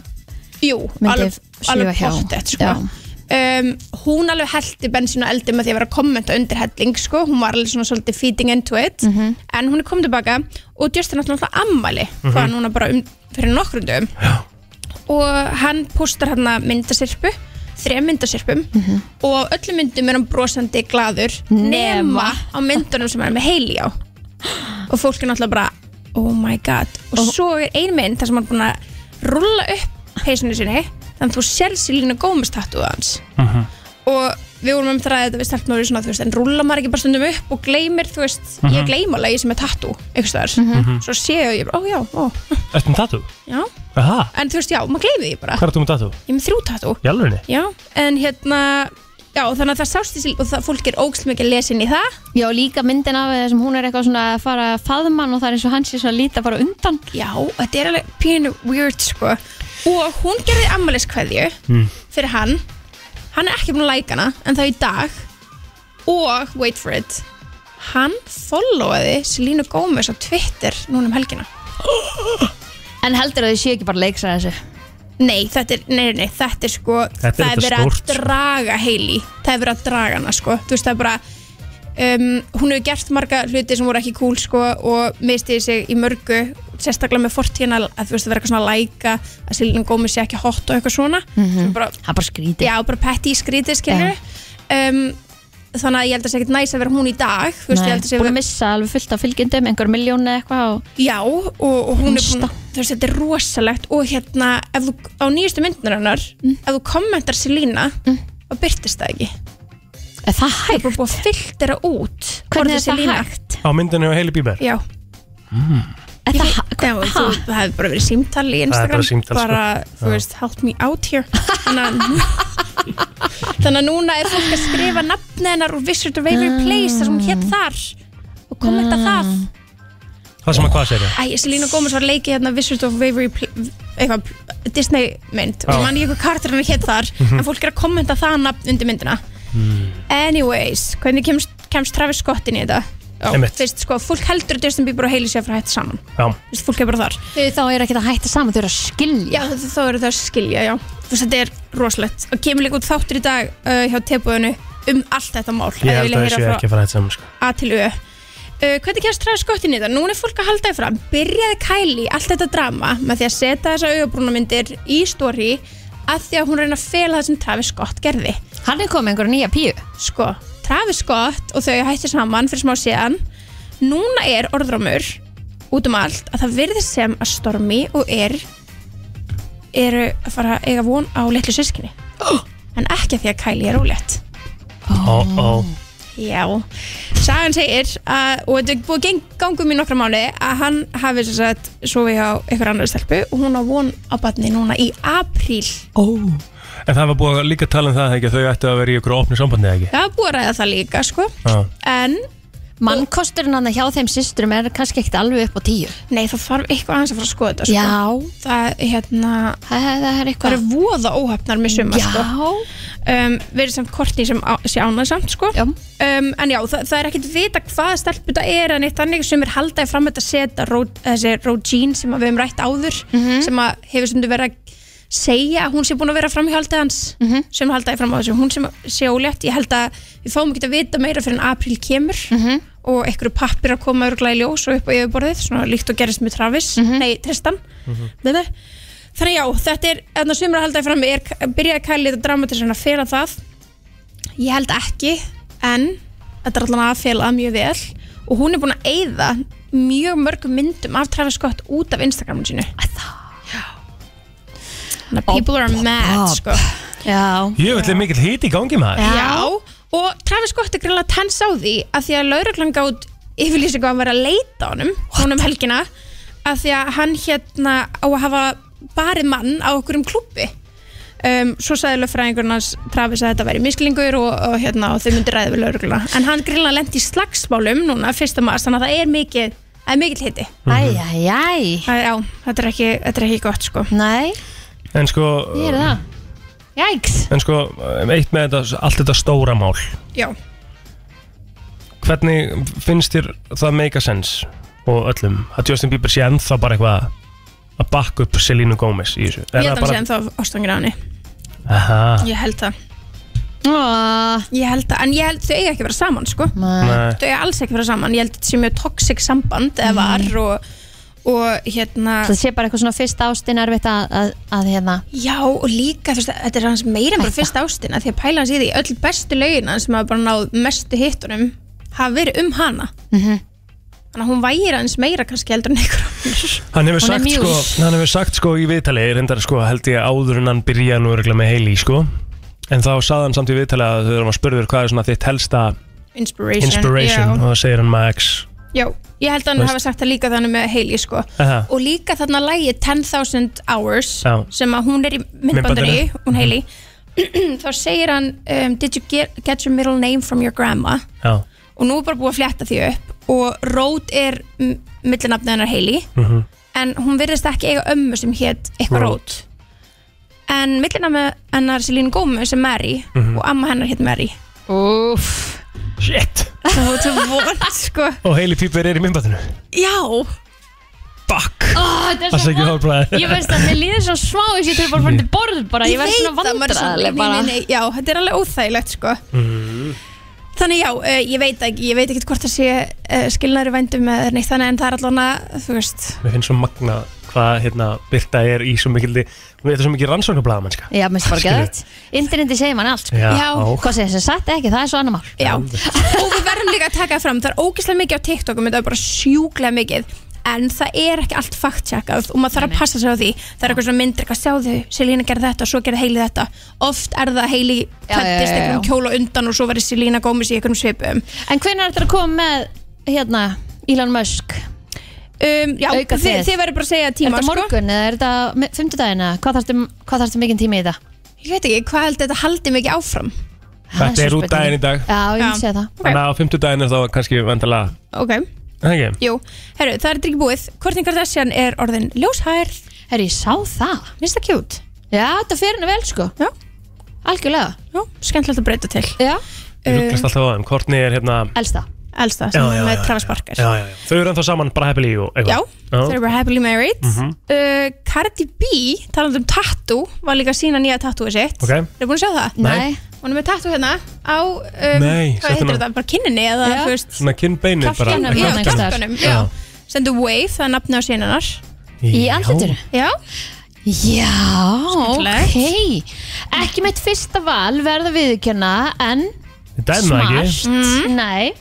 Speaker 16: Jú,
Speaker 3: myndi
Speaker 16: alveg, alveg
Speaker 3: svífa hjá
Speaker 16: pottet sko.
Speaker 3: Já.
Speaker 16: um, hún alveg heldi bensin og eldi með því að vera að kommenta undir helling sko. hún var alveg svona svolítið feeding into it en hún er komin tilbaka og Justin ætla náttúrulega ammali
Speaker 10: Mhm.
Speaker 16: hvað núna bara um, fyrir nokkrum dögum og hann postar hérna myndasirpu þrejum myndasirpum og á öllum myndum er hann brosandi gladur Mhm. nema á myndunum sem hann er með heili á og fólk er náttúrulega bara oh my god og svo er ein mynd þar sem hann er búin að rulla upp peysunni sinni þannig að þú sér Selina Gómez tattúið hans og við vorum um það að þetta við stelpum að vera svona þú veist en rulla maður ekki bara stundum upp og gleymir þú veist ég
Speaker 4: Mhm.
Speaker 16: gleyma alveg að ég sem er tattú einhvers staðar
Speaker 4: Mhm.
Speaker 16: svo séu ég bara ó já ó
Speaker 4: Ertu með tattoo?
Speaker 16: já
Speaker 4: Aha,
Speaker 16: en þú veist já maður gleymi því bara
Speaker 4: hvað er þú með tattoo?
Speaker 16: ég er með þrjú tattú
Speaker 4: Í alvegni?
Speaker 16: já en hérna já, þannig að það sást þessi og það, fólk er ógst mikið lesin í það
Speaker 3: Já, líka myndin af þessum hún er eitthvað svona að fara að faðmann og það er eins og hann sé svona að líta bara undan
Speaker 16: Já, þetta er alveg pínu weird sko og hún gerði ammaliskveðju
Speaker 4: Mm.
Speaker 16: fyrir hann hann er ekki búin að like hana en það er í dag og wait for it hann followaði Selena Gomez á Twitter núna um helgina
Speaker 3: En heldur að þið séu ekki bara leiks að þessu
Speaker 16: Nei, þetta er, nei, nei, þetta er sko
Speaker 3: Þetta
Speaker 16: Það
Speaker 3: er
Speaker 16: er
Speaker 3: þetta
Speaker 16: verið að
Speaker 3: stórt, sko.
Speaker 16: draga Hailey Það er verið að draga hana sko Þú veist það er bara um, Hún hefur gert marga hluti sem voru ekki cool sko Og mistiði sig í mörgu Sérstaklega með fortíðina að þú veist það vera eitthvað svona að læka Að Silin Gómi sé ekki hot og eitthvað svona
Speaker 3: Mhm.
Speaker 16: Svo bara,
Speaker 3: Það er bara skrítið
Speaker 16: Já, bara petti í skrítið skilur um, Þannig að ég held að það sé ekkert næs að vera hún í dag Þú veist, ég held að sé
Speaker 3: Búin að missa alveg fullt af fylgjendum, einhver miljón eða eitthvað og...
Speaker 16: Já, og, og hún er búin þú veist, þetta er rosalegt og hérna ef þú, á nýjustu myndunar hennar
Speaker 3: Mm.
Speaker 16: ef þú kommentar Selína þá byrtist það ekki
Speaker 3: Er það hægt?
Speaker 16: Það er bara búið að filtera út
Speaker 3: Hvernig
Speaker 16: orðið
Speaker 3: er það
Speaker 16: Selena.
Speaker 3: hægt?
Speaker 4: Á myndinu á Hailey Bieber
Speaker 16: Já,
Speaker 4: mm.
Speaker 16: ég veit- það, þú, það hefði bara verið símtal í
Speaker 4: er
Speaker 16: Instagram
Speaker 4: bara símtal, sko.
Speaker 16: þú
Speaker 4: Já.
Speaker 16: veist, help me out here þannig að þannig að núna er fólk að skrifa nafni hennar úr Wizard of Waverly Place þar sem hún hétt þar og kommenta það
Speaker 4: Hvað sem að hvað segja
Speaker 16: Æ, Selena Gomez var leikið hérna Wizard of Waverly Pl- eitthvað, Disney mynd og
Speaker 4: Já.
Speaker 16: mann ég eitthvað kartur hennar hétt þar
Speaker 4: Mhm. Hmm.
Speaker 16: en fólk er að kommenta það nafn undir myndina Anyways, hvernig kemst, kemst Travis Scott inn í þetta? Já,
Speaker 4: Einmitt.
Speaker 16: Fyrst, sko, fólk heldur að Justin Bieber og Hailey sé að fara að hætta saman
Speaker 4: Já
Speaker 16: Fyrst, fólk er bara þar
Speaker 3: Þau þá er ekki að hætta saman, þau eru að
Speaker 16: Já,
Speaker 3: skilja
Speaker 16: þau- þá eru þau að skilja, já Þú veist, þetta er rosalegt og kemur líka út þáttur í dag uh, hjá tebúðinu um allt þetta mál
Speaker 4: Ég held að þessu ekki að fara þetta saman sko.
Speaker 16: A til Ö Uh, hvernig kemst Travis Scott inn í þetta? Núna er fólk að halda því fram Byrjaði Kylie allt þetta drama með því að setja þessa augabrúnamyndir í stóri að því að hún reyna að fela það sem Travis Scott gerði
Speaker 3: Hann er komið einhverja nýja píu
Speaker 16: Sko, Travis Scott og þau hætti saman fyrir smá síðan Núna er orðrómur út um allt að það virðist sem að Stormi og er eru að fara að eiga von á litlu sískinni en ekki að því að Kylie er ólétt
Speaker 4: Ó, ó
Speaker 16: Já, sagan segir að, og þetta er búið að geng- ganga um í nokkra mánu að hann hafi svo sett sofið hjá einhver annar stelpu og hún á von á batni núna í apríl
Speaker 4: oh. En það var búið að líka tala um það ekki að þau ættu að vera í ykkur opnu sambandi eða ekki
Speaker 16: Það er búið að ræða það líka sko
Speaker 4: Já.
Speaker 16: en
Speaker 3: Mannkosturinn hann hjá þeim systrum er kannski ekkert alveg upp á tíu
Speaker 16: Nei, það þarf eitthvað aðeins að fara að skoða þetta sko.
Speaker 3: Já
Speaker 16: Það, hérna,
Speaker 3: það, það er
Speaker 16: Það eru voða óhafnar með suma
Speaker 3: Já.
Speaker 16: sko. um, Verið samt kortni sem á, sé ánægsamt sko.
Speaker 3: um,
Speaker 16: En já, það, það er ekkert vita hvað stelpu þetta er En eitt annir sem er haldaði fram þetta seta Ro- Þessi Rógín sem að við hefum rætt áður Sem að hefur sem verið að segja að hún sé búin að vera framhjálta hans mm -hmm. sem haldaði fram á þessu, hún sem sé ólétt ég held að við fáum ekki að vita meira fyrir en apríl kemur og einhverju pappir að koma örgla í ljós og upp á yfirborðið svona líkt og gerist með Travis, nei Tristan Þetta er- Þannig já, þetta er, þannig að sumra haldaði fram er, byrjaði Kylie þetta dramatisinn að fela það ég held ekki en þetta er allan að fela mjög vel og hún er búin að eyða mjög mörgum myndum af Travis Scott út af Instagramun sínu Þannig að people are mad sko.
Speaker 3: Já
Speaker 4: Ég vil mikill hiti í gangi maður
Speaker 16: Já, og Travis Scott er greinlega tens á því að því að lauruglan gátt yfirlýsingu að vera að leita á honum honum helgina að því að hann hérna á að hafa barið mann á okkur um klubbi um, svo sagði lögfræðingurinn hans Travis að þetta væri misklingur og, og, hérna, og þau myndi ræði við laurugluna en hann greinlega lendi í slagsmálum núna fyrsta mars þannig að það er mikið Það er mikill hiti
Speaker 3: Æjæjæj
Speaker 16: Já, þetta er ekki, þetta er ekki gott sko
Speaker 3: Nei,
Speaker 4: En sko
Speaker 3: ég er það Jæks
Speaker 4: En sko, eitt með þetta, allt þetta stóra mál
Speaker 16: Já
Speaker 4: Hvernig finnst þér það make a sense og öllum að Justin Bieber sé ennþá bara eitthvað að bakka upp Selena Gomez í þessu
Speaker 16: Ég held að hann sé ennþá ástangir á henni
Speaker 4: Aha,
Speaker 16: Ég held það
Speaker 3: Ah.
Speaker 16: Ég held það, en ég held þau eiga ekki að vera saman sko
Speaker 4: Nei.
Speaker 16: Þau eiga alls ekki að vera saman Ég held þetta sé mjög toxic samband eða var og, og hérna
Speaker 3: Það Mm. sé bara eitthvað svona fyrst ástin erfitt að, að, að hérna
Speaker 16: Já, og líka, þú veist, þetta er hans meira en bara fyrst ástina Því að pæla hans í því, öll bestu lögina sem hafa bara náð mestu hittunum hafa verið um hana
Speaker 3: Mhm.
Speaker 16: Þannig að hún væri hans meira kannski heldur en ykkur
Speaker 4: hann
Speaker 16: Hún
Speaker 4: hefur
Speaker 16: er
Speaker 4: sagt sko
Speaker 16: muse.
Speaker 4: hann hefur sagt sko í viðtali reyndar sko held ég áður en hann byrja nú örgulega með Hailey sko en þá sagði hann samt í viðtali að þau erum að spurður hvað er svona þitt helsta
Speaker 16: Inspiration,
Speaker 4: inspiration og það segir hann maður X
Speaker 16: Já, já ég held að
Speaker 4: Þú
Speaker 16: hann
Speaker 4: veist.
Speaker 16: hafa sagt það líka þannig með Hailey sko
Speaker 4: Aha.
Speaker 16: og líka þarna lægi 10.000 hours
Speaker 4: Já.
Speaker 16: sem að hún er í myndbandinu,
Speaker 4: Myndbandinu. Mhm.
Speaker 16: hún Hailey þá segir hann um, Did you get, get your middle name from your grandma?
Speaker 4: Já.
Speaker 16: Og nú er bara búið að flétta því upp og Rót er m- millinafnið hennar Hailey
Speaker 4: Mhm.
Speaker 16: en hún virðist ekki eiga ömmu sem hétt eitthvað
Speaker 4: Rót.
Speaker 16: Rót en millinafnið hennar Selín Gómez er Mary
Speaker 4: Mhm.
Speaker 16: og amma hennar hétt Mary Úff
Speaker 4: Shit
Speaker 16: Það var þetta vond sko
Speaker 4: Og heili pípur er í myndbættinu
Speaker 16: Já
Speaker 4: Fuck
Speaker 3: oh, Það
Speaker 4: Það sé ekki hálfbræði
Speaker 3: Ég veist að mér líður svo smá þess að ég þurfi bara að fara til borð bara, ég verð svona
Speaker 16: veit það, maður er svona,
Speaker 3: vandræðileg bara
Speaker 16: nei, nei, nei, Já, þetta er alveg óþægilegt sko
Speaker 4: Mm.
Speaker 16: Þannig já, uh, ég veit ekki, ég veit ekki hvort það sé uh, skilnaður í vændum eða neitt þannig en það er allan að, þú veist
Speaker 4: Mér finnst svo magna hvað hérna Birta er í svo mikildi Hún veit svo mikið rannsóknarblaða mennska
Speaker 3: Já, minnst bara
Speaker 4: Skilur.
Speaker 3: geðvægt Interneti segir mann allt sko.
Speaker 4: Já. Já.
Speaker 3: Hvað segir þess að satt ekki, það er svo annar mál
Speaker 16: Já, og við verðum líka að taka það fram, það er ógeðslega mikið á TikTok og það er bara sjúklega mikið en það er ekki allt faktjakað og maður þarf að passa sig á því það er eitthvað svona myndir, eitthvað sjáðu, Selína gerði þetta og svo gerði Heili þetta oft er það Heili
Speaker 3: Já, já, já,
Speaker 16: klættist
Speaker 3: já.
Speaker 16: einhverjum kjóla undan og svo verði Selína gómis í einhverjum svipum
Speaker 3: En hvernig er þetta að koma með hérna, Elon Musk
Speaker 16: um, Já,
Speaker 3: Auka
Speaker 16: þið, þið verður bara að segja tíma sko.
Speaker 3: Er þetta morgun eða er þetta fymtudaginn eða hvað þarfstu, hvað þarfstu mikinn tími í þetta?
Speaker 16: Ég veit ekki, hvað heldur þetta haldi mikið áfram?
Speaker 4: Þetta er út daginn í dag
Speaker 3: Já, ég myndi segja það
Speaker 4: Þannig að á fimmtudaginn er þá kannski vendalega
Speaker 16: Ok,
Speaker 4: Það ekki?
Speaker 16: jú, herru, það er þetta ekki búið Kourtney Kardashian er orðin ljóshærð
Speaker 3: Herru, ég sá það
Speaker 16: Minnst það kjút?
Speaker 3: Já, þetta fer henni vel sko
Speaker 16: Já
Speaker 3: Algjörlega
Speaker 16: Já, skemmtilegt að breyta til Uh,
Speaker 3: Já
Speaker 4: Ég lukkast alltaf á þeim Kortni er hérna
Speaker 3: Elsta
Speaker 16: Elsta,
Speaker 4: Já,
Speaker 16: sem
Speaker 4: já,
Speaker 16: er
Speaker 4: já,
Speaker 16: með Travis
Speaker 4: já.
Speaker 16: Barker
Speaker 4: Já, já, já Þau eru ennþá saman bara happily og
Speaker 16: Já,
Speaker 4: eitthvað
Speaker 16: þau eru bara happily married
Speaker 4: Mhm.
Speaker 16: uh, Cardi B, talandi um tattoo var líka að sína nýja tattooið sitt
Speaker 4: Ok.
Speaker 16: Eru búin að sjá það?
Speaker 4: Nei. Nei.
Speaker 16: Hún er með tattoo hérna á um, hvað
Speaker 4: Nei, settu
Speaker 16: heitir
Speaker 4: hana-
Speaker 16: þetta, bara kinninni eða þú veist
Speaker 4: Svona kinnbeinir bara
Speaker 16: Kjálkanum, já, kjálkanum, hérna, já.
Speaker 4: Já.
Speaker 16: Sendu Wave, það er nafni á sínunar
Speaker 4: Í Já. andlitinu?
Speaker 16: Já
Speaker 3: Já, ok Ekki mitt fyrsta val verða viðkjanna En
Speaker 4: Þetta er nú ekki
Speaker 3: mm. Nei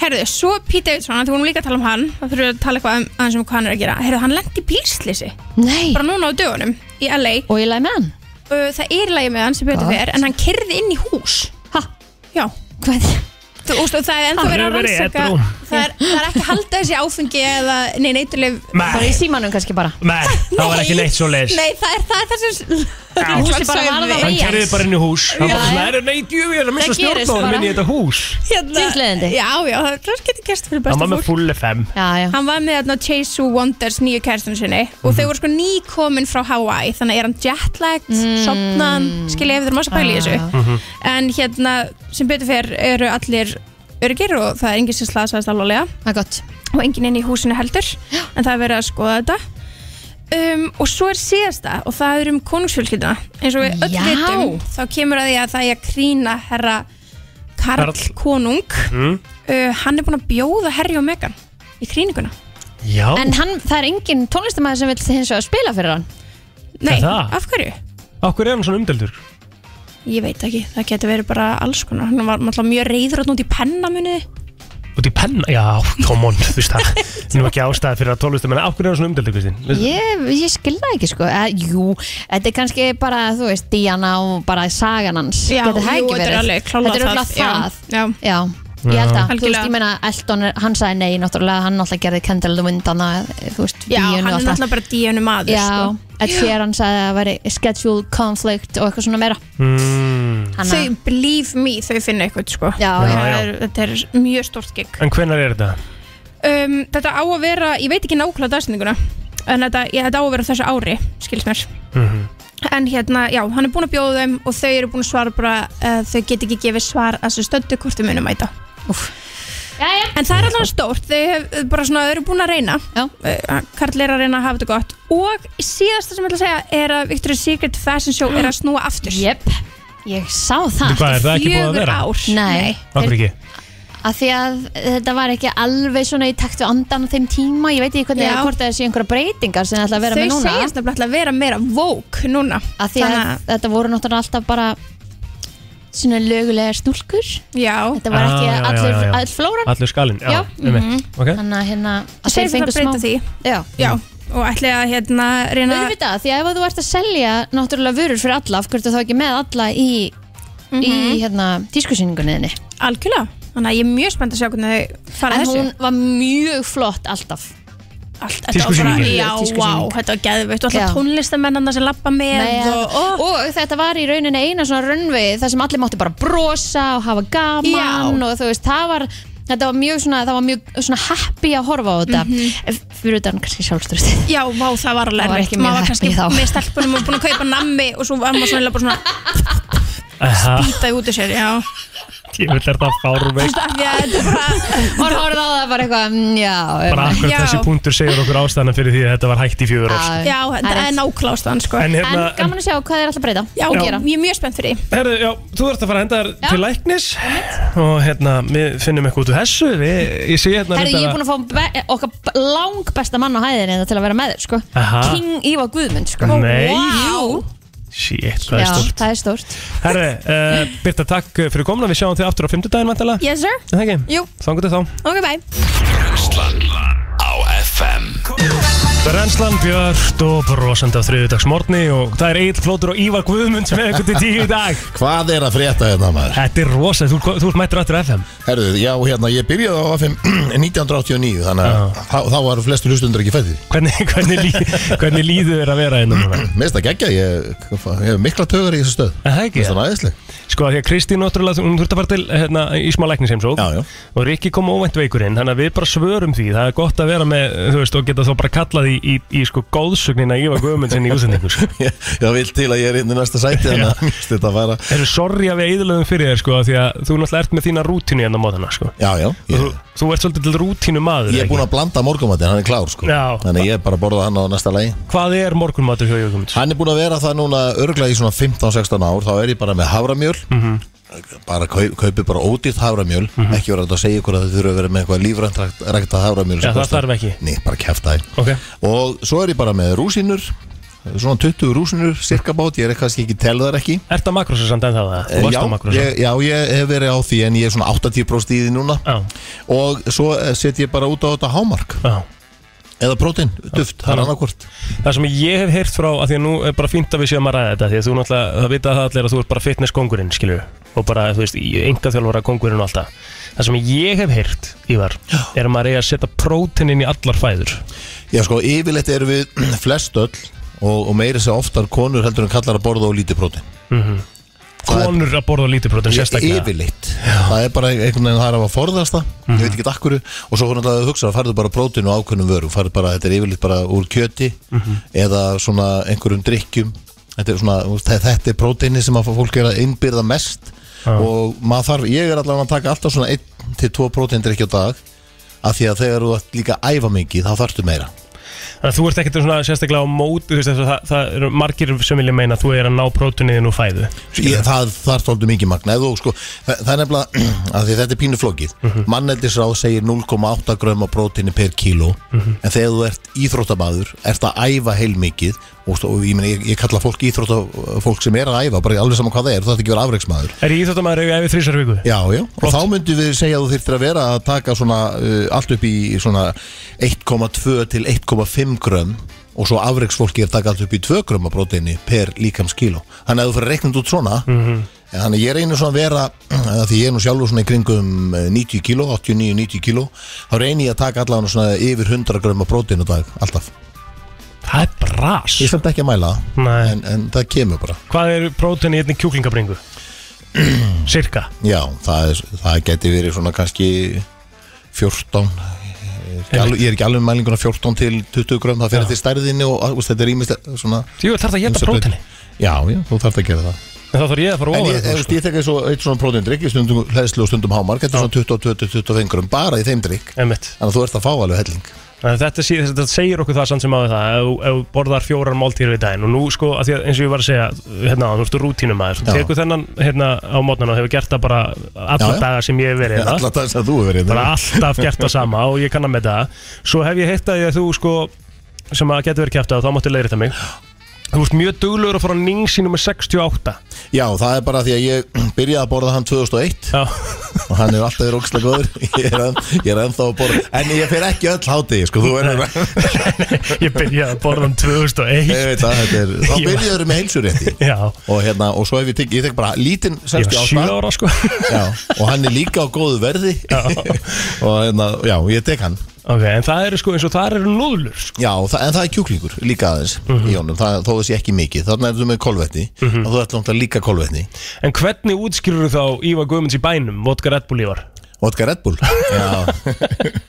Speaker 16: Herðu, svo Pete Davidson, því vorum líka að tala um hann þá þurfum við að tala eitthvað um- aðeins um hvað hann er að gera Herðu, hann lendi í bílslisi
Speaker 3: Nei
Speaker 16: Bara núna á dögunum í LA
Speaker 3: Og ég læg með hann
Speaker 16: Það er í lagi með hann sem betur
Speaker 3: Gott.
Speaker 16: fyrir En hann kyrði inn í hús
Speaker 3: Ha?
Speaker 16: Já
Speaker 3: Hvað?
Speaker 16: Þú veist, og það er ennþá
Speaker 3: Hann
Speaker 16: verið að
Speaker 3: hefur verið
Speaker 16: rannsaka
Speaker 3: edrú.
Speaker 16: það er, það er ekki að halda þessi áfengi eða nei, neytuleg
Speaker 4: Nei. Bara í
Speaker 3: símanum kannski bara
Speaker 4: Nei, það var ekki neitt svo leis
Speaker 16: Nei, það er það, er það sem
Speaker 3: Húsið bara varð að
Speaker 4: Hann kerði bara inn í hús Hann
Speaker 16: Já.
Speaker 4: bara svona, "Herru, nei, djú, ég er að missa
Speaker 16: Það gerist
Speaker 4: stjórnbáðum
Speaker 16: bara.
Speaker 4: inn í þetta hús
Speaker 16: Týnsleðandi Hérna, Já, já, það er kannski ekki gæst fyrir
Speaker 4: Hann
Speaker 16: besta
Speaker 4: var
Speaker 16: fólk
Speaker 4: með full FM
Speaker 3: já, já.
Speaker 16: Hann var með þarna Chase Who Wonders nýju kæristun sinni
Speaker 4: Mhm.
Speaker 16: og þau voru sko nýkomin frá Hawaii þannig er hann jetlagged, mm. sopnan skilja ef þeir eru massa pæli í þessu
Speaker 4: Mhm.
Speaker 16: en hérna sem betur fer eru allir örgir og það er enginn sem slasaðist alvarlega
Speaker 3: Það er gott
Speaker 16: og enginn inn í húsinu heldur en það er verið að skoða þetta um, og svo er síðasta og það er um konungsfjölskylduna eins og við öll
Speaker 3: Já.
Speaker 16: vitum þá kemur að því að það er að krýna herra Karl,
Speaker 4: Karl.
Speaker 16: konung
Speaker 4: Mm?
Speaker 16: uh, hann er búinn að bjóða Harry og Meghan í krýninguna
Speaker 4: Já
Speaker 3: En hann, það er engin tónlistamæður sem vil hins vegar spila fyrir hann
Speaker 16: Nei,
Speaker 4: Er það?
Speaker 16: af hverju?
Speaker 4: Okkur er hann svona umdeldur
Speaker 16: Ég veit ekki, það getur verið bara alls konar Hann var náttúrulega mjög reyður átn út í pennamunni
Speaker 4: Út í penna, já, come on, þú veist það Nú ekki ástæði fyrir að tólustu Menna, af hverju er hann svona umdeldur, Kristín? Veistu-
Speaker 3: Ég, ég skilða ekki sko eh, Jú, þetta er kannski bara, þú veist, Diana og bara sagan hans
Speaker 16: Já,
Speaker 3: Getur það
Speaker 16: jú,
Speaker 3: ekki
Speaker 16: þetta er
Speaker 3: verið?
Speaker 16: alveg klárlega
Speaker 3: Þetta er
Speaker 16: það, já.
Speaker 3: örugglega það
Speaker 16: Já.
Speaker 3: Já. Ég held að, þú veist,
Speaker 16: Algjörlega.
Speaker 3: ég meina Elton, er- hann sagði nei, náttúrulega, hann náttúrulega gerði Kendall Windana, þú veist,
Speaker 16: Já,
Speaker 3: Díunu
Speaker 16: hann er
Speaker 3: og allt það.
Speaker 16: náttúrulega bara díunum maður
Speaker 3: Já,
Speaker 16: sko.
Speaker 3: Ed Sheeran sagði að það væri schedule conflict og eitthvað svona meira
Speaker 4: Mm.
Speaker 3: Hanna-
Speaker 16: Þau believe me, þau finna eitthvað sko. já,
Speaker 4: Já,
Speaker 16: það
Speaker 4: já.
Speaker 16: Er, Þetta er mjög stórt gig
Speaker 4: En hvenær er þetta?
Speaker 16: um, Þetta á að vera, ég veit ekki nákvæmlega dagsetninguna En þetta, ég, þetta á að vera á þessu ári, skils mér
Speaker 4: Mhm.
Speaker 16: En hérna, já, hann er búinn að bjóða þeim og þau eru búin að svara bara uh, Þau get ekki gefið svar að þessu stöndu hvort þau munum mæta
Speaker 3: Jæja.
Speaker 16: En það er alltaf stórt, þau hef, bara svona, þau eru búin að reyna uh, Karl er að reyna að hafa þetta gott Og síðasta sem ég ætla að segja er að Victoria's Secret Fashion Show er að snúa aftur
Speaker 3: Jep, ég sá það
Speaker 4: Þú, hvað, er það ekki búið að
Speaker 16: Fjögur
Speaker 4: vera?
Speaker 16: ár.
Speaker 3: Nei,
Speaker 4: Af hverju ekki?
Speaker 3: að því að þetta var ekki alveg svona í takt við andan á þeim tíma, ég veit ekki hvernig
Speaker 16: Já.
Speaker 3: hvort það sé einhverja breytingar sem það ætla að vera
Speaker 16: Þau
Speaker 3: með núna
Speaker 16: segjast nefnilega ætla að vera meira vók núna
Speaker 3: að því að
Speaker 16: Þannig að-
Speaker 3: þetta voru náttúrulega alltaf bara svona lögulegar stúlkur
Speaker 16: já.
Speaker 3: þetta var ekki
Speaker 4: Ah, já, já,
Speaker 3: allur,
Speaker 4: já, já.
Speaker 3: all flóran
Speaker 4: Allur skalinn, já,
Speaker 3: Já,
Speaker 4: um
Speaker 3: mhm.
Speaker 4: Ok,
Speaker 3: þannig að hérna að
Speaker 16: Segjast ætla að breyta því
Speaker 3: já.
Speaker 16: já, og ætla að hérna reyna
Speaker 3: auðvitað, því að ef þú ert að selja náttúrulega vörur fyrir alla, af hverju ertu þá ekki með alla í, í
Speaker 16: Mhm.
Speaker 3: hérna tískusýningunniðinni
Speaker 16: algjörlega, þannig að ég er mjög spennt að sjá hvernig þau fara
Speaker 3: en
Speaker 16: að þessu
Speaker 3: hún var mjög flott alltaf
Speaker 16: allt þetta var bara-
Speaker 4: Tískusýningin.
Speaker 16: Já, vá,
Speaker 3: Tískusýning.
Speaker 16: þetta var geðveikt og alltaf
Speaker 3: Já.
Speaker 16: tónlistamennarna sem lappa með
Speaker 3: Nei,
Speaker 16: og,
Speaker 3: og, og, þetta var í rauninni eina svona runvi þar sem allir máttu bara brosa og hafa gaman
Speaker 16: Já.
Speaker 3: og þú veist, það var þetta var mjög svona, það var mjög svona happy að horfa á þetta mm
Speaker 16: Mhm.
Speaker 3: fyrir utan kannski sjálfströst
Speaker 16: Já, vá, það var alveg
Speaker 3: Það var
Speaker 16: erfitt.
Speaker 3: ekki mjög
Speaker 16: Maður var
Speaker 3: heppin
Speaker 16: kannski
Speaker 3: þá.
Speaker 16: með stelpunum og búin að kaupa nammi og svo var maður svona, bara svona býtaði út af sér, já
Speaker 4: Ég vil þetta fárveik
Speaker 3: og horfa á það bara eitthvað mm, já,
Speaker 4: Bara akkurat þessi punktur segir okkur ástæðan fyrir því að þetta var hægt í fjögur ár sko.
Speaker 3: Já,
Speaker 16: Já, þetta er náklástaðan sko
Speaker 4: En hérna- En gaman
Speaker 16: að sjá hvað er alltaf breyta Já,
Speaker 4: og
Speaker 16: já.
Speaker 4: gera.
Speaker 16: ég er mjög spennt fyrir því.
Speaker 4: Herðu, já, þú ert að fara að henda þér til læknis og hérna, við finnum eitthvað út úr þessu við, ég sé hérna
Speaker 3: Herri, ég er búin að fá be- okkar b- lang besta mann á hæðinni hérna til að vera með þér, sko
Speaker 4: Aha.
Speaker 3: King Ívar Guðmund, sko
Speaker 4: Nei.
Speaker 3: wow.
Speaker 4: Shit, hvað
Speaker 3: Já,
Speaker 4: er stórt
Speaker 3: það er stórt
Speaker 4: Herðu, uh, Birta, takk fyrir komuna við sjáum þig aftur á fimmtudaginn vantilega
Speaker 16: Yes, sir
Speaker 4: Það ekki?
Speaker 16: Jú.
Speaker 4: Þangur til þá
Speaker 16: Ok, bye
Speaker 2: Brennslan á FM
Speaker 4: Brennslan Björn og brosandi á þriðudagsmorni og það er Egil Flótur og Ívar Guðmund með ykkur til tíu í dag
Speaker 17: Hvað er að frétta hérna maður?
Speaker 4: Þetta er rosa, þú, þú ert mættur aftur FM
Speaker 17: Herðu, já, hérna, ég byrjaði á FM 1989 Þannig að þá, þá var flestu hlustundur ekki fættir
Speaker 4: Hvernig, hvernig, lí, hvernig líður þér að vera hérna núna?
Speaker 17: Mér finnst það geggja, ég, ég hef mikla tögur í þessu stöð
Speaker 4: Það ekki?
Speaker 17: Mér finnst það næðisleg
Speaker 4: Sko því að Kristín náttúrulega, hún þurfti að fara til hérna, í smá læknisheimsók já, já. og Rikki kom óvænt veikur inn, þannig að við bara svörum því það er gott að vera með, þú veist, og geta þá bara kallað í, í, í sko góðsugnina Ívar Guðmundsinn í útsendingu sko.
Speaker 17: Já, vil til að ég er inn í næsta sæti Þannig að mér finnst þetta að fara
Speaker 4: Þessu sorgi að við eðlöðum fyrir þér sko af því að þú náttúrulega ert með þína rútínu hérna á mótana sko
Speaker 17: Já, já
Speaker 4: Þú, þú ert svolítið til rútínu maður
Speaker 17: Ég er búin að blanda morgumatinn, hann er klár sko
Speaker 4: Já.
Speaker 17: Þannig að ég er bara að borða hann á næsta lagi
Speaker 4: Hvað er morgunmatur hjá Jökum?
Speaker 17: Hann er búin að vera það núna örglega í svona 15-16 ár Þá er ég bara með haframjöl
Speaker 4: Mhm.
Speaker 17: Bara kaup, kaupi bara ódýrt haframjöl Ekki vera hægt að segja ykkur að þið þurfa að vera með eitthvað lífrænt rækt- ræktað haframjöl
Speaker 4: Já,
Speaker 17: sem
Speaker 4: það
Speaker 17: kostar-
Speaker 4: þarf ekki.
Speaker 17: Nei, bara kæfta þær
Speaker 4: Ok.
Speaker 17: Og svo er ég bara með rúsinur Svona 20 rúsinur, cirka bát Ég er kannski ekki telur þar ekki
Speaker 4: Er það makrósa samt en það? Þú varst
Speaker 17: Já,
Speaker 4: á makrósa.
Speaker 17: ég, já, ég hef verið á því en ég er svona 80% í því núna
Speaker 4: já.
Speaker 17: og svo eh, set ég bara út á þetta hámark
Speaker 4: já.
Speaker 17: eða prótein, duft, það er annarkvort
Speaker 4: Það sem ég hef heyrt frá, að því að nú er bara fínt að við séum að ræða þetta því að þú náttúrulega, það vita það allir að þú ert bara fitnesskongurinn, skilju og bara, þú veist, enga þjálfara kongurinn og alltaf Það sem ég hef heyrt, Ívar er að maður eigi að setja próteinin í allar fæður
Speaker 17: Já, sko, yfirleitt eru við flest öll og, og meiri sér oftar konur heldur en kallar að borða og lítið prótein
Speaker 4: mm Konur að borða lítið prótein
Speaker 17: Ég-
Speaker 4: sérstaklega
Speaker 17: Yfirleitt, það er bara einhvern veginn það er að forðast það, ég
Speaker 4: Mhm.
Speaker 17: veit ekki akkur og svo hvernig að hugsa, farðu bara prótein og ákveðnum vörum farðu bara, þetta er yfirleitt bara úr kjöti
Speaker 4: Mhm.
Speaker 17: eða svona einhverjum drikkjum þetta er svona, þú veist, þe- þetta er próteini sem að fólk er að innbyrða mest
Speaker 4: Já.
Speaker 17: og maður þarf, ég er allavega að taka alltaf svona 1-2 prótein drikki á dag af því að þegar þú ert líka að æfa mikið þá þarftu meira
Speaker 4: Þannig að þú ert ekkert svona sérstaklega á móti, þú veist, þess að það, það eru margir sem vilja meina að þú er að ná próteininu úr fæðu
Speaker 17: Ég, það þarf þóldu mikið magna Ef þú, sko, það, það er nefnilega að því þetta er pínu flókið mm segir 0,8 gröma próteini per kíló
Speaker 4: Mhm.
Speaker 17: en þegar þú ert íþróttamaður ert að æfa heil mikið og, stó- og ég, meni, ég, ég kalla fólk íþróttafólk sem er að æfa bara alveg saman hvað það er, þú þarf ekki að vera afreiksmaður
Speaker 4: Er ég íþjóttamæður ef ég æfi þrísar í viku?
Speaker 17: Já, já, og þá myndum við segja að þú þyrftir að vera að taka svona uh, allt upp í svona 1,2 til 1,5 grömm og svo afreiksfólki er að taka allt upp í 2 grömm af próteini per líkamskíló þannig að ef þú fyrir að reikna þetta út svona
Speaker 4: Mhm.
Speaker 17: En Þannig að ég reynir svona að vera, að því ég er nú sjálfur svona í kringum eh, 90 kíló, 89-90 kíló, þá reynir ég að taka allavega svona yfir 100 gröma prótein á dag, alltaf.
Speaker 4: Það er bras.
Speaker 17: Ég stend ekki að mæla það, en, en það kemur bara.
Speaker 4: Hvað er prótein í einni kjúklingabringu? Cirka?
Speaker 17: Já, það, er, það geti verið svona kannski 14, ég er ekki alveg- ég er ekki alveg með mælinguna 14 til 20 gröma, það fer
Speaker 4: Já.
Speaker 17: eftir stærðinni og þú veist, þetta er ímislega svona...
Speaker 4: Jú, þarf það að éta
Speaker 17: ýmsar breytingar.
Speaker 4: próteini?
Speaker 17: Já, já, þú þarf það að gera það.
Speaker 4: En þá þarf ég að fara
Speaker 17: En
Speaker 4: ofar
Speaker 17: ég,
Speaker 4: en þú,
Speaker 17: ég, ég tek eins og eitt svona próteindrykk í stundum hlæðslu og stundum hámark Þetta er svona 20-25 grum bara í þeim drykk
Speaker 4: Einmitt.
Speaker 17: Þannig að þú ert að fá alveg helling
Speaker 4: Þannig að Þetta, sé- þetta segir okkur það samt sem áður það ef, þú- ef þú borðar fjórar máltíður í daginn og nú sko, að því að eins og ég var að segja hérna, þú ertu rútínum
Speaker 17: Já.
Speaker 4: aður, þú tekur þennan hérna, á mótnan og hefur gert það bara alla
Speaker 17: Já, já.
Speaker 4: daga sem ég hef verið hérna.
Speaker 17: Alla daga sem þú hefur verið hérna.
Speaker 4: bara alltaf gert það sama og ég kann að með það svo hef ég heitt að ég að þú sko sem að getur verið kæft að þá máttu leiðrita mig þú ert mjög duglegur að fara á ningsínu með 68
Speaker 17: Já, það er bara því að ég byrjaði að borða hann 2001
Speaker 4: Já.
Speaker 17: og hann er alltaf í rókslega góður ég er, enn, ég er ennþá að borða en ég fer ekki öll hátegi sko, þú verður
Speaker 4: ég byrjaði að borða hann 2001
Speaker 17: ég veit það, þetta er, þá
Speaker 4: Ég var-
Speaker 17: byrjaður með heilsurétti
Speaker 4: Já.
Speaker 17: og hérna, og svo hef ég tek, ég tek bara lítinn
Speaker 4: Ég var
Speaker 17: 68
Speaker 4: sjö ára, sko.
Speaker 17: já, og hann er líka á góðu verði já. og hérna, já, ég tek hann
Speaker 4: Ok, en það eru sko eins og það eru núðlur sko. Mhm.
Speaker 17: Já, það, en það er kjúklingur líka aðeins í honum, það, þó þessi ekki mikið Þannig er þú með kolvetni, mm -hmm. þú ert náttúrulega líka kolvetni
Speaker 4: En hvernig útskýrur þú þá Ívar Guðmunds í bænum, vodka Red Bull Ívar?
Speaker 17: Vodka Red Bull? Já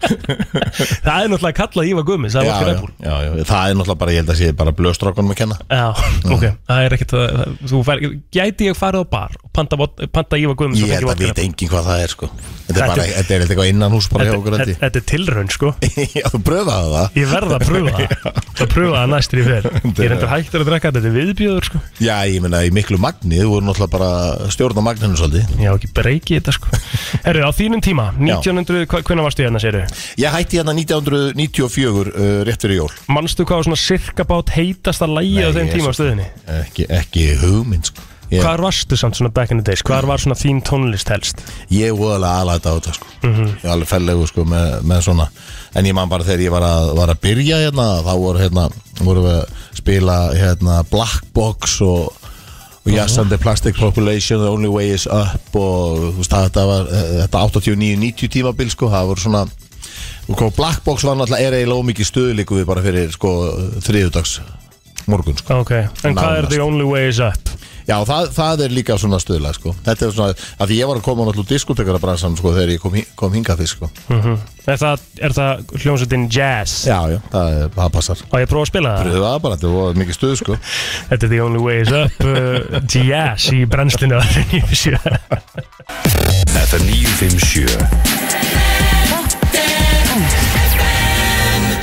Speaker 4: Það er náttúrulega kallað Ívar Guðmunds, það er
Speaker 17: já,
Speaker 4: vodka
Speaker 17: já,
Speaker 4: Red Bull
Speaker 17: já, já, það er náttúrulega bara, ég held að sé bara blöstrákunum að kenna
Speaker 4: Já, ok, það er ekkert að, þú fær, gæti ég farið á bar og panta, vod- panta Ívar Guðmunds og
Speaker 17: Ég held
Speaker 4: fengið
Speaker 17: að
Speaker 4: vodka Red
Speaker 17: vita
Speaker 4: Bull?
Speaker 17: engin hvað það er sko Þetta er
Speaker 4: Þetta-
Speaker 17: bara, þetta er eitthvað innan hús bara hjá okkur
Speaker 4: Þetta
Speaker 17: Eddi.
Speaker 4: þetta- þetta er tilraun sko
Speaker 17: Já, þú pröfaði það
Speaker 4: Ég verð að pröfa það Það pröfa það næstir í fer Ég er endur hættur að drekka þetta, þetta er viðbjöður sko
Speaker 17: Já, ég meina í miklu magni, þú voru náttúrulega bara að stjórna magninu svolítið
Speaker 4: Já, ekki breyki þetta sko Herru, á þínum tíma, 1900, hva- hvenær varstu hérna séru?
Speaker 17: Ég hætti hérna 1994 uh, rétt fyrir jól
Speaker 4: Manstu hvað var svona sirkabát heitasta lægi á
Speaker 17: Nei, ég-
Speaker 4: þeim
Speaker 17: sko-
Speaker 4: tíma á stöðinni?
Speaker 17: Ekki, ekki hugmynd sko Ég,
Speaker 4: Hvar varstu samt svona back in the days? Hvar var svona þín tónlist helst?
Speaker 17: ég voðalega aðlæta á þetta sko
Speaker 4: Mhm.
Speaker 17: Ég er alveg fellegu sko með, með svona En ég man bara þegar ég var að, var að byrja hérna Þá voru hérna voru við að spila hérna Black Box og, og Yes and the Plastic Population The Only Way is Up og þú veist það þetta var eh, þetta 89-90 tímabil sko Það voru svona og hvað Black Box var náttúrulega er eiginlega ómikið stöðlíku við bara fyrir sko þriðudags morgun sko
Speaker 4: Ok, en hvað er
Speaker 17: Nánast.
Speaker 4: the only way is up?
Speaker 17: Já, það, það er líka svona stöðlega sko. Þetta er svona, að því ég var að koma náttúrulega diskotekara bransan sko, þegar ég kom, hi- kom hingað fyrst sko.
Speaker 4: Mhm. Er það, er það hljómsveitin jazz?
Speaker 17: Já, já, það, er- það passar
Speaker 4: Og ég prófa að spila það?
Speaker 17: Pröðu það bara, þetta var mikið stöð sko.
Speaker 4: Þetta er the only way is up uh, Jazz í brennslinu á þeim nýjum sjö
Speaker 2: FM 957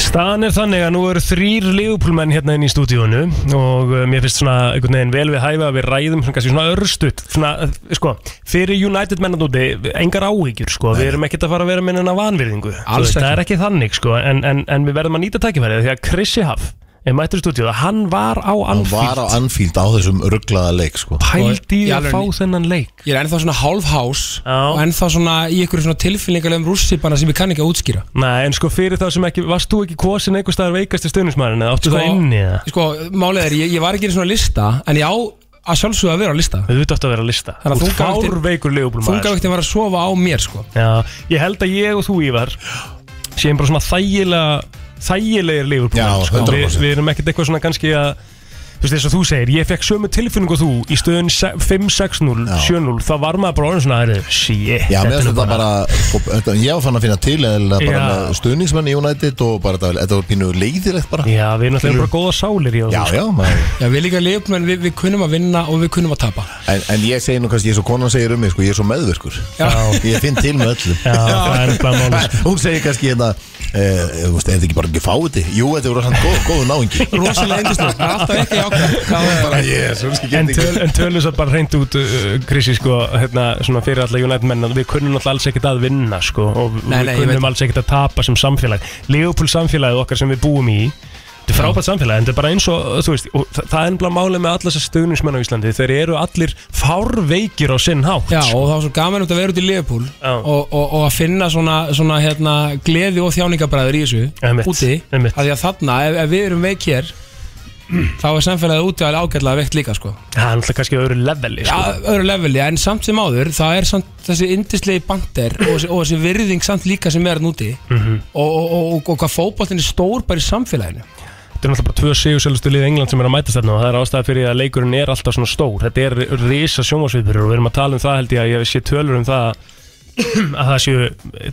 Speaker 4: Staðan er þannig að nú eru þrýr liðupúlmenn hérna inn í stúdíónu og uh, mér finnst svona einhvern veginn vel við hæfa að við ræðum svona, kannski svona örstutt svona, uh, sko, fyrir United menn að núti engar áhyggjur, sko, við erum ekkert að fara að vera með enna vanvirðingu, Þú
Speaker 18: Alls
Speaker 4: það
Speaker 18: ekki.
Speaker 4: er ekki þannig, sko, en, en, en við verðum að nýta tækifærið því að Chrissi Haff er mættur í stúdíóð að hann var á
Speaker 17: Hann var á
Speaker 4: Anfield
Speaker 17: Anfield á þessum rugglaða leik sko.
Speaker 4: pældi í
Speaker 18: Í
Speaker 4: að fá
Speaker 18: alvörunni.
Speaker 4: þennan leik
Speaker 18: Ég er ennþá svona hálf hás og ennþá svona í ykkur svona tilfinningarlegum rússipana sem ég kann ekki að útskýra
Speaker 4: Nei, en sko fyrir þá sem ekki, varst þú ekki kosin einhver staðar veikasti stuðnismærin eða áttu
Speaker 18: Sko-
Speaker 4: það inni eða?
Speaker 18: Sko, málið er, ég, ég var ekki einu svona lista en ég á að sjálfsögðu að vera á lista
Speaker 4: Þú átt að vera á lista
Speaker 18: Þannig
Speaker 4: Þú
Speaker 18: að
Speaker 4: ert fárveikur liðupúlmaður
Speaker 18: Þungavöktin var að sofa á mér sko
Speaker 4: Já, ég held að ég og þú Ívar séum bara svona þægilega þægilegir liðupúlmenn
Speaker 17: Já,
Speaker 4: sko.
Speaker 17: 100%.
Speaker 4: við, við erum ekkert eitthvað svona kannski að þú veist þess að þú segir, ég fekk sömu tilfinningu og þú í stöðun 5-6-0, 7-0 þá var maður bara orðin svona aðrið shit,
Speaker 17: Já, mér
Speaker 4: er
Speaker 17: finnst
Speaker 4: nú
Speaker 17: þetta bara, sko, þetta, ég var fann að finna til eða bara
Speaker 4: Já.
Speaker 17: með stuðningsmenn í United og bara þetta þetta var pínu leiðilegt bara
Speaker 4: Já, við erum náttúrulega bara góða sálir í
Speaker 17: Já, já, maður
Speaker 18: Já, við líka leifum en við, við kunnum að vinna og við kunnum að tapa
Speaker 17: En, en ég segi nú kannski, ég er svo konan segir um mig, sko, ég er svo meðvirkur
Speaker 18: Já.
Speaker 17: Ég finn til með öllum
Speaker 4: Já, það er bara sko. máli,
Speaker 17: Hún segir kannski hérna, eh, þú veist, er þetta ekki bara ekki fáið þetta? Jú, þetta voru hann góð, góð náingi
Speaker 18: Rosalega yndislega, það er alltaf ekki
Speaker 17: Bara ég, svo kannski
Speaker 4: En,
Speaker 17: getið
Speaker 4: töl, en tölum svo bara hreint út uh, Krissi sko, hérna, svona fyrir alla United menn að við kunnum náttúrulega alls ekkert að vinna sko, og
Speaker 18: Nei, nei,
Speaker 4: við
Speaker 18: ég
Speaker 4: kunnum
Speaker 18: veit.
Speaker 4: alls ekkert að tapa sem samfélag Leopold samfélagið okkar sem við búum í Þetta er frábært samfélag, en þetta er bara eins og, uh, þú veist, og þa- það er ennbla málið með alla þessar stuðnismenn á Íslandi, þeir eru allir fárveikir á sinn hátt. sko.
Speaker 18: Já, og það var svo gaman út að vera út í Leifupúl og, og, og að finna svona, svona hérna, gleði og þjáningabræður í þessu
Speaker 4: Einmitt,
Speaker 18: úti,
Speaker 4: einmitt.
Speaker 18: af því að þarna ef, ef við erum veik hér þá er samfélagið úti alveg ágætlega veikt líka sko.
Speaker 4: Það er alltaf kannski á öðru leveli,
Speaker 18: Já,
Speaker 4: sko.
Speaker 18: öðru leveli, en samt sem áður það er samt þessi indislegi bandir og, þessi- og þessi virðing samt líka sem er hann úti
Speaker 4: Mhm.
Speaker 18: og, og, og, og, og hvað fótboltin er stór bara í samfélaginu
Speaker 4: Þetta er náttúrulega bara tvö sigursölustu lið England sem er að mætast þarna og það er ástæða fyrir að leikurinn er alltaf svona stór Þetta er risa sjónvarsviðbyrður og við erum að tala um það held ég að ég sé tölur um það að það séu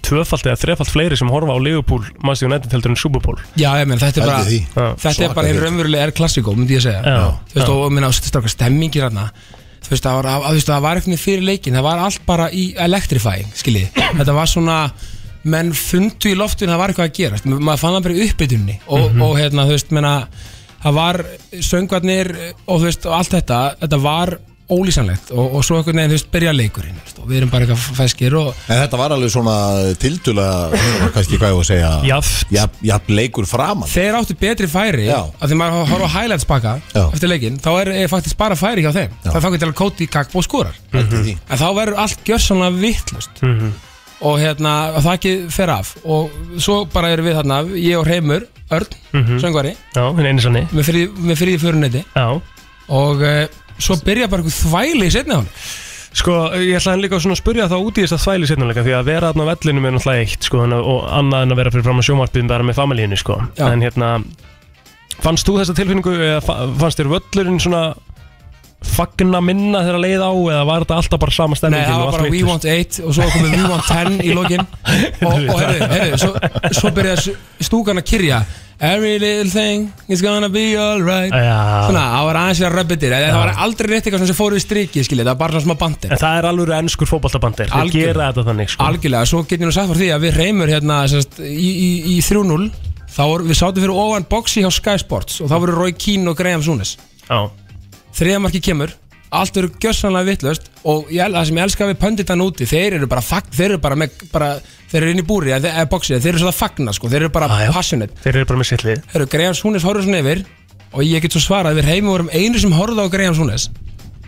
Speaker 4: tvöfalt eða þrefalt fleiri sem horfa á Liverpool, Manchester United heldur en Super Bowl
Speaker 18: Já, ég meina, þetta er
Speaker 4: Haldið því.
Speaker 18: bara Þetta
Speaker 4: Svaka
Speaker 18: er bara hinn
Speaker 4: hlut.
Speaker 18: raunverulega er klassíkó, myndi ég segja
Speaker 4: Já,
Speaker 18: Þú veist,
Speaker 4: já.
Speaker 18: og og minna, strákar, stemmingir hana Þú veist, það var, að, þú veist, það var eitthvað fyrir leikin Það var allt bara í electrifying, skiljið Þetta var svona Menn fundu í loftinu, það var eitthvað að gera Maður fann það bara í uppbytunni og,
Speaker 4: Mhm.
Speaker 18: og hérna, þú veist, menna Það var söngvarnir og þú veist, og allt þetta Þetta var ólýsanlegt og, og svo eitthvað neginn, þú veist, byrja leikurinn þú veist, og Við erum bara eitthvað feskir og
Speaker 17: En þetta var alveg svona tildulega, kannski hvað ég var að segja
Speaker 4: Jaft
Speaker 17: Jafn jaf, leikur framan
Speaker 18: Þeir áttu betri færi
Speaker 17: Já.
Speaker 18: að því maður horfa á highlights baka
Speaker 17: Já.
Speaker 18: eftir leikinn, þá er, er faktisk bara færi hjá þeim
Speaker 17: Já.
Speaker 18: það er fangur til að kóti í kakk og skórar
Speaker 17: Heldur því.
Speaker 18: en þá verður allt gjörsanlega vittlust
Speaker 4: Mhm.
Speaker 18: og hérna, og það ekki fer af og svo bara erum við þarna ég og Reymur, Örn,
Speaker 4: Mhm.
Speaker 18: söngvari
Speaker 4: Já, hinn einu sannig
Speaker 18: með fyrir, með fyrir í förunetti
Speaker 4: Já
Speaker 18: eh, og uh, svo byrja bara eitthvað þvæli í setna hún
Speaker 4: Sko, ég ætlaði líka svona að spurja þá út í þess að þvæli setnuleika því að vera þarna á vellinum er náttúrulega eitt sko, þannig að- og annað en að vera fyrir fram að sjómarpiðum bara með familíinu sko.
Speaker 18: Já.
Speaker 4: en hérna, fannst þú þessa tilfinningu eða fa- fannst þér völlurinn svona fagna minna þegar leið á eða var þetta alltaf bara sama
Speaker 18: Nei,
Speaker 4: stemningin
Speaker 18: það var bara We Want 8 og svo komið We Want 10 í lokin og, og herðu, herðu, svo, svo byrjaði stúkan að kyrja Every little thing is gonna be alright
Speaker 4: Já.
Speaker 18: Svona, það var aðeins verið að röbbitir Það
Speaker 4: Já.
Speaker 18: var aldrei rétt eitthvað svona sem fóru í strikið, skiljið, það var bara svona smá bandir
Speaker 4: En það er alveg ennskur fótboltabandir, þeir
Speaker 18: Algjörlega.
Speaker 4: gera þetta þannig sko.
Speaker 18: Algjörlega, svo getur nú sagt fyrir því að við reymur hérna sérst, í, í, í 3-0 þá voru, við sátum fyrir ofan boxi hjá Sky Sports og þá voru Roy Keane og Graham Súnes þriðamarki kemur allt eru gjössanlega vittlust og ég, el- það sem ég elska við pönditan úti þeir eru bara, fag, þeir eru bara, með, bara þeir eru inn í búri, eða eða boxi, þeir eru svo að fagna sko, þeir eru bara passionate
Speaker 4: Þeir eru bara með sittlið
Speaker 18: Þeir eru Graham Súnes horfður svona yfir og ég get svo svarað, við reymur vorum einu sem horfði á Graham Súnes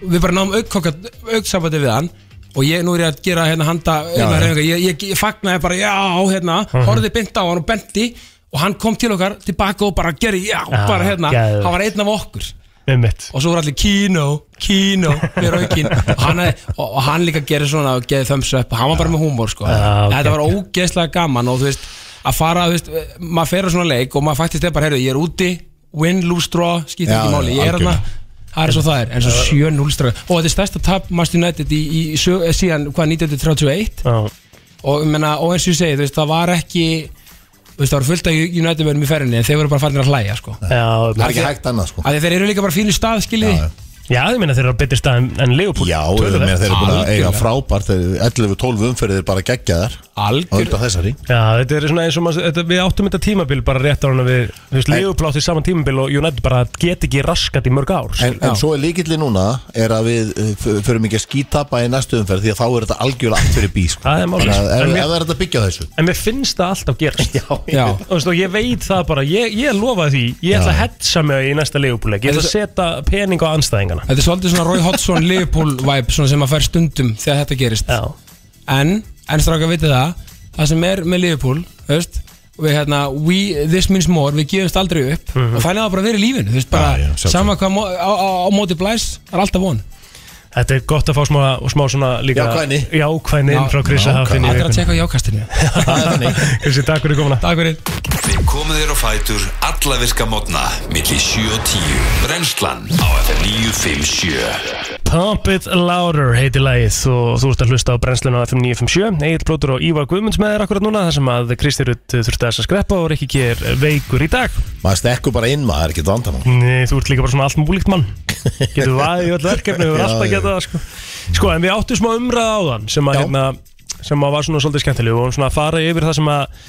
Speaker 18: við bara náum auksambandi við hann og ég, nú er ég að gera hérna handa
Speaker 17: Já,
Speaker 18: eina
Speaker 17: já.
Speaker 18: reyfinga, ég, ég, ég fagnaði bara já, hérna,
Speaker 17: Mhm.
Speaker 18: horfði beint á hann og benti og hann kom til okkar tilbaka og bara gerði já,
Speaker 4: Já,
Speaker 18: bara hérna,
Speaker 4: geðveikt.
Speaker 18: hann var einn af okkur
Speaker 4: Einmitt.
Speaker 18: og svo voru allir Kino, Kino við raukinn og, hann hefði- og, og hann líka gerði svona og geði thumbs up og hann var bara með húmor sko.
Speaker 4: Já, ok.
Speaker 18: þetta var ógeðslega gaman og þú veist að fara, þú veist, maður fer á svona leik og maður fættist eða bara, heyrðu, ég er úti win, lose, draw, skýt
Speaker 17: Já,
Speaker 18: ekki máli ég er
Speaker 17: algjörlega.
Speaker 18: hérna Það er svo það er, en svo 7-0 strákar. Og þetta er stærsta tap Master United í, í, í, sög- síðan, hvað, 1931
Speaker 4: Já.
Speaker 18: og, ég meina, og eins og ég segi, þú veist, það var ekki þú veist, það var fullt af United-verðum í ferðinni en þeir voru bara farin að hlæja, sko
Speaker 4: Já, Það
Speaker 17: er ekki hægt annað sko
Speaker 18: að þeir eru líka bara fínu stað, skiljið
Speaker 4: Já, ég meina þeir eru að betri stað en- en Leopold
Speaker 17: Já, og ég meina þeir eru búin að eiga
Speaker 4: Algjörlega.
Speaker 17: frábært þeir- 11-12 umferðir bara geggjaðar
Speaker 18: Algjörlega.
Speaker 17: Og undan þessari
Speaker 4: Já, þetta er svona eins og maður, þetta, við áttum þetta tímabil bara rétt á hann að við, þú veist, Leopold átti saman tímabil og United bara get ekki raskat í mörg ár sko.
Speaker 17: En, en svo er líkillin núna er að við uh, f- förum ekki að skítapa í næstu umferð því að þá er þetta algjörlega allt fyrir bí sko.
Speaker 4: Það er málið.
Speaker 17: Þannig að Ef
Speaker 4: En
Speaker 17: ef
Speaker 4: mér-
Speaker 17: það er þetta að byggja á þessu
Speaker 4: En mér finnst það alltaf gerast Já,
Speaker 17: Já.
Speaker 4: Þú veist, og ég veit það bara, ég, ég lofa því Ég ætla að hetsa mig í næsta leifbúleik Ég ætla að setja pening á anstæðingana
Speaker 18: Þetta er svolítið svona Roy Hodgson Liverpool vibe svona sem að fer stundum þegar þetta gerist
Speaker 4: Já.
Speaker 18: En, en stráka vitið það Það sem er með Liverpool, þú veist Við hérna, we, this means more, við gefumst aldrei upp Og þannig að það bara verið í lífinu, þú veist bara
Speaker 4: Mhm. Já, já, sjálfsagt.
Speaker 18: Sama hvað mo- á, á, á móti blæs, það er alltaf von
Speaker 4: Þetta er gott að fá smá, smá svona líka
Speaker 18: Jákvæðni.
Speaker 4: Jákvæðni inn frá Krissa
Speaker 18: Já,
Speaker 4: Hafinn
Speaker 18: Allir
Speaker 4: í
Speaker 18: að
Speaker 4: vikunni.
Speaker 18: tjekka á jákastinu
Speaker 4: Krissi, takk fyrir komuna
Speaker 18: Takk fyrir
Speaker 2: Við komum þér á fætur alla virka mótna milli 7 og 10 Brennslan á FM 957
Speaker 4: Pump It Louder heiti lagið og þú ert að hlusta á brennsluna á FM 957 Egil Blótur og Ívar Guðmunds með þér akkurat núna þar sem að Kristi Rutt þurfti að þess að skreppa og er ekki ger veikur í dag
Speaker 17: Maður stekkur bara inn, maður er ekki vandamann
Speaker 4: Nei, þú ert líka bara svona allt múlíkt mann Getur vaðið í öll verkefni, við erum
Speaker 17: Já,
Speaker 4: alltaf að geta það sko. sko, en við áttum smá umræða á þann sem að, hérna, sem að var svona svolítið skemmtileg og svona að fara yfir það sem að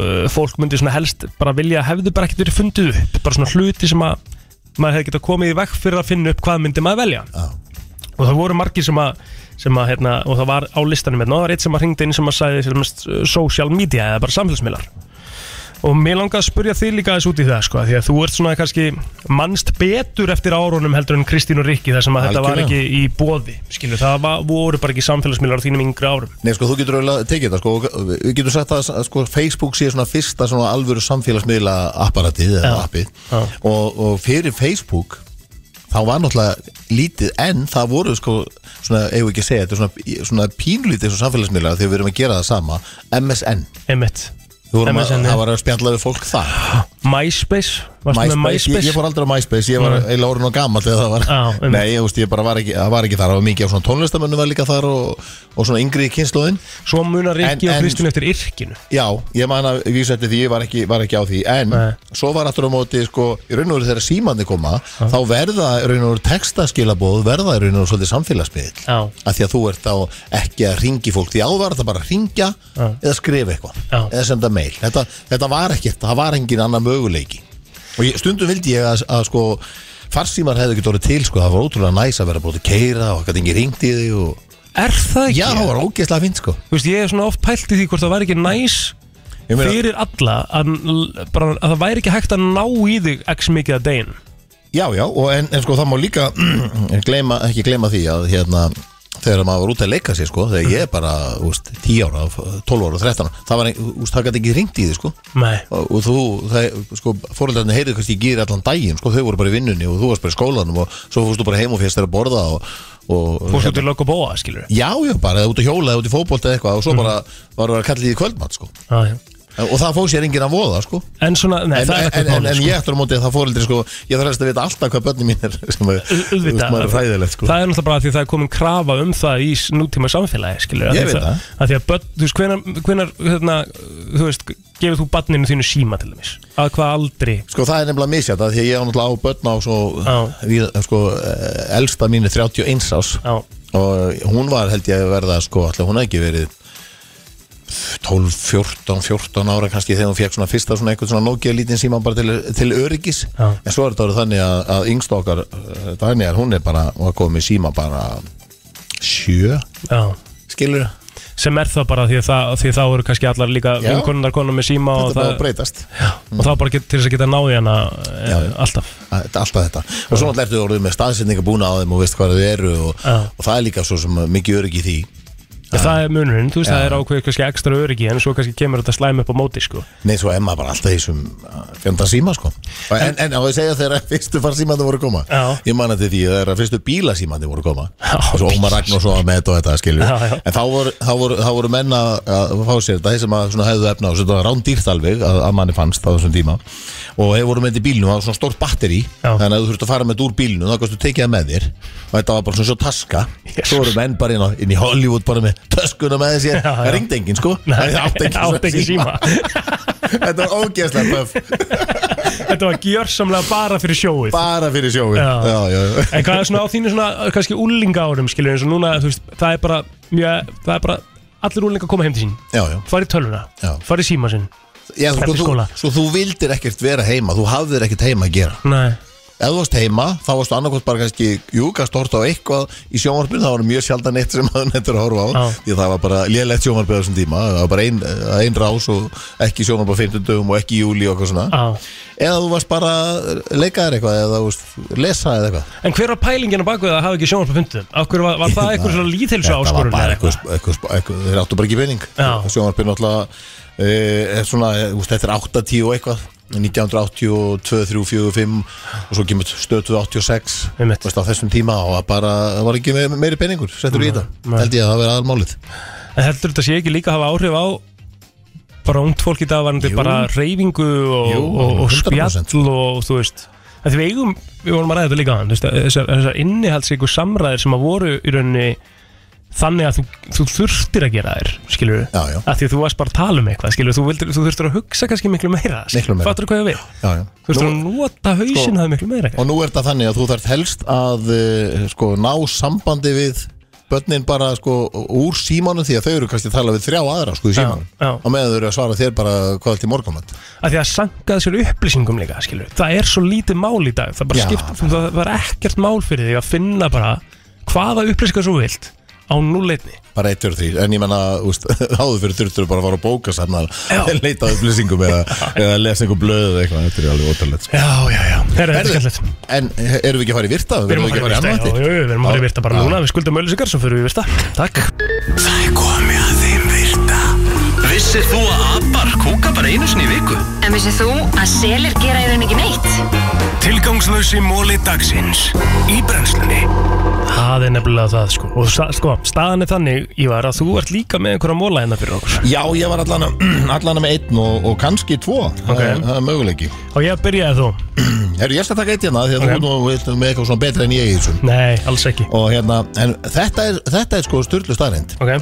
Speaker 4: uh, fólk myndi svona helst bara vilja hefðu bara ekkert verið fundið upp bara svona hluti sem að maður hefði getað komið í vekk fyrir að finna upp hvað myndi maður velja Já. og það voru margir sem að, sem að hérna, og það var á listanum hérna, og það var eitt sem að hringdi inn sem að sagði sem að, social media eða bara samfélagsmiðlar og mér langar að spurja þig líka aðeins út í það sko, af því að þú ert svona kannski mannst betur eftir árunum heldur en Kristín og Rikki þar sem að þetta var
Speaker 17: Algjörlega.
Speaker 4: ekki í bóði skilur, það var, voru bara ekki samfélagsmiðlar á þínum yngri árum
Speaker 17: Nei, sko, þú getur auðvitað tekið þetta, sko, og við getum sagt það að sko, Facebook sé svona fyrsta svona alvöru samfélagsmiðla apparatið eða
Speaker 4: Já.
Speaker 17: appið og, og fyrir Facebook þá var náttúrulega lítið en það voru sko, svona, eigum við ekki að segja þetta er svona, svona pínlítið svona samfélagsmiðla þegar við erum að gera það sama, MSN
Speaker 4: Einmitt
Speaker 17: Þú vorum að,
Speaker 4: MSN, já.
Speaker 17: það var að spjalla við fólk það
Speaker 4: MySpace, varstu með
Speaker 17: Ég,
Speaker 4: MySpace?
Speaker 17: ég fór aldrei á MySpace, ég var
Speaker 4: Nei.
Speaker 17: eiginlega orðin og gammal þegar það var Nei, ég, veist, ég bara var ekki, það var ekki þar, það var mikið af svona tónlistamönnum var líka þar og, og svona yngri kynnslóðin
Speaker 4: Svo munar Rikki og Kristín eftir yrkinu
Speaker 17: Já, ég man að vísa eftir því, ég var ekki, var ekki á því En svo var aftur á móti, sko, í raun og veru þegar símandi koma Þá verða í raun og veru textaskilabóð, verða í raun og veru svolítið samfélagsmiðl
Speaker 4: Já.
Speaker 17: Af því að þú ert á ekki að ringi fólk Því áður var þetta bara að ringja eða skrifa eitthvað
Speaker 4: Já.
Speaker 17: Eða senda mail Þetta, þetta var ekkert, það var engin annar möguleiki Og ég, stundum vildi ég að, að sko, farsímar hefði ekki orðið til, sko Það var ótrúlega næs að vera búin að keira og hvað engi ringdi þig og...
Speaker 18: Er það
Speaker 17: ekki? Já, það var ógeðslega fint, sko
Speaker 4: Þú veist, ég er svona oft pælt í því hvort það væri ekki næs
Speaker 17: meina-
Speaker 4: fyrir alla að, bara, að það væri ekki hægt að ná í þig x mikið að degin
Speaker 17: Já, já, og en, en sko það má líka gleyma, ekki gleyma því að hérna, þegar maður var út að leika sér sko þegar ég er bara, úst, 10 ára 12 ára, 13 ára, það var, ein- úst, það gæti ekki ringt í þið sko
Speaker 4: Nei.
Speaker 17: og, og þú, það, sko, fóreldrarnir heyrðu kannski í gýr allan daginn, sko, þau voru bara í vinnunni og þú varst bara í skólanum og svo fórstu bara heim og fyrst þér að borða og, og hérna,
Speaker 4: Fórstu til lög og bóa, skilur
Speaker 17: Já, já, bara, eða út að hjóla, eða út í fótbolt eða eitthvað og
Speaker 4: Mhm.
Speaker 17: svo bara var að kalla í kvöldmatt sko
Speaker 4: ah, já.
Speaker 17: og það fóð sér enginn að voða sko
Speaker 4: En svona, nei,
Speaker 17: en,
Speaker 4: það
Speaker 17: en,
Speaker 4: er ekkert
Speaker 17: en, en,
Speaker 4: máli, sko.
Speaker 17: ég eftir á móti að það fóreldri sko ég þarf helst að vita alltaf hvað börnum mín er sem að, þú veist, maður er fræðilegt sko
Speaker 4: Það er náttúrulega bara því að það er komin krafa um það í s- nútíma samfélagi skilur,
Speaker 17: Ég veit
Speaker 4: það að Því að börn, þú veist, hvenar, hvenar hérna, þú veist, gefur þú barninu þínu síma til dæmis Að hvað aldri
Speaker 17: Sko það er nefnilega misjætt að því að ég á náttúrulega á börn á svo, við, sko, eh, elsta mín er 31 ás
Speaker 4: á.
Speaker 17: og eh, hún var held ég að verða sko, allir hún hafði ekki verið 12, 14, 14 ára kannski þegar hún fekk svona fyrsta svona eitthvað svona Nokia lítinn síma bara til, til öryggis
Speaker 4: Já.
Speaker 17: en svo er þetta orðið þannig að, að yngst okkar eh, Daniel, hún er bara, hún er komið síma bara sjö
Speaker 4: Já
Speaker 17: Skilur
Speaker 4: Sem er það bara því að, það, því að þá eru kannski allar líka
Speaker 17: Já.
Speaker 4: vinkonundar konum með síma
Speaker 17: Þetta er
Speaker 4: og
Speaker 17: bara
Speaker 4: það,
Speaker 17: að breytast Mm.
Speaker 4: já, Og þá bara get, til þess að geta náði hana e, alltaf
Speaker 17: eh, Þetta er alltaf þetta og svo náttúrulega ertu orðið með staðsetninga búna á þeim og veist hvað þau eru og,
Speaker 4: Já.
Speaker 17: og það er líka svo sem mikið öryggi í því
Speaker 4: ja, Það er munurinn, þú veist,
Speaker 17: Já.
Speaker 4: það er ákveðið kannski ekstra öryggi En svo kannski kemur þetta slæm upp á móti, sko
Speaker 17: Nei, svo er maður bara alltaf í þessum fjöndan síma, sko. Og En, en á að segja þegar fyrstu farsímandi voru að koma.
Speaker 4: Já.
Speaker 17: Ég man þetta því að þegar fyrstu bílasímandi voru að koma. og svo Ómar Ragnarsson var með þetta og þetta, skilju.
Speaker 4: Já, já.
Speaker 17: En þá voru, þá voru, þá voru menn að, að fá sér þetta, þeir sem að svona hefðu efna og þetta var rándýrt alveg að, að manni fannst á þessum tíma. Og þeir voru með þetta í bílnum, það var svona stórt batteri, þannig að þú þurftu að fara með þetta úr bílnum, þá kannstu tekið það með þér. Og þetta var bara svona svo taska. Svo voru menn bara inn, á, inn í Hollywood bara með töskuna með sér.
Speaker 4: Já, já.
Speaker 17: Það ringdi enginn, sko. Það átti enginn
Speaker 4: átti
Speaker 17: svona
Speaker 4: enginn síma.
Speaker 17: Þetta var ógeðslega böf
Speaker 4: Þetta var gjörsamlega bara fyrir sjóið
Speaker 17: Bara fyrir sjóið Já, já, já.
Speaker 4: En hvað er svona á þínu svona kannski úlinga árum skilur eins og núna þú veist það er bara mjög, það er bara allir úlinga koma heim til sín
Speaker 17: Já, já.
Speaker 4: Fari tölvuna,
Speaker 17: Já.
Speaker 4: fari síma sinn
Speaker 17: Já, sko,
Speaker 4: Eftir
Speaker 17: þú,
Speaker 4: skóla.
Speaker 17: svo þú vildir ekkert vera heima Þú hafðir ekkert heima að gera
Speaker 4: Nei
Speaker 17: Ef þú varst heima, þá varst þú annarkvæmt bara kannski Júkast hort á eitthvað í sjónvarpinu Það var mjög sjaldan eitt sem maður nættur að horfa á
Speaker 4: Já.
Speaker 17: Því að það var bara lélegt sjónvarpið á þessum tíma Það var bara ein, ein rás og ekki sjónvarp á 50 dögum og ekki í júli og eitthvað svona Eða þú varst bara að leika þér eitthvað Eða þú varst lesa eða eitthvað
Speaker 4: En hver var pælingin á baku það að hafa ekki sjónvarp á fundum? Af hverju var, var það eitthvað svona líðhelsu
Speaker 17: Þetta var
Speaker 4: áskorun?
Speaker 17: bara eitthvað, eitthvað, eitthvað þeir áttu bara ekki pening Sjónvarpið náttúrulega eh, er svona, eh, úst, þetta er 80 og eitthvað 1982, 3, 4, 5 og svo kemur stötu 86 veist, á þessum tíma og það bara það var ekki me- meiri peningur, settur í
Speaker 4: Nei,
Speaker 17: þetta
Speaker 4: Mm, nei.
Speaker 17: held ég að það vera aðalmálið
Speaker 4: En heldur þetta sé ekki líka hafa áhrif á bara ungt fólk í dag varandi
Speaker 17: Jú.
Speaker 4: bara reyfingu og,
Speaker 17: Jú,
Speaker 4: og, og
Speaker 17: 100%.
Speaker 4: spjall og þú veist að því við eigum, við vorum að ræða þetta líka áðan, þú veist, að þessar, þessar innihaldsíku samræðir sem að voru í rauninni þannig að þú, þú þurftir að gera þér skilur við,
Speaker 17: já, já.
Speaker 4: að því að þú varst bara að tala um eitthvað skilur við, þú, vildir, þú þurftir að hugsa kannski miklu meira
Speaker 17: Miklu meira.
Speaker 4: fattur hvað ég á við,
Speaker 17: já, já.
Speaker 4: þú þurftir að
Speaker 17: Nú- sko,
Speaker 4: nota hausin það miklu meira
Speaker 17: og nú er þetta þannig að þú þarf helst að eh, sko, ná sambandi við börnin bara sko, úr símanum því að þau eru kannski að tala við þrjá aðra sko, í símanum
Speaker 4: já.
Speaker 17: og meðan þau eru að svara þér bara hvað er til morgumat
Speaker 4: að því að sankaði sér upplýsingum líka skilur. við. það er svo lítið mál í dag það, bara
Speaker 17: Já.
Speaker 4: skipt, það var ekkert mál fyrir því að finna bara hvaða upplýsingar svo vilt á núleitni
Speaker 17: bara 1 fyrir 3, en ég menna úst, áður fyrir þurftur bara að fara að bóka sannar leita að upplýsingum eða, eða lesa einhver blöð eða eitthvað, þetta er alveg ótrúlega sko.
Speaker 4: Já, já, já, þetta er
Speaker 17: Herðu,
Speaker 4: skemmtilegt
Speaker 17: En eh, erum við ekki að fara í virta?
Speaker 4: Við erum að fara í virta, já, já, já, við erum að fara í virta bara núna Við skuldum öllusingar, svo fyrir við í virta Takk
Speaker 8: Það er komið að þeim virta Vissir þú að abar kúka bara einu sinni í viku?
Speaker 19: En vissið þú að selir gera í raun ekki neitt?
Speaker 2: Tilgangslösi móli dagsins Í brennslunni
Speaker 4: Það er nefnilega það, sko Og sta- sko, staðan er þannig, Ívar, að þú ert líka með einhverja móla hérna fyrir okkur
Speaker 17: Já, ég var allan að- allan að með einn og, og kannski tvo það,
Speaker 4: Ok.
Speaker 17: er- það er möguleiki
Speaker 4: Og ég byrjaði þú
Speaker 17: Herru, ég skal taka eitt hérna því að
Speaker 4: Ok.
Speaker 17: þú nú ert með eitthvað svona betra en ég í þessum
Speaker 4: Nei, alls ekki
Speaker 17: Og hérna, en þetta er, þetta er sko styrlu staðrind
Speaker 4: Ok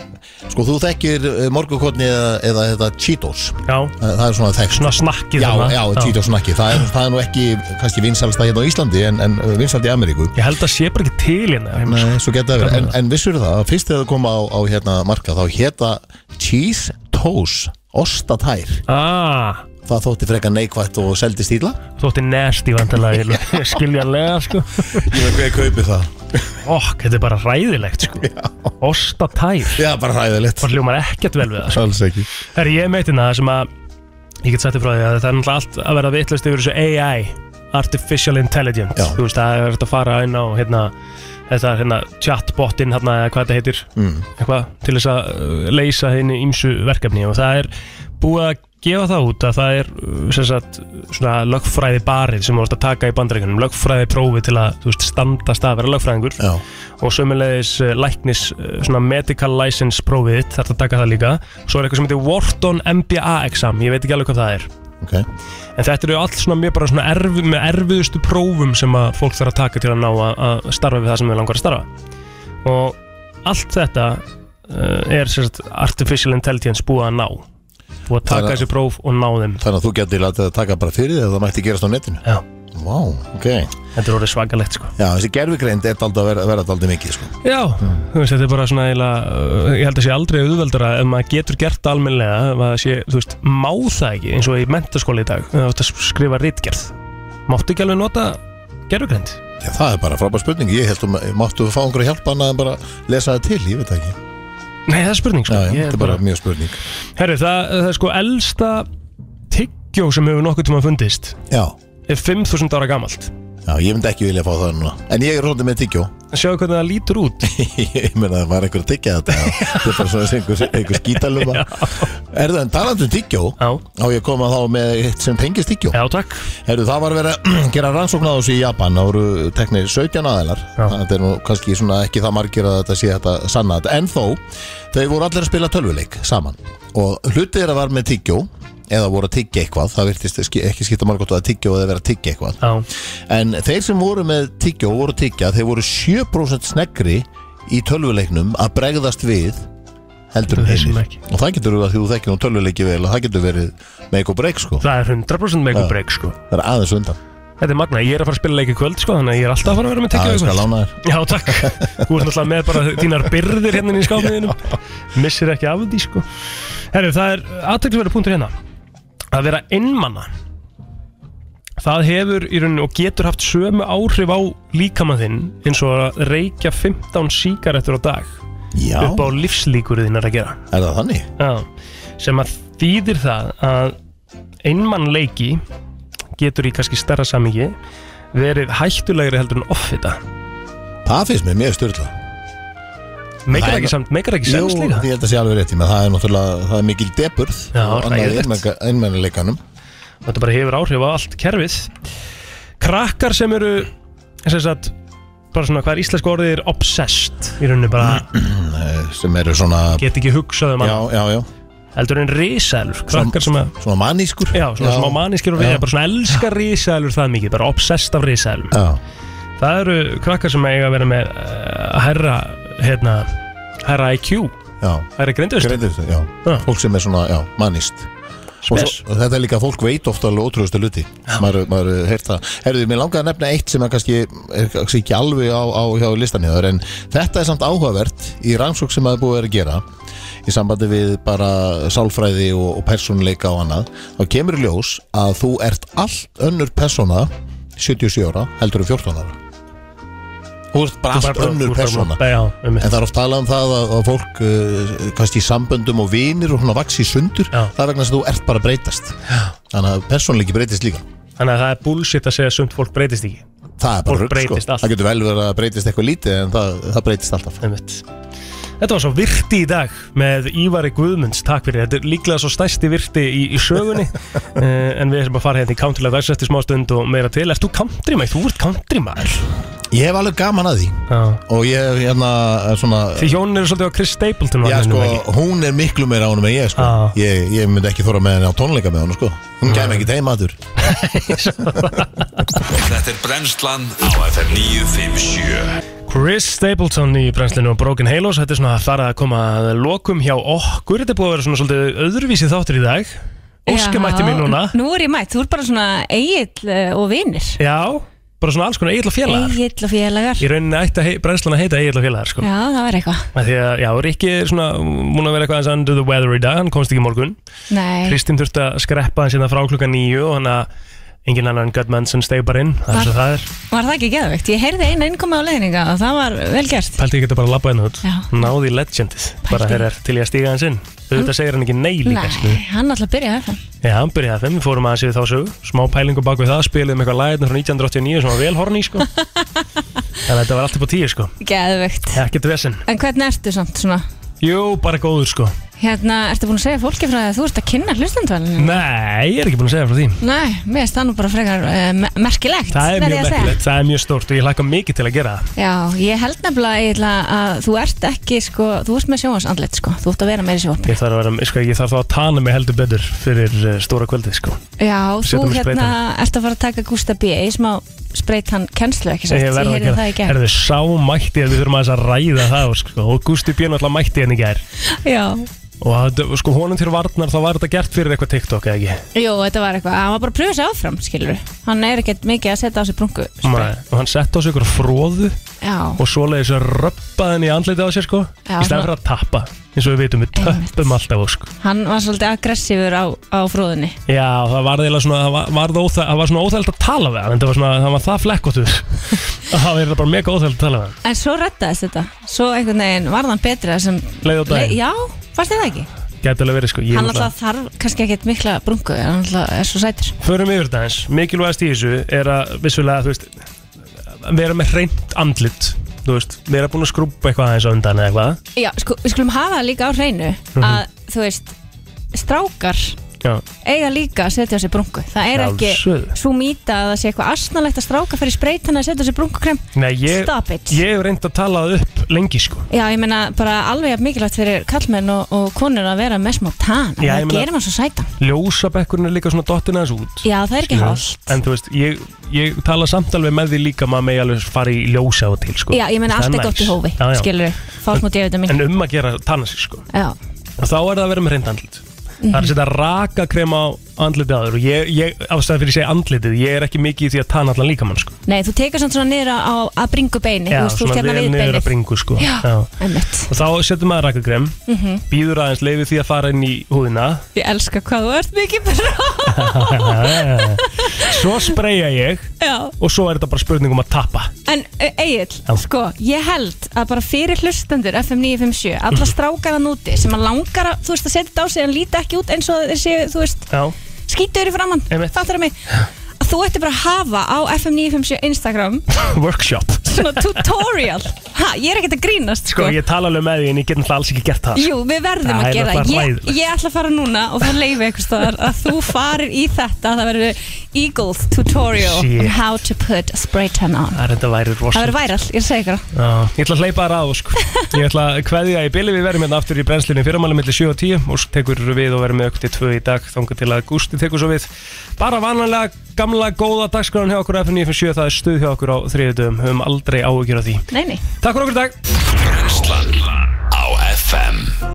Speaker 17: Sko, þú þekkir morgukotni eða, eða þetta Cheetos
Speaker 4: Já
Speaker 17: Það er svona þekkt
Speaker 4: Svona snakkið
Speaker 17: Já,
Speaker 4: þarna.
Speaker 17: já,
Speaker 4: Já.
Speaker 17: Cheetos snakki það er, það er nú ekki, kannski vinsalsta hérna á Íslandi en, en vinsaldi í Ameríku
Speaker 4: Ég held að sé bara ekki til hérna
Speaker 17: Nei, svo geta það verið En, en vissur það að fyrst þegar það kom á, á hérna marka þá heta Cheese Toes Ostatær
Speaker 4: ah.
Speaker 17: Það þótti frekar neikvætt og seldist íla
Speaker 4: Þótti hérna. nesti vantilega, skiljanlega, sko
Speaker 17: Ég veit hvað ég kaupi það
Speaker 4: Okk, þetta er bara ræðilegt, sko Ostatær
Speaker 17: Já, bara ræðilegt
Speaker 4: Bara hljómar ekkert vel við það, sko
Speaker 17: Alls ekki
Speaker 4: Herri, ég meitin hérna, það sem að Ég get sagt þér frá því að það er náttúrulega allt að vera vitlust yfir þessu AI Artificial Intelligence Já. Þú veist, það er hægt að fara inn á hérna, þetta er hérna chatbotin hérna, eða hvað þetta heitir
Speaker 17: Mm.
Speaker 4: eitthvað, til þess að uh, leysa henni ímsu verkefni og það er búið að gefa það út að það er uh, sem sagt, svona lögfræði barið sem þú vorst að taka í bandaríkunum lögfræði prófi til að þú veist, standast að vera lögfræðingur
Speaker 17: Já.
Speaker 4: og sömulegis uh, læknis uh, svona medical license prófið þitt, þarf að taka það líka svo er eitthvað sem heitir Wharton MBA exam ég veit ekki alveg hvað það er
Speaker 17: okay.
Speaker 4: en þetta eru allt svona mjög bara svona erfi, með erfiðustu prófum sem að fólk þarf að taka til að ná að, að starfa við það sem við langar að starfa og allt þetta uh, er sem sagt artificial intelligence búið að ná búið að taka þessi próf og ná þeim
Speaker 17: Þannig að þú getur látið að taka bara fyrir þig ef það mætti gerast á netinu
Speaker 4: Já
Speaker 17: Vá, ok Þetta
Speaker 4: er orðið svakalegt sko
Speaker 17: Já, þessi gerfugreind er dálítið að vera, vera daldið mikið sko
Speaker 4: Já, þú veist, þetta er bara svona eiginlega, uh, ég held að sé aldrei auðveldara ef maður getur gert það almennilega ef maður sé, þú veist, má það ekki eins og í mentaskóla í dag, ef þú átt að skrifa rítgerð, máttu ekki alveg nota gerfugrind?
Speaker 17: Já, það er bara frábær spurning Ég held að máttu fá einhverja hjálp annað en bara lesa það til, ég veit það ekki
Speaker 4: Nei, það er spurning sko.
Speaker 17: Já, já,
Speaker 4: Ég
Speaker 17: þetta er bara mjög spurning
Speaker 4: Herri, það, það er sko elsta tyggjó sem hefur nokkuð tíma fundist
Speaker 17: Já
Speaker 4: Er 5000 ára gamalt
Speaker 17: Já, ég myndi ekki vilja fá það núna En ég er svolítið með tyggjó
Speaker 4: Sjáðu hvernig það lítur út
Speaker 17: Ég meina, það var einhver að tyggja þetta Þetta er bara svona einhver, einhver skítalum Er það en talandi um tyggjó
Speaker 4: Já
Speaker 17: Á ég að koma þá með eitt sem tengist tyggjó
Speaker 4: Já, takk
Speaker 17: Herru, það var verið að gera rannsókn á þessu í Japan Það voru teknir 17 aðeinar Þetta er nú kannski svona ekki það margir að þetta sé þetta sanna þetta En þó, þau voru allir að spila tölvuleik saman Og hlutið er að var með tyggjó eða voru að tyggja eitthvað, það virtist ski- ekki skipta margótt að tyggja og að vera að tyggja eitthvað
Speaker 4: Já.
Speaker 17: en þeir sem voru með tyggja og voru að tyggja, þeir voru 7% sneggri í tölvuleiknum að bregðast við heldur en hinir og það getur verið að því þú þekkir nú tölvuleiki vel að það getur verið make or break sko
Speaker 4: Það er 100% make or break sko
Speaker 17: Það er aðeins undan
Speaker 4: Þetta er magna, ég er að fara að spila leik í kvöld sko Þannig að ég er alltaf að fara að vera með
Speaker 17: Já,
Speaker 4: tyggjó í
Speaker 17: ég skal
Speaker 4: kvöld.
Speaker 17: lána
Speaker 4: Já, takk Þú ert náttúrulega með bara þínar byrðir hérna inn í skámiðinum Missir ekki af því sko Herru, það er aðtöklisverðu punktur hérna Að vera innmanna Það hefur í rauninu og getur haft sömu áhrif á líkamann þinn eins og að reykja 15 síkarettur á dag
Speaker 17: Já.
Speaker 4: upp á lífslíkur þínar að gera
Speaker 17: Er það þannig?
Speaker 4: Já, sem að þýðir það að einmannleiki getur í kannski stærra samingi verið hættulegri heldur en offita
Speaker 17: Það finnst mér mjög styrla
Speaker 4: Meikar ekki samt, meikar ekki sens
Speaker 17: Jú,
Speaker 4: líka
Speaker 17: ég held að sé alveg rétt í með það er náttúrulega, það er mikil deburð
Speaker 4: Já,
Speaker 17: og
Speaker 4: hræðilegt.
Speaker 17: annað einmennileikanum
Speaker 4: Þetta bara hefur áhrif á allt kerfið Krakkar sem eru sem sagt, bara svona hvað er íslenska orðið er obsessed í rauninu bara
Speaker 17: Eh, sem eru svona
Speaker 4: get ekki hugsað um
Speaker 17: Já, já, já
Speaker 4: heldur en risaðlur krakkar sem að
Speaker 17: svona manískur
Speaker 4: já, svona
Speaker 17: Já.
Speaker 4: smá manískir og
Speaker 17: Já.
Speaker 4: já. bara svona elskar risaðlur það mikið bara obsessed af risaðlum
Speaker 17: já.
Speaker 4: það eru krakkar sem eiga að vera með uh, herra hérna herra IQ
Speaker 17: Já.
Speaker 4: herra grindust
Speaker 17: Grindust, já. Fólk sem er svona, já, mannist og,
Speaker 4: Spes.
Speaker 17: svo- og þetta er líka að fólk veit ofta alveg ótrúðustu luti maður, maður heyrt það Herðu, mér langaði að nefna eitt sem er kannski, er kannski ekki alveg á, á hjá listanhjóður en þetta er samt áhugavert í rannsók sem maður búið er að gera í sambandi við bara sálfræði og, og persónuleika og annað þá kemur í ljós að þú ert allt önnur persóna 77 ára heldur en 14 ára Þú ert bara
Speaker 4: Þú
Speaker 17: allt
Speaker 4: bara- þú
Speaker 17: önnur
Speaker 4: ert bara-
Speaker 17: persóna
Speaker 4: já,
Speaker 17: En það er oft talað um það að, að fólk uh, kannski í samböndum og vinir og svona vaks í sundur já. það er vegna þess að þú ert bara að breytast já. Þannig að persónleiki breytist líka
Speaker 4: þannig að það er bullshit að segja sumt fólk breytist ekki
Speaker 17: Það er bara
Speaker 4: Fólk
Speaker 17: rugl, sko.
Speaker 4: breytist allt.
Speaker 17: Það getur vel verið að breytist eitthvað lítið en það, það breytist alltaf
Speaker 4: Einmitt. Þetta var svo virti í dag með Ívari Guðmunds, takk fyrir Þetta er líklega svo stæsti virti í, í sögunni uh, En við erum að fara hérna í countrylega dags eftir smá stund og meira til Ert þú country maður? Þú ert country maður
Speaker 17: Ég hef alveg gaman að því
Speaker 4: já.
Speaker 17: og ég hef hérna eh, svona
Speaker 4: Því hjónin eru svolítið á Chris Stapleton
Speaker 17: Já,
Speaker 4: vagninu,
Speaker 17: sko,
Speaker 4: ekki?
Speaker 17: hún er miklu meira ánum en ég, sko ég, ég myndi ekki þóra með henni á tónleika með henni, sko Hún kæmi ekki teima aður
Speaker 2: Þetta er brennslan á FM 957
Speaker 4: Chris Stapleton í brennslinu og Broken Halos Þetta er svona að fara að koma að lokum hjá okkur Þetta er búið að vera svona svolítið öðruvísi þáttur í dag Óskar
Speaker 20: Já,
Speaker 4: mætti mér núna
Speaker 20: Nú er ég mætt, þú er bara svona eigill og vinnir
Speaker 4: Já, bara svona alls konar eiginlega félagar
Speaker 20: Eigill og félagar
Speaker 4: Í rauninni ætti að hei- brennslan að heita eiginlega félagar, sko
Speaker 20: Já, það var eitthvað
Speaker 4: Af Því að, já, Rikki er svona múin að vera eitthvað eins under the weather í dag, hann komst ekki í morgun
Speaker 20: Nei,
Speaker 4: Kristín þurfti að skreppa hann síðan frá klukkan nýju og hann að engin annan en Gutmann sem steig bara inn, það er svo það er
Speaker 20: var það ekki geðveikt Ég heyrði eina innkomi á leiðninga og það var vel gert
Speaker 4: Pælti ég geta bara að labba henni út,
Speaker 20: Já.
Speaker 4: náði í legendið bara
Speaker 20: Pældi.
Speaker 4: þeir er til ég að stíga hans inn auðvitað segir hann ekki nei líka
Speaker 20: Nei,
Speaker 4: skilur.
Speaker 20: hann alltaf byrjaði það
Speaker 4: Já, hann byrjaði að þeim, við fórum hérna aðeins yfir þá sögu smá pælingu bak við það, spilum eitthvað læðin frá 1989 sem var vel horni sko Þannig að þetta var allt upp á tíu sko
Speaker 20: Geðvegt
Speaker 4: Ekkert vesen
Speaker 20: En hvernig ertu samt svona?
Speaker 4: Jú, bara góður sko
Speaker 20: Hérna, ertu búin að segja fólki frá því að þú ert að kynna hlustendvalinu?
Speaker 4: Nei, ég er ekki búin að segja frá því
Speaker 20: Nei, mér finnst það nú bara frekar uh, me merkilegt
Speaker 4: Það er
Speaker 20: verð
Speaker 4: mjög
Speaker 20: ég að segja.
Speaker 4: merkilegt, það er mjög stórt og ég hlakka mikið til að gera það
Speaker 20: Já, ég held nefnilega eiginlega að þú ert ekki sko, þú ert með sjóhansandlet sko, þú ert að vera meira sjóhansandlet
Speaker 4: Ég þarf, að vera, sko, ég þarf þá að tana mig heldur betur fyrir eh, stóra kvöldið sko
Speaker 20: Já,
Speaker 4: Setja
Speaker 20: þú
Speaker 4: mig í
Speaker 20: hérna ert að fara að taka Gústa B í smá spreytan kennslu, ekki satt,
Speaker 4: Ég verð að
Speaker 20: heyrði
Speaker 4: gera
Speaker 20: það í
Speaker 4: það
Speaker 20: gerð
Speaker 4: Herðu, sá mætti að við þurfum aðeins að ræða það sko. og Gusti Björn alltaf mætti henni gær
Speaker 20: Já,
Speaker 4: og að, sko honum til varnar þá var þetta gert fyrir eitthvað TikTok eða ekki
Speaker 20: jú, þetta var eitthvað, hann var bara að pröfa sig áfram, skilur hann er ekkert mikið að setja á sig brungu
Speaker 4: Nei. og hann sett á sig ykkur fróðu
Speaker 20: Já,
Speaker 4: og svoleiðis að röppa henni í andliti á sér sko
Speaker 20: Já,
Speaker 4: í stæðan fyrir að tappa eins og við vitum við töppum alltaf og, sko.
Speaker 20: hann var svolítið aggressífur á, á fróðinni
Speaker 4: Já, það var eiginlega svona, það var, var, það óþæ, það var svona óþægild að tala við hann, en það var svona, það var það flekkotur. það var eiginlega bara mega óþægild að tala við hann.
Speaker 20: En svo rettaðist þetta, svo einhvern veginn varð hann betra sem
Speaker 4: Leið á daginn.
Speaker 20: Já, fannst þér það ekki?
Speaker 4: Gæti alveg verið sko, ég
Speaker 20: hann alltaf þarf kannski ekkert mikla brungu en hann alltaf er svo sætur
Speaker 4: Förum yfir þetta eins, mikilvægast í þessu er að vissulega, þú veist, vera með hreint andlit, þú veist, vera búin að skrúpa eitthvað aðeins á undan eða eitthvað.
Speaker 20: já, sko, við skulum hafa það líka á hreinu
Speaker 4: Mhm.
Speaker 20: að, þú veist, strákar
Speaker 4: Já.
Speaker 20: eiga líka að setja á sig brungu það er ekki
Speaker 4: Sjálfsögðu.
Speaker 20: svo mýta að það sé eitthvað asnalegt að stráka fyrir spreytana að setja á sig brungukrem
Speaker 4: Nei, ég,
Speaker 20: Stop it.
Speaker 4: ég hef reynd að tala það upp lengi sko.
Speaker 20: já, ég meina bara alveg jafn mikilvægt fyrir kallmenn og, og konur að vera með smá tann
Speaker 4: Já, ég
Speaker 20: það
Speaker 4: meina-
Speaker 20: gerir maður svo sætan
Speaker 4: Ljósabekkurinn er líka svona dottin aðeins út.
Speaker 20: já, það er ekki
Speaker 4: Skilurðu?
Speaker 20: hálf
Speaker 4: En þú veist, ég, ég tala samt alveg með því líka maður megi alveg fara í ljósa og til sko.
Speaker 20: já, ég meina
Speaker 4: Það
Speaker 20: allt er
Speaker 4: næs.
Speaker 20: gott í hófi
Speaker 4: Já, já.
Speaker 20: skilur, fá smá D-vitamin
Speaker 4: En um að gera tanna sig sko
Speaker 20: já,
Speaker 4: Og þá er það að vera með reynd andlit Það
Speaker 20: Mhm.
Speaker 4: er að setja raka á andlitið aður Og ég, ég ástæði fyrir að segja andlitið Ég er ekki mikið í því að tanna allan líkamann sko
Speaker 20: nei, þú tekur samt svona niður á, á að bringu beini þú veist, þú ert hérna
Speaker 4: vel
Speaker 20: við
Speaker 4: niður að
Speaker 20: beinið.
Speaker 4: bringu sko
Speaker 20: Já, einmitt.
Speaker 4: Og þá setjum maður raka krem
Speaker 20: Mhm.
Speaker 4: Býður aðeins leiði því að fara inn í húðina
Speaker 20: Ég elska hvað þú ert mikið brá
Speaker 4: Svo spreja ég
Speaker 20: Já.
Speaker 4: Og svo er þetta bara spurning um að tappa
Speaker 20: En Egil,
Speaker 4: Já.
Speaker 20: sko, ég held að bara fyrir hlustendur FM 957 alla
Speaker 4: Mhm.
Speaker 20: strákara núti sem að langar að, þú veist, að setja þetta á sig en líta ekki út eins og þeir séu, þú veist,
Speaker 4: Já
Speaker 20: skítur í framann fattar það mig að þú ætti bara að hafa á FM 957 Instagram
Speaker 4: Workshop
Speaker 20: svona tutorial ha, ég er ekkert að grínast,
Speaker 4: Sko
Speaker 20: sko
Speaker 4: ég tala alveg með því en ég get náttúrulega alls ekki gert það
Speaker 20: Jú, við verðum
Speaker 4: Það
Speaker 20: að
Speaker 4: er
Speaker 20: gera það.
Speaker 4: náttúrulega
Speaker 20: Ég,
Speaker 4: hræðilegt.
Speaker 20: ég ætla að fara núna og fara að leifa eitthvað staðar að þú farir í þetta það verður Eagles tutorial on
Speaker 4: Shit.
Speaker 20: how to put spray tan on
Speaker 4: Það er þetta væri rosa
Speaker 20: Það verður væral, ég segi ykkur það.
Speaker 4: Já, ég ætla að hleypa þér að sko. Ég ætla að kveðja í bili Við verðum hérna aftur í brennslinni fyrramáli millir 7 og 10 og tekur við og verðum með okkur til 2 í dag þangar til að Gústi tekur svo við bara vananlega gamla góða dagskráðan hjá okkur á FM 957, það er stuð hjá okkur á þriðutum, höfum aldrei áhyggjur af því
Speaker 20: Nei, nei
Speaker 4: Takk fyrir okkur í dag